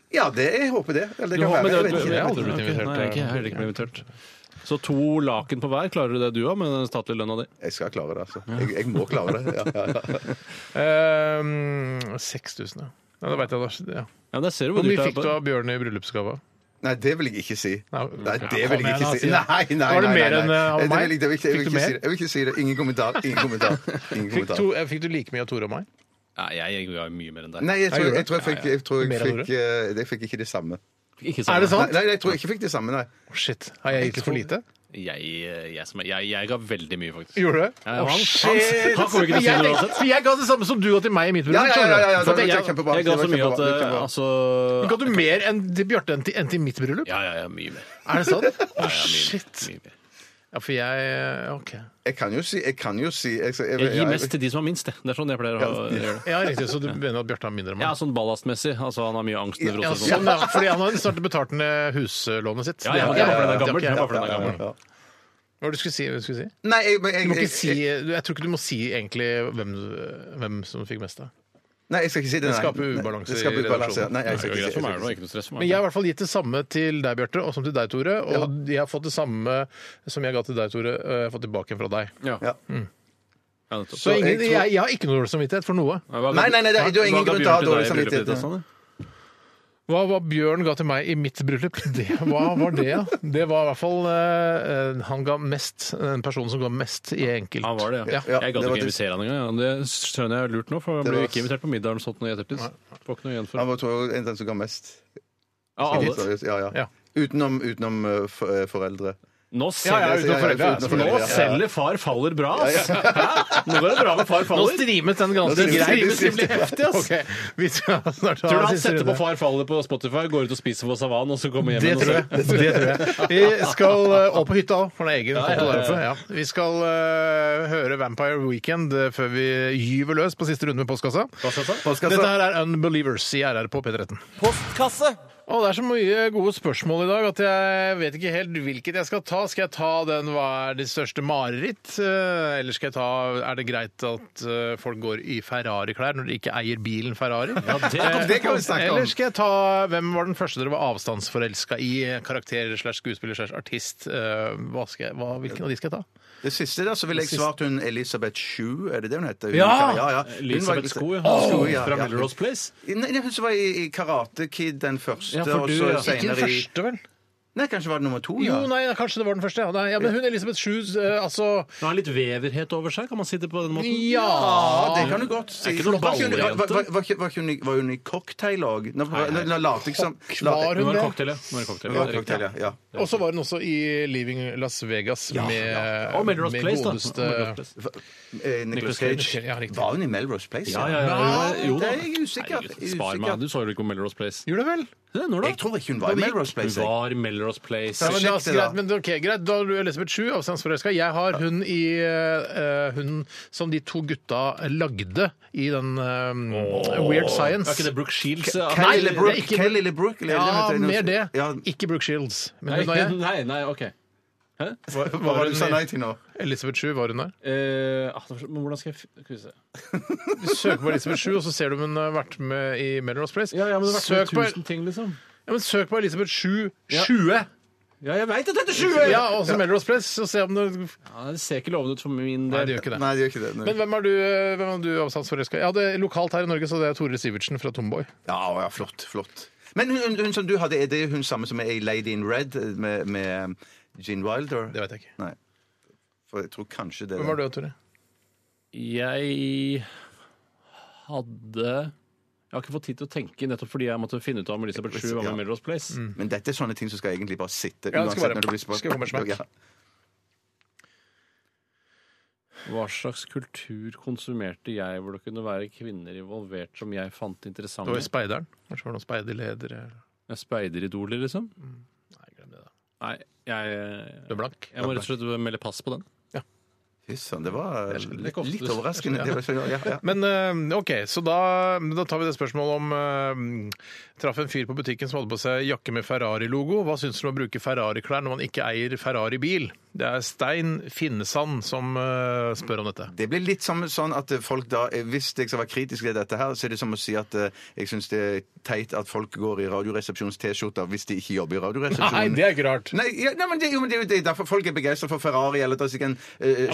S5: Ja, det, jeg håper det. Eller det
S4: Du
S5: kan
S4: har-
S5: være.
S4: men det-
S5: jeg vet
S4: du-
S5: ikke.
S3: Jeg har aldri blitt
S4: Ok,
S3: invitert. eh,
S4: Nei, jeg er ikke- jeg er heller ikke blitt invitert. Så to laken på hver, klarer du det du òg med den statlige lønna di?
S5: Jeg skal klare det, altså. Jeg, jeg må klare det. Ja, ja, ja.
S3: Ehm, 6000, ja. Ja, det vet jeg, Lars. Ja.
S4: Ja, men der ser du hvor
S3: Hvor mye
S4: dyrt det er.
S3: fikk du
S4: på-
S3: av Bjørn i bryllupsgave?
S5: Nei, det vil jeg ikke si.
S3: Nei,
S5: Nei, det vil jeg
S3: kom
S5: ikke
S3: igjen,
S5: si.
S3: da,
S5: Nei,
S3: sier
S5: nei,
S3: jeg.
S5: nei.
S3: Var det mer
S5: nei,
S3: enn
S5: nei.
S3: uh, av
S5: Det vil
S3: meg?
S5: jeg- det vil jeg ikke- jeg vil
S3: Fikk du
S5: ikke si
S3: mer?
S5: det. Jeg vil ikke si det. Ingen kommentar.
S3: <laughs>
S5: Ingen kommentar. Ingen
S3: Fikk,
S5: kommentar.
S3: to, eh, fikk du like mye av Tore og meg?
S4: Nei, jeg ga mye mer enn deg.
S5: Nei, jeg tror
S3: gjorde
S5: jeg,
S3: det.
S5: tror jeg fikk, jeg tror jeg
S3: Mer enn Sånn?
S5: fikk, eh, jeg fikk ikke det samme.
S4: Ikke sånn.
S3: Er det
S4: sant?
S5: Nei,
S3: sant?
S5: nei, jeg tror jeg ikke fikk det samme, nei.
S3: Shit, har jeg gitt litt for lite?
S4: Jeg, jeg, som er- jeg, jeg ga veldig mye, faktisk.
S3: Gjorde du det?
S4: Ja, han-
S3: Å,
S4: han-
S3: shit!
S4: han kommer ikke til å si
S3: Jeg-
S4: noe uansett.
S3: For jeg ga det samme som du ga til meg i mitt
S5: Ja,
S3: bryllup.
S5: ja, ja, ja,
S3: skjønner du?
S5: ja, det var
S4: Jeg, jeg,
S5: kjempebra.
S4: jeg ga
S5: Det var
S4: så mye at
S5: kjempebra. Det
S4: eh,
S5: var kjempebra.
S4: altså
S3: Ga du mer enn til Bjarte enn til, enn til mitt bryllup?
S4: Ja, ja, ja, mye mer.
S3: Er det sant? Å,
S4: <laughs> Ja, ja, mye,
S3: shit.
S4: mer, mye mer.
S3: Ja, for jeg OK.
S5: Jeg kan jo si Jeg kan jo si jeg, jeg,
S4: Jeg gir mest til de som har minst, det. Det er sånn jeg pleier å ha- gjøre det.
S3: Ja, riktig, Så du mener at Bjarte har mindre enn
S4: Ja,
S3: meg?
S4: sånn ballastmessig. Altså, han har mye angst.
S3: Ja,
S4: nevroser og
S3: sånn,
S4: sånn.
S3: ja. Fordi han har snart betalt ned huslånet sitt.
S4: Ja, ja,
S3: Det
S4: jeg
S3: har-
S4: bare ble den
S3: det har
S4: gammel.
S3: ikke jeg.
S4: Jeg bare ble den gammel.
S5: ja.
S3: Hva var det du skulle si? Hva skulle du si?
S5: Nei, jeg, men jeg,
S3: Du må ikke si,
S5: jeg, jeg,
S3: jeg tror ikke du må si egentlig hvem, hvem som fikk mest av.
S5: nei, jeg skal ikke si det. nei.
S3: Det skaper
S5: Nei,
S3: ubalanse
S5: det
S3: i
S5: skaper ubalanse, ja.
S3: relasjonen.
S5: Nei, jeg
S4: Det
S5: skal
S4: sånn er
S5: ikke
S4: greit
S5: si
S4: for
S5: jeg skal
S4: meg, det
S5: ikke
S4: var
S5: si
S4: ikke noe stress for meg.
S3: Men jeg har i hvert fall gitt det samme til deg, Bjarte, og som til deg, Tore. Og jeg har fått det samme som jeg ga til deg, Tore, og jeg har fått tilbake fra deg.
S4: Ja.
S5: Ja.
S4: Ja, nettopp.
S3: Så ingen,
S5: jeg tror-
S3: jeg, jeg har ikke noe dårlig samvittighet for noe.
S4: Hva ga-
S5: Nei, nei, nei, det er- det er ingen
S4: Hva ga
S5: grunn til å ha
S4: Bjørn
S5: dårlig
S4: deg i bryllupet
S5: samvittighet.
S4: ditt, sa han?
S3: Hva, hva Bjørn ga til meg i mitt bryllup, det, hva var det? ja? Det var i hvert fall eh, han ga mest, den personen som ga mest i enkelt.
S4: Han var det, ja.
S5: Ja,
S4: jeg gadd
S5: det var
S4: ikke
S5: trist.
S4: invitere han engang. ja. Det skjønner jeg er lurt nå, for han
S5: Det
S4: ble
S5: var-
S4: jo ikke invitert på middag eller noe sånt nå i ettertid. Får ikke noe igjen for
S5: Han
S4: det.
S5: var tror jeg, en av dem som ga mest.
S4: Av alle.
S5: Ja, ja.
S3: Ja.
S5: Utenom, utenom eh, for- eh, foreldre.
S4: Nå
S3: Ja, ja,
S4: selger
S3: utenfor
S5: ja,
S3: foreldre.
S5: utenfor
S4: Nå
S5: foreldre, ja.
S4: selger far faller bra, ass! Hæ? Nå går det bra med far
S3: Nå
S4: faller.
S3: streamet den ganske
S5: Nå
S3: greit.
S5: streamet den
S3: ble heftig, ass. vi skal snart ha
S4: Tror du
S3: den
S4: han
S3: siste
S4: setter på
S3: runde.
S4: Far faller på Spotify, går ut og spiser på Savan, og så kommer hjem
S3: Det
S4: igjen og
S3: tror
S4: ser-
S3: jeg. Det tror jeg. Vi skal eh, opp på hytta òg, for det er egen
S4: Ja, ja, ja, ja.
S3: fotolærerfe. Ja. Vi skal eh, høre Vampire Weekend eh, før vi gyver løs på siste runde med postkassa.
S5: Postkassa.
S3: Dette her er Unbelievers i RR på P13.
S8: Postkasse.
S3: Å, det er så mye gode spørsmål i dag at jeg vet ikke helt hvilket jeg skal ta. Skal jeg ta den 'Hva er ditt største mareritt'? eh, Eller skal jeg ta 'Er det greit at eh, folk går i Ferrari-klær når de ikke eier bilen Ferrari'? Eh,
S4: det-
S5: det kan vi snakke om.
S3: Eller skal jeg ta 'Hvem var den første dere var avstandsforelska i'? Karakter slash skuespiller slash artist. Eh, Hva skal jeg, hva, hvilken av de skal jeg ta?
S5: Det siste der, så ville jeg svart hun Elisabeth Shue, er det det hun heter? Hun-
S3: Ja!
S5: Hun
S4: Elisabeth
S5: var-
S4: Sko, ja.
S5: Sko, ja,
S4: Fra
S5: ja.
S4: Melrose Place.
S5: Nei, nei, hun som var i, i Karate Kid, den første,
S4: Ja, for
S5: og
S4: du,
S5: så
S4: ja.
S5: senere
S3: Ikke den første, vel?
S5: i Nei, kanskje var det nummer to?
S3: Jo,
S5: ja.
S3: nei, kanskje det var den første. Ja, Nei, ja men hun Elisabeth Shoes, altså
S4: Hun har litt veverhet over seg, kan man si det på den måten?
S3: Ja!
S5: Ja, det kan du godt si.
S4: Er ikke noen
S5: Var ikke hun-
S4: ballejente?
S5: var- var- var ikke- var ikke hun i- Var hun i cocktail òg? Nå
S4: Nei, nei.
S5: nå later jeg som
S3: Var
S4: Nå
S3: hun
S4: er det
S3: det?
S4: cocktail, ja. Nå er det cocktail,
S5: Det
S4: ja.
S5: var cocktail, ja. ja.
S3: Og så var hun også i Leaving Las Vegas med,
S4: Og Melrose
S3: med
S4: Place, da.
S3: godeste
S4: Melrose Place.
S5: Eh, Nicolas
S4: Nicolas
S5: Cage.
S3: Cage, ja, riktig.
S5: Var hun i Melrose Place?
S4: Ja, ja, ja.
S5: Nei,
S4: Jo
S5: det
S4: da.
S5: er jeg usikker.
S4: Herregud, Spar meg, du så jo ikke på Melrose Place.
S3: Gjorde det vel?
S4: Se, Når da?
S5: Jeg tror ikke hun var i Melrose Place.
S4: Hun
S5: jeg.
S4: var i Melrose Place.
S5: Ja,
S3: Men,
S5: Sjekk
S3: ja,
S5: det, da.
S3: greit, men ok, greit. Da er du Elisabeth Sju, avstandsforelska. Jeg har hun i eh, Hun som de to gutta lagde i den eh, Weird Science.
S4: Er ikke det Brooke Shields? ja?
S5: Kelly
S3: Nei,
S5: LeBrook,
S3: det er ikke-
S5: Kelly LeBrook, eller-
S3: Ja,
S5: eller-
S3: mer det.
S5: Ja,
S3: Ikke Brooke Shields. Men
S4: Nei,
S3: hun og jeg.
S4: nei, nei, ok.
S5: hva hva var det du sa nei til nå?
S3: Elisabeth Sju, var hun der?
S4: Eh, ah, det var så- men hvordan skal jeg f- skal vi se.
S3: Du søker på Elisabeth Sju, og så ser du om hun har vært med i Melrose Place.
S4: Ja, ja, men det har vært
S3: søk,
S4: med
S3: på,
S4: tusen ting, liksom.
S3: ja, men søk på Elisabeth Sju 20.
S4: Ja, jeg veit at dette er 20!
S3: Ja, og så Melrose Place, og se om du
S4: Ja, det ser ikke lovende ut for min
S3: Nei,
S4: del.
S3: det gjør ikke det.
S5: Nei, det gjør ikke det. Nei.
S3: Men hvem er du, eh, hvem er du avstandsforelska i? Ja, det- lokalt her i Norge så det er Tore Sivertsen fra Tomboy.
S5: Ja, ja, flott, flott. Men hun, hun som du hadde, er det hun samme som er i Lady in Red eh, med, med eh, Gene Wilder?
S3: Det vet jeg ikke.
S5: Nei. For jeg tror kanskje det
S3: Hvem er du, Tore?
S4: Jeg hadde Jeg har ikke fått tid til å tenke, nettopp fordi jeg måtte finne ut av om Elisabeth Shue var med
S5: Ja.
S4: i Melrose Place.
S5: Men dette er sånne ting som skal egentlig bare sitte
S3: Ja, det skal
S5: uansett
S3: bare-
S5: når det blir spurt.
S3: skal komme smatt.
S5: Ja.
S4: Hva slags kultur konsumerte jeg hvor det kunne være kvinner involvert som jeg fant
S3: Det var jo
S4: interessante?
S3: speideren. Kanskje det var noen speiderleder eller-
S4: Speideridoler, liksom?
S3: Nei, glem det, da.
S4: Nei, jeg,
S3: Du er blank.
S4: jeg må rett og slett melde pass på den.
S5: Fy søren, det var
S4: er litt
S5: litt,
S4: ofte-
S5: litt overraskende. Det var, så- ja, ja.
S3: Men eh, OK, så da, da tar vi det spørsmålet om eh, Traff en fyr på butikken som hadde på seg jakke med Ferrari-logo. Hva syns du om å bruke Ferrari-klær når man ikke eier Ferrari-bil? Det er Stein Finnesand som eh, spør om dette.
S5: Det blir litt som, sånn at folk da, eh, Hvis jeg skal være kritisk til dette, her, så er det som å si at eh, jeg syns det er teit at folk går i Radioresepsjonens T-skjorter hvis de ikke jobber i Radioresepsjonen.
S3: er ikke rart.
S5: Nei, ja, nei, men det, jo, men det er jo det, er derfor folk er begeistra for Ferrari eller at det er sikkert en eh,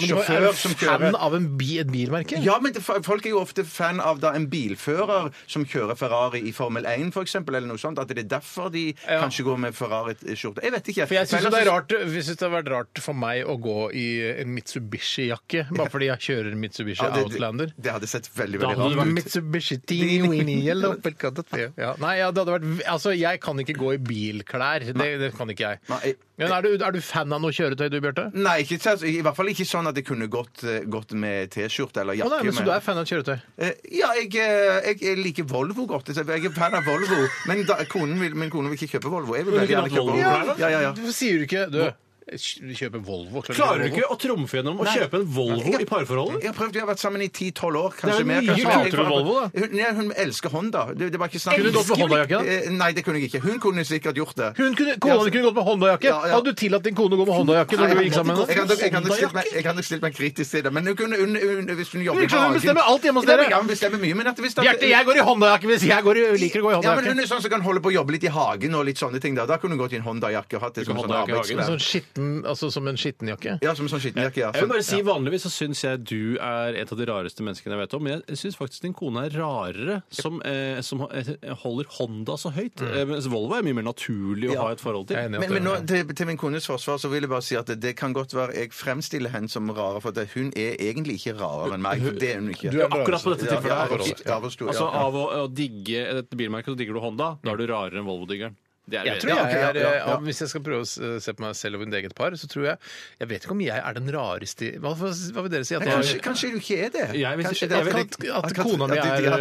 S3: Men du er
S5: sjåfør
S3: jo
S5: som
S3: fan
S5: kjører
S3: av en bi, et bilmerke?
S5: ja, men det, Folk er jo ofte fan av da en bilfører som kjører Ferrari i Formel 1 for eksempel, eller noe sånt. At det er derfor de kanskje går med Ferrari-skjorte. Jeg vet ikke.
S3: For jeg syns
S5: Men altså,
S3: det er
S5: ellers-
S3: rart Vi synes det har vært rart for meg å gå i en Mitsubishi-jakke, bare fordi jeg kjører Mitsubishi
S5: Ja, det-
S3: Outlander.
S5: Det, det hadde sett veldig
S4: Da
S5: veldig
S4: hadde
S5: rart ut. <laughs>
S3: Mitsubishi teeny weeny yellow polka dot. ja. Nei, ja, det hadde vært Altså, jeg kan ikke gå i bilklær. Det, det kan ikke jeg.
S5: Nei.
S3: Men er du, er du fan av noe kjøretøy, du, Bjarte? Å,
S5: Nei, ikke, sant? i hvert fall ikke sånn at jeg kunne gått, eh, gått med T-skjorte eller jakke.
S3: nei, men Så
S5: men-
S3: du er fan av kjøretøy?
S5: Eh, Ja, jeg, eh, jeg, jeg liker Volvo godt. så Jeg er fan av Volvo, men da, konen vil, min kone vil ikke kjøpe Volvo. Jeg vil veldig
S4: kunne
S5: gjerne
S4: hatt
S5: kjøpe
S4: Volvo
S5: Volvo. Ja, ja, ja.
S3: Hvorfor sier du ikke Du, vi kjøper Volvo.
S4: Klarer du ikke å trumfe gjennom å kjøpe en Volvo i parforholdet?
S5: Jeg har prøvd, vi har vært sammen i 10-12 år. Kanskje
S4: Det er jo
S5: mer.
S4: mye
S5: kanskje-
S4: kulere
S5: Jeg var-
S4: Volvo, da.
S5: Hun, nei, hun elsker Honda. Det, det var ikke snakk
S3: Kunne du gått med Honda-jakke, da?
S5: Eh, Nei, det kunne jeg ikke. Hun kunne sikkert gjort det.
S3: Hun kunne, kona di kunne gått med Honda-jakke.
S5: Ja, ja.
S3: Hadde du tillatt din kone å gå med Honda-jakke når du gikk sammen med
S5: Jeg
S3: henne?
S5: hadde- jeg hadde stilt meg- jeg hadde stilt meg kritisk til det, men hun kunne, hun, hun, hvis hun jobber i
S3: Virker som hun
S5: hagen-
S3: bestemmer alt hjemme hos dere.
S5: Ja, hun bestemmer mye, men at hvis det-
S3: Bjarte, jeg går i Honda-jakke hvis jeg går i, liker å gå i
S5: Ja,
S3: Honda-jakke.
S5: men hun er sånn som kan holde på å jobbe litt i hagen og litt sånne ting. Da Da kunne hun gått i en Honda-jakke og hatt det som sånn
S4: Honda-jakke i hagen,
S5: arbeidsklær.
S3: Sånn skitten, altså som en skittenjakke?
S5: Ja, som en sånn skittenjakke. Ja.
S4: Jeg vil
S5: Sånn-
S4: bare si Vanligvis så syns jeg du er et av de rareste menneskene jeg vet om. Men jeg syns faktisk din kone er rarere, som, eh, som eh, holder Honda så høyt. Eh, Mens Volvo er mye mer naturlig å ha et forhold
S3: Jeg er
S4: til.
S3: enig i at
S5: Men, men
S3: det-
S5: nå, til, til min kones forsvar så vil jeg bare si at det, det kan godt være jeg fremstiller henne som rarere, for at hun er egentlig ikke rarere enn meg. for Det er hun ikke.
S3: Du er-
S4: Akkurat på dette
S5: Ja,
S4: tilfellet.
S5: ja,
S4: her.
S5: ja, ja, ja, ja.
S4: Altså Av å, å digge et bilmerke, så digger du Honda. Da er du rarere enn Volvo-diggeren. Det er
S3: Jeg tror
S4: veldig-
S5: Ja, ok,
S3: jeg
S5: ja,
S3: er,
S5: ja, ja.
S3: eh, Hvis jeg skal prøve å s- se på meg selv og mitt eget par, så tror jeg Jeg vet ikke om jeg er den rareste i- Hva, hva vil dere si? At,
S5: Nei, kanskje, kanskje du ikke er det?
S4: Jeg vil-
S5: Kanskje det
S4: jeg
S5: er-
S4: vil-
S3: at, at, at kona mi
S5: at- at-
S3: er,
S5: ja.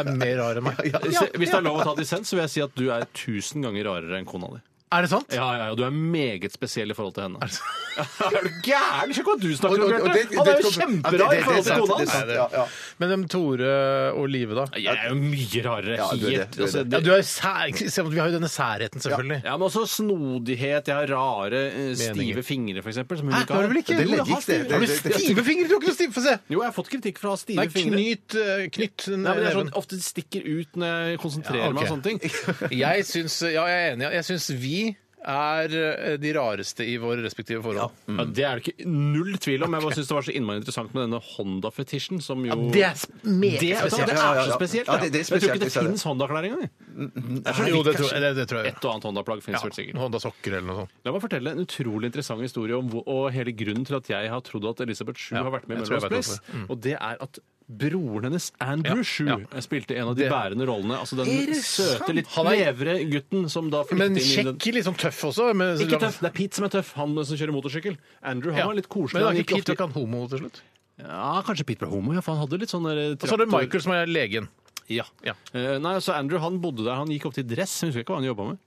S3: er mer rar enn meg?
S4: Hvis, hvis det er lov å ta dissens, så vil jeg si at du er tusen ganger rarere enn kona di.
S3: Er det sant?
S4: Ja, ja, ja, Du er meget spesiell i forhold til henne. <laughs> Er du gæren? Sjekk hva du snakker
S5: Og- og-
S4: om,
S5: og det-
S4: Bjarte! Han er jo
S5: det- det- det-
S4: kjemperar
S5: det-
S4: i forhold til
S5: det-
S4: kona
S5: det-
S4: hans!
S5: det- det- ja, ja.
S3: Men um, Tore og Live, da?
S4: Jeg er jo mye rarere.
S5: Ja, du er det,
S4: Helt.
S5: du er
S4: Altså,
S5: det.
S3: Ja,
S4: det-
S3: du er sær, se, vi har jo denne særheten, selvfølgelig.
S4: Ja, men også snodighet. Jeg har rare, eh,
S3: Meninger.
S4: stive fingre, for eksempel. Som hun
S3: Hæ,
S4: ikke
S3: har
S4: har.
S3: du vel ikke?
S5: Det
S3: Jo,
S5: legger
S3: har
S5: ikke det.
S3: stive- Har du
S5: Det- det- det-
S3: stive fingre? Du har ikke noe stive, få se!
S4: Jo, jeg har fått kritikk for å ha stive
S3: Nei,
S4: fingre.
S3: knyt, eh, knytt
S4: Nei, men det er
S3: neven.
S4: sånn, Ofte stikker ut når jeg konsentrerer
S3: Ja, ok.
S4: meg om sånne <laughs> ting.
S3: Jeg syns Ja, jeg er enig. Jeg syns vi er eh, de rareste i våre respektive forhold.
S4: Ja, det er det ikke null tvil om. Jeg bare syns det var så innmari interessant med denne Honda-fetisjen, som jo
S3: meget
S4: det, vet du hva, det
S5: Ja,
S4: er
S5: ja,
S4: så
S5: ja.
S4: spesielt.
S5: Ja, det- det er
S4: jeg tror
S5: spesielt,
S4: ikke det
S5: jeg ser det.
S4: fins Honda-klær engang. jeg.
S3: Jo, det tror, det, det tror jeg.
S4: Et og annet Honda-plagg fins vel
S3: Ja,
S4: sikkert.
S3: Honda sokker eller noe sånt.
S4: La meg fortelle en utrolig interessant historie om hvor, og hele grunnen til at jeg har trodd at Elisabeth Shue
S3: Ja,
S4: har vært med i
S3: jeg tror jeg vet
S4: Melrose
S3: Mm.
S4: Place. Og det er at broren hennes, Andrew
S3: Ja,
S4: Shue,
S3: ja.
S4: spilte en av de
S3: Det-
S4: bærende rollene. Altså den
S3: Er det sant?
S4: søte, litt
S3: Han er-
S4: levre gutten som da flyttet
S3: Men
S4: inn i den
S3: kjekk, litt sånn tøff også. Men,
S4: Ikke tøff, det er Pete som er tøff, han som kjører motorsykkel. Andrew han
S3: Ja.
S4: var litt koselig.
S3: Men det
S4: han
S3: er
S4: gikk
S3: ikke Pete
S4: ofte-
S3: og kan homo til slutt.
S4: Ja, kanskje Pete ble homo, ja, for han hadde litt sånn der
S3: Og så er det
S4: traktor-
S3: Michael som er legen.
S4: Ja.
S3: Ja.
S4: Eh, nei, så Andrew han bodde der, han gikk opp til dress, jeg husker ikke hva han jobba med.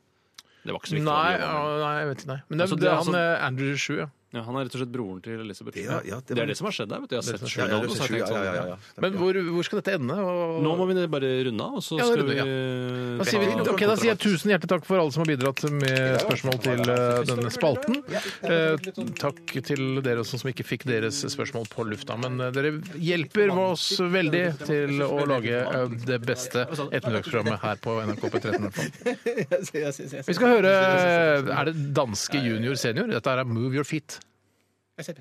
S4: Det var ikke så
S3: Nei, ja,
S4: viktig. hva han jobbet med.
S3: nei, jeg vet ikke. Nei. Men det,
S4: Altså, det
S3: det
S4: er
S3: er han
S4: sånn-
S3: eh, Andrew Shue. Ja.
S4: Ja, han er rett og slett broren til Elisabeth. Schue.
S5: Ja, ja, det
S4: det,
S5: var-
S4: er det som har skjedd der. vet du. Jeg har sett
S5: Ja, ja,
S4: Schue nå,
S5: det
S4: så har
S5: ser
S4: jeg
S5: jeg,
S4: tenkt
S5: ja, ja, ja,
S4: sånn.
S5: ja.
S3: Men hvor, hvor skal dette ende? Og...
S4: Nå må vi bare runde av, og så
S3: Ja,
S4: skal
S3: det
S4: vi eh,
S3: runder, da sier, vi,
S4: ta-
S3: ok, da sier jeg tusen hjertelig takk for alle som har bidratt med spørsmål til eh, denne spalten. Eh, takk til dere også som ikke fikk deres spørsmål på lufta. Men eh, dere hjelper oss veldig til å lage eh, det beste ettermiddagsprogrammet her på NRK på 13. i hvert fall. Vi skal høre eh, Er det danske junior senior? Dette er Move Your Feet. Jeg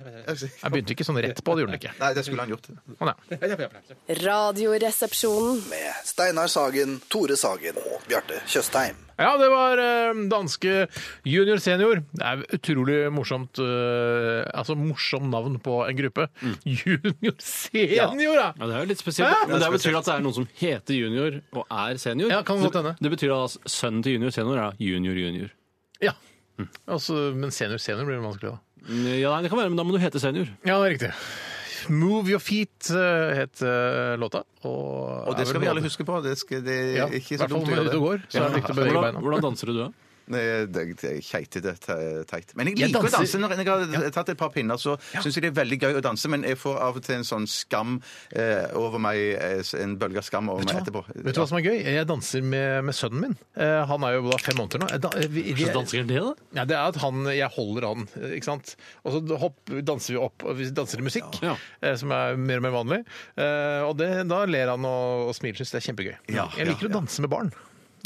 S3: begynte ikke sånn rett på, det gjorde den ikke.
S5: Nei, det skulle han gjort.
S3: Å, nei.
S2: Radioresepsjonen.
S8: med Steinar Sagen, Tore Sagen og Bjarte Tjøstheim.
S3: Ja, det var eh, danske junior senior. Det er utrolig morsomt eh, Altså morsom navn på en gruppe. Junior senior, ja!
S4: Ja, det er jo litt spesielt,
S3: Hæ?
S4: men det betyr at det er noen som heter junior og er senior.
S3: Ja, kan godt hende.
S4: Det betyr at altså, sønnen til junior senior er junior junior.
S3: ja. Altså, men senior senior blir vanskelig, da.
S4: Mm, Ja, nei, det kan være, men da må du hete senior.
S3: Ja, det er riktig. 'Move Your Feet' eh, het eh, låta. Og,
S5: Og det skal vi alle huske på. Det, skal, det
S3: Ja,
S5: er
S3: I
S5: ikke så
S3: hvert fall
S5: dumt å
S3: når
S5: gjøre
S3: du
S5: det.
S3: går, så er det viktig å bevege
S4: Hvordan,
S3: beina.
S4: hvordan danser du da?
S5: Nei, det- det er Keitete, te- teit. Men jeg
S3: Jeg
S5: liker å
S3: danser-
S5: danse. Når jeg har tatt et par pinner, så syns jeg det er veldig gøy å danse, men jeg får av og til en sånn skam eh, over meg, eh, en bølge av skam over meg etterpå.
S3: Vet du hva som er gøy? Jeg danser med, med sønnen min. Eh, han er jo da fem måneder nå. Jeg da- eh, vi-
S4: Hvordan danser han det, da?
S3: Ja, det er at han, jeg holder han, ikke sant? Og så hopp, danser vi opp, og vi danser til musikk,
S4: Ja.
S3: eh, som er mer og mer vanlig. Eh, Og det, da ler han og, og smiler, synes det er kjempegøy.
S5: Ja,
S3: jeg liker
S5: ja,
S3: å danse med barn.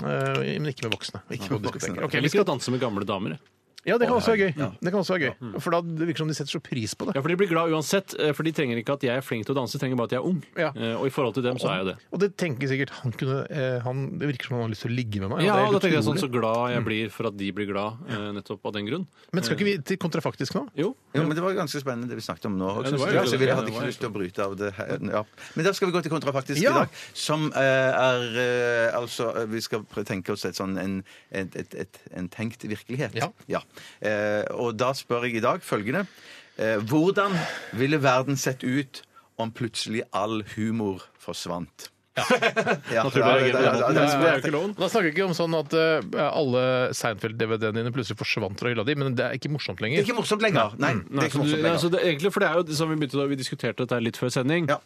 S3: Eh, men ikke med voksne. Ikke på diskoteker. Ok,
S4: Jeg
S3: vi
S4: liker å
S3: skal,
S4: danse med gamle damer. jeg.
S3: ja, det kan også være gøy. Det kan også være gøy. For da det virker det som de setter så pris på det.
S4: Mm. Ja, for De blir glad uansett, eh, for de trenger ikke at jeg er flink til å danse, de trenger bare at jeg er ung.
S3: Ja.
S4: Eh, Og i forhold til dem så er jeg det.
S3: Og det tenker sikkert han kunne eh, han, Det virker som han har lyst til å ligge med meg. og
S4: Ja,
S3: det er helt
S4: da tenker jeg sånn
S3: utrolig.
S4: så glad jeg blir for at de blir glad, eh, nettopp av den grunn.
S3: Men skal ikke vi til kontrafaktisk nå?
S4: Jo.
S5: Jo, men Det var ganske spennende det vi snakket om nå.
S4: det
S5: synes
S4: var
S5: jeg.
S4: jo
S5: altså,
S4: det.
S5: vi
S4: Ja,
S5: hadde
S4: det var
S5: ikke
S4: jo
S5: lyst til å bryte av det her. Ja. Men da skal vi gå til kontrafaktisk
S3: Ja.
S5: i dag, som eh, er eh, Altså, eh, vi skal prø- tenke oss et sånn en, et, et, et, en tenkt virkelighet.
S3: Ja.
S5: Eh, og da spør jeg i dag følgende eh, Hvordan ville verden sett ut om plutselig all humor forsvant? Ja.
S4: Naturlig å reagere på den
S5: ja,
S4: måten. Det er jo ikke loven.
S3: Da snakker vi ikke om sånn at eh, alle Seinfeld-DVD-ene dine plutselig forsvant fra hylla di, men det er ikke morsomt
S5: Det er
S3: lenger.
S5: ikke morsomt lenger. Nei, det
S4: Nei,
S5: er ikke
S4: så du,
S5: morsomt
S4: nei, så
S5: lenger.
S4: det, egentlig, for det er jo det som vi begynte da vi diskuterte dette her litt før sending.
S5: Ja.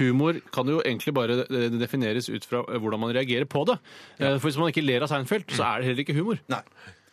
S4: Humor kan jo egentlig bare eh, defineres ut fra eh, hvordan man reagerer på det. Eh, For hvis man ikke ler av Seinfeld, så er det heller ikke humor.
S5: Nei.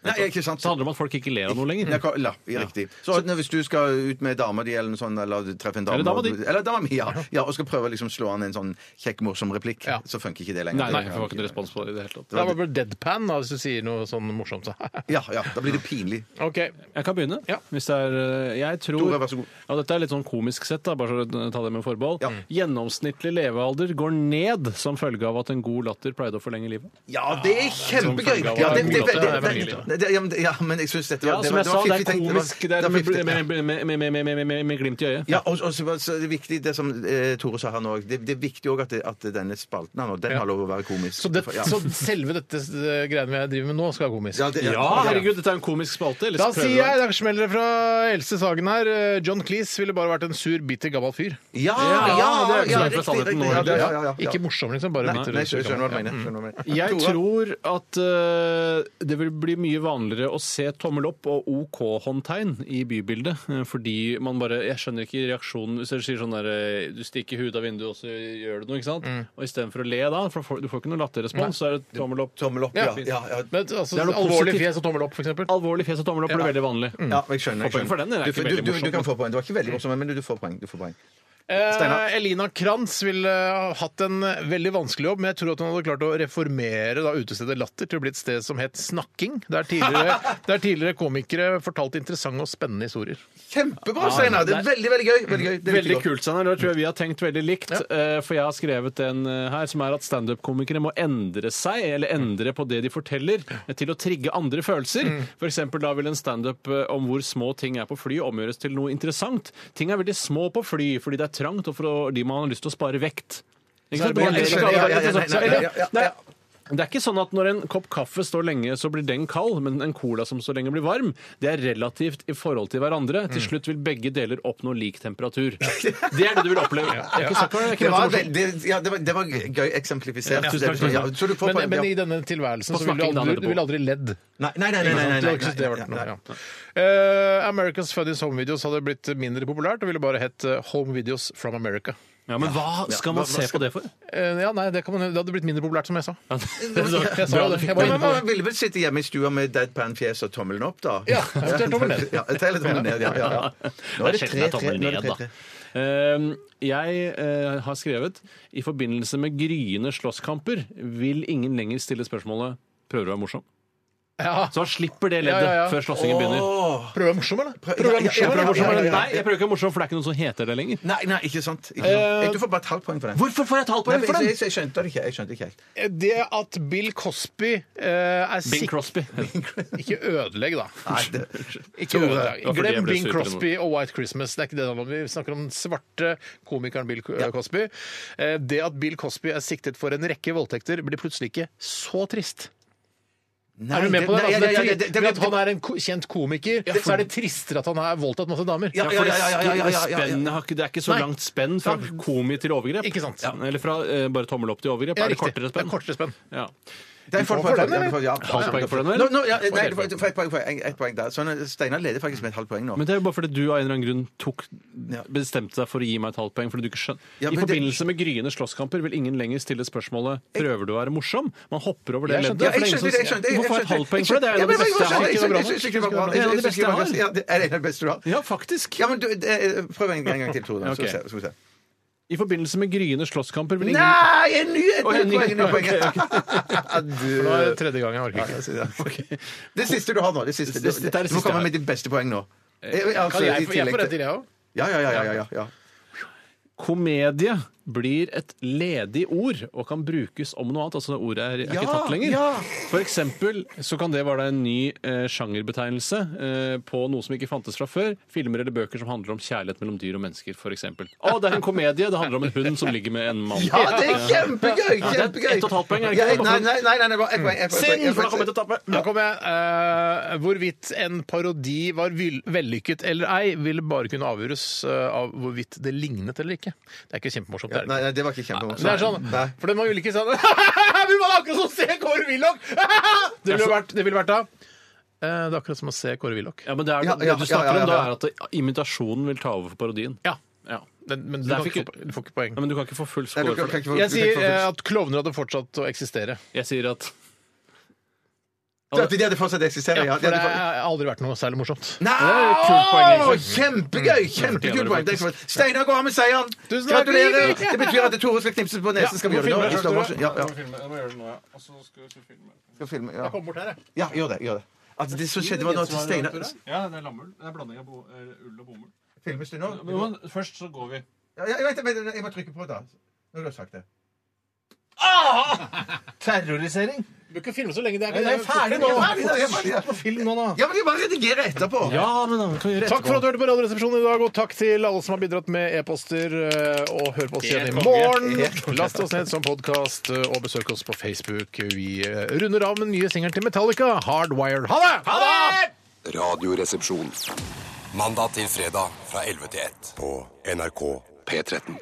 S5: Nei, ikke sant.
S4: Så handler det om at folk ikke ler av noe lenger.
S5: Ja, ka- la, i riktig. Så når- hvis du skal ut med dama di eller noe sånt, eller treffe en dame
S4: Eller dama
S5: og-
S4: di.
S5: Eller dama mi, ja. ja. Og skal prøve å liksom slå an en sånn kjekk, morsom replikk,
S3: Ja.
S5: så funker ikke det lenger.
S4: Nei, nei, jeg får ikke noe respons på det i det hele tatt.
S3: Da var det bare deadpan da, hvis du sier noe sånn morsomt.
S5: Ja, ja, da blir det pinlig.
S3: OK.
S4: Jeg kan begynne.
S3: Ja.
S4: Hvis det er, eh, jeg tror,
S5: Tore, vær så god.
S4: Ja, dette er litt sånn komisk sett, da, bare så ta det med forbehold. Mm.
S5: Ja.
S4: Gjennomsnittlig levealder går ned som følge av at en god latter pleide å forlenge livet.
S5: Ja, det er kjempegøy!
S4: Ah, Som følge av
S5: Ja, det, det, det,
S4: at det er
S5: det,
S4: veldig
S5: det, det, ja, men- ja, men jeg syns dette var
S4: Ja, som
S5: var-
S4: jeg sa, det
S5: fiffig
S4: er
S5: tenkt.
S4: komisk. Det
S5: var
S4: er med,
S5: fiffig, ja.
S4: med, med, med, med, med, med, med glimt i øyet.
S5: Ja, og, og så var så er det viktig det som eh, Tore sa her nå det, det er viktig òg at, det- at denne spalten her nå, den har lov å være komisk.
S3: Så, det,
S5: <laughs> ja.
S3: så selve dette eh, greiene jeg driver med nå, skal være komisk?
S5: ja, det,
S4: Ja, herregud, dette er en komisk spalte. ellers
S3: Da
S4: prøver
S3: sier
S4: vi.
S3: jeg, da smeller det fra Else Sagen her. eh, John Cleese ville bare vært en sur, bitter, gammel fyr.
S5: Ja, ja, ja,
S4: det er liksom ikke
S5: ja,
S4: så langt fra
S5: riktig,
S4: sannheten
S5: riktig,
S4: nå,
S5: ja, det- ja, ja, ja.
S3: Ikke morsom, liksom. Bare
S5: Nei,
S3: bitter.
S5: nei,
S3: og sur,
S5: skjønner hva du
S3: gammel.
S5: mener. skjønner hva du mener.
S4: Jeg
S5: Tore?
S4: tror at eh, det vil bli mye vanligere å se tommel opp og OK-håndtegn i bybildet. eh, fordi man bare Jeg skjønner ikke reaksjonen hvis dere sier sånn der eh, Du stikker huet av vinduet, og så gjør du noe, ikke sant?
S5: Mm.
S4: Og istedenfor å le da, for du får- du får ikke noe latterrespons, så er det tommel opp.
S5: Tommel opp, ja.
S3: Ja.
S5: ja, ja.
S3: Men altså,
S4: Det er noe
S3: alvorlig
S4: positivt.
S3: fjes og tommel opp, for eksempel.
S4: Alvorlig fjes og tommel opp blir veldig vanlig.
S5: Ja, Mm. men jeg skjønner. jeg
S4: Får poeng
S5: skjønner.
S4: for den, den er
S5: Du,
S4: ikke
S5: du, du,
S4: veldig
S5: du
S4: morsom.
S5: kan få poeng. Det var ikke veldig morsomt, men du, du får poeng. Du får poeng. Steinar?
S3: Eh, Elina Kranz ville eh, hatt en eh, veldig vanskelig jobb, men jeg tror at hun hadde klart å reformere da, utestedet Latter til å bli et sted som het Snakking, der
S5: <laughs>
S3: tidligere, der tidligere komikere fortalte interessante og spennende historier.
S5: Kjempebra, Steinar! Det er veldig, veldig gøy. Veldig, gøy. Det
S4: Veldig
S5: kult.
S4: kult, Steinar. Det tror jeg vi har tenkt veldig likt. eh, For jeg har skrevet en eh, her som er at standup-komikere må endre seg, eller endre på det de forteller, eh, til å trigge andre følelser.
S5: Mm.
S4: For eksempel da vil en standup eh, om hvor små ting er på fly, omgjøres til noe interessant. Ting er veldig små på fly fordi det er trangt, og fordi man har lyst til å spare vekt. Ikke sant?
S5: det bare-
S4: Det er ikke
S5: Ja, ja, ja,
S4: alle-
S5: ja, ja, ja, ja, ja.
S4: Nei, det er ikke sånn at når en kopp kaffe står lenge, så blir den kald, men en cola som står lenge, blir varm. Det er relativt i forhold til hverandre. Til slutt vil begge deler oppnå lik temperatur. Det er det du vil oppleve. Det er ikke så- det er
S5: Det
S4: ikke
S5: var,
S4: så morsomt.
S5: veldig, ja, det var, det var gøy eksemplifisert.
S4: tusen takk, tusen
S5: Ja,
S4: takk.
S5: så du får
S3: Men,
S5: poeng.
S3: men i
S5: ja.
S3: denne tilværelsen
S4: På
S3: så ville
S4: snakking,
S3: du
S4: da,
S3: aldri,
S4: etterpå.
S3: du ville aldri ledd.
S5: Nei, nei, nei. nei, nei,
S3: Du
S5: nei,
S3: har ikke syntes det har vært
S5: nei,
S3: noe,
S5: nei.
S3: ja. Eh, America's Funniest Home Videos hadde blitt mindre populært og ville bare hett eh, Home Videos from America.
S4: Ja, men hva skal man se på det for?
S3: Eh, ja, nei, det, kan man, det hadde blitt mindre populært, som jeg sa.
S4: Jeg
S3: Jeg sa det. Jeg var
S5: Men
S3: inne på
S5: man ville vel sitte hjemme i stua med deadpan-fjes og tommelen opp, da?
S3: Ja, eventuelt tommelen ned.
S5: Ja, eventuelt tommelen ned, ja, ja, ja. Nå
S4: Det er sjelden jeg tar meg ned, da. Ehm, Jeg eh, har skrevet i forbindelse med gryende slåsskamper vil ingen lenger stille spørsmålet prøver du å være morsom.
S3: Ja.
S4: Så han slipper det
S3: Ja,
S4: leddet
S3: ja, ja.
S4: før slåssingen begynner.
S3: Prøv å være morsom, eller?
S5: Prøv-
S3: Prøv å være
S5: Ja,
S3: morsom,
S5: ja, ja,
S3: eller?
S5: ja, ja, ja.
S4: Nei, jeg prøver ikke å være morsom, for det er ikke noen som heter det lenger.
S5: Nei, nei, ikke sant. Ikke sant. Du får bare et halvt poeng for den.
S4: Hvorfor får jeg et halvt
S5: Nei,
S4: poeng
S5: men
S4: for
S5: jeg,
S4: den?
S5: jeg, jeg skjønte det ikke. Jeg skjønte ikke helt.
S3: Det at Bill Cosby eh, er
S4: Bing
S3: sikker
S4: Crosby.
S3: Ikke ødelegg, da.
S5: Nei, det,
S3: Ikke ødelegg.
S4: var fordi jeg
S3: Glem
S4: ble
S3: Bing
S4: sur til
S3: Crosby og White Christmas. Det er ikke det det handler om. Vi snakker om den svarte komikeren Bill Co- Cosby. Eh, Det at Bill Cosby er siktet for en rekke voldtekter, blir plutselig ikke så trist.
S5: nei,
S3: er du med på det?
S5: nei,
S3: Altså, det,
S5: ja,
S3: er
S5: ja,
S3: tri-
S5: det- det-
S3: ved at han er en ko- kjent komiker, så er det tristere at han har voldtatt masse damer.
S5: Ja, ja, ja, ja, ja, ja, ja, ja.
S4: Spennet har ikke- Det er ikke så
S3: Nei.
S4: langt spenn fra komi til overgrep.
S3: Ikke sant.
S4: Ja, Eller fra eh, bare tommel opp til overgrep.
S3: Ja,
S4: Er det
S3: riktig.
S4: kortere
S3: Det
S4: spenn?
S3: er kortere spenn.
S4: Ja.
S5: Det er folk
S3: for
S5: for
S3: den,
S5: den,
S3: eller?
S5: ja.
S4: Halvt poeng for den,
S5: Nå,
S4: eller?
S5: nå, ja, nei, det var- det var ett poeng, for- en- ett poeng der. Sånn, Steinar leder faktisk med et halvt poeng nå.
S4: Men det er jo bare fordi du av en eller annen grunn tok,
S5: Ja.
S4: bestemte deg for å gi meg et halvt poeng. fordi du ikke skjønner.
S5: Ja,
S4: I
S5: men det-
S4: forbindelse med gryende slåsskamper vil ingen lenger stille spørsmålet prøver du å være morsom. Man hopper over det
S3: Jeg skjønte-
S4: leddet.
S5: Ja,
S4: for
S5: jeg
S4: det er ingen
S5: skjønte det. jeg
S4: som-
S5: skjønte det, jeg
S4: Du må få et
S5: skjønte
S4: halvt poeng for det. Det
S5: Ja,
S4: er jo
S5: men
S4: det
S3: ikke
S5: jeg
S4: beste jeg har.
S3: noe
S5: skjønner-
S3: bra nok.
S5: jeg syns ikke det var bra.
S4: Det er det
S5: Jeg syns ikke det var
S4: beste jeg
S5: bra. Ja, det er det beste du har.
S4: Ja, faktisk.
S5: Ja, men du, det- prøv en en gang til, Tore. nå, så
S4: Ok.
S5: ser- Skal vi se.
S4: I forbindelse med gryende slåsskamper vil ingen
S5: Nei, en ny et
S4: Oi, en
S5: nytt
S4: ny-
S5: poeng! en ny
S4: <laughs>
S5: poeng.
S3: For nå er det
S5: Du-
S3: tredje gang jeg orker
S5: Ja,
S3: ikke.
S5: jeg sier det. Ok. Det siste du har nå. Det siste.
S4: Det- dette er det
S5: Du må
S4: siste Eh, jeg
S5: komme
S4: har.
S5: med ditt beste poeng nå. Eh, Jeg,
S3: Kan jeg, få- jeg får rett til,
S5: til
S3: jeg òg.
S5: Ja, ja, ja. ja, ja, ja.
S4: Komedie blir et ledig ord og kan brukes om noe annet. Altså ordet er, er
S5: Ja,
S4: ikke tatt lenger.
S5: ja.
S4: For eksempel så kan det være da en ny eh, sjangerbetegnelse eh, på noe som ikke fantes fra før. Filmer eller bøker som handler om kjærlighet mellom dyr og mennesker, f.eks. Å, det er en komedie! Det handler om en hund som ligger med en mann.
S5: Ja, det er kjempegøy!
S4: Ja, det er
S5: kjempegøy.
S4: ett og et halvt poeng, er det
S5: Ja,
S4: ikke?
S5: Nei, nei, nei, nei, nei bare ett poeng. ett poeng,
S4: Synd,
S5: ett
S4: for da
S5: poeng.
S4: kommer jeg til å tape!
S3: Da kommer jeg. eh, hvorvidt en parodi var vil- vellykket eller ei, ville bare kunne avgjøres eh, av hvorvidt det lignet eller ikke. Det er ikke kjempemorsomt. det er det
S5: Nei,
S3: ikke.
S5: nei, det var ikke kjempemorsomt.
S3: Det er sånn,
S5: Nei.
S3: for den var ulike sånn <laughs> Vi var akkurat som å se Kåre Willoch! <laughs> det ville vært, det ville vært da eh, Det er akkurat som å se Kåre Willoch.
S4: Ja, men det, er,
S5: Ja, ja,
S4: det du snakker
S5: ja, ja,
S4: om, da
S5: ja.
S4: er at det- imitasjonen vil ta over for parodien.
S3: Ja.
S4: Ja.
S3: Men, men du,
S4: Der
S3: kan
S4: fikk
S3: ikke, få-
S4: du-
S3: du får ikke poeng.
S4: Nei, men du kan ikke få full
S5: Nei,
S4: score
S5: du kan-
S4: for
S5: kan
S4: det.
S5: ikke få-
S3: Jeg eh,
S5: du kan
S3: sier
S5: ikke få
S3: eh,
S5: full-
S3: at klovner hadde fortsatt å eksistere.
S4: Jeg sier at
S5: At de hadde fortsatt eksisterer, ja.
S3: For
S5: De
S3: det
S5: hadde
S3: har
S5: fortsatt...
S3: aldri vært noe særlig morsomt.
S5: Nei!
S9: et kult poeng,
S5: Åh,
S9: egentlig.
S5: Kjempegøy! Kjempekult poeng. Det er for- Steinar går av med seieren.
S3: Tusen takk.
S5: Gratulerer. Det betyr at Tore skal knipses på nesen. Skal vi gjøre det nå? Vi står bare- Ja, ja. Skal filme, ja.
S3: Kom bort her, jeg.
S5: ja, gjør det. gjør det. Altså, det som skjedde var nå at Steinar
S10: Ja, det er lammull. Det er blanding av bo- eh, ull og bomull.
S5: Filmes du nå?
S10: Men først så går vi.
S5: Ja, jeg, vet, det, men jeg må trykke på, da. Når du har sagt det. Terrorisering.
S3: Du kan ikke filme så lenge det er.
S5: Jeg er ferdig, ja.
S3: Film nå, da.
S5: Ja, men jeg bare redigerer etterpå.
S3: Takk for at du hørte på Radioresepsjonen i dag, og takk til alle som har bidratt med e-poster. eh, Og hør på oss igjen i morgen. Last oss ned som podkast, og besøk oss på Facebook. Vi eh, runder av med den nye singelen til Metallica, 'Hardwired'. Ha det! Ha det!
S7: Radioresepsjon. Mandag til fredag fra 11 til 1 på NRK P13.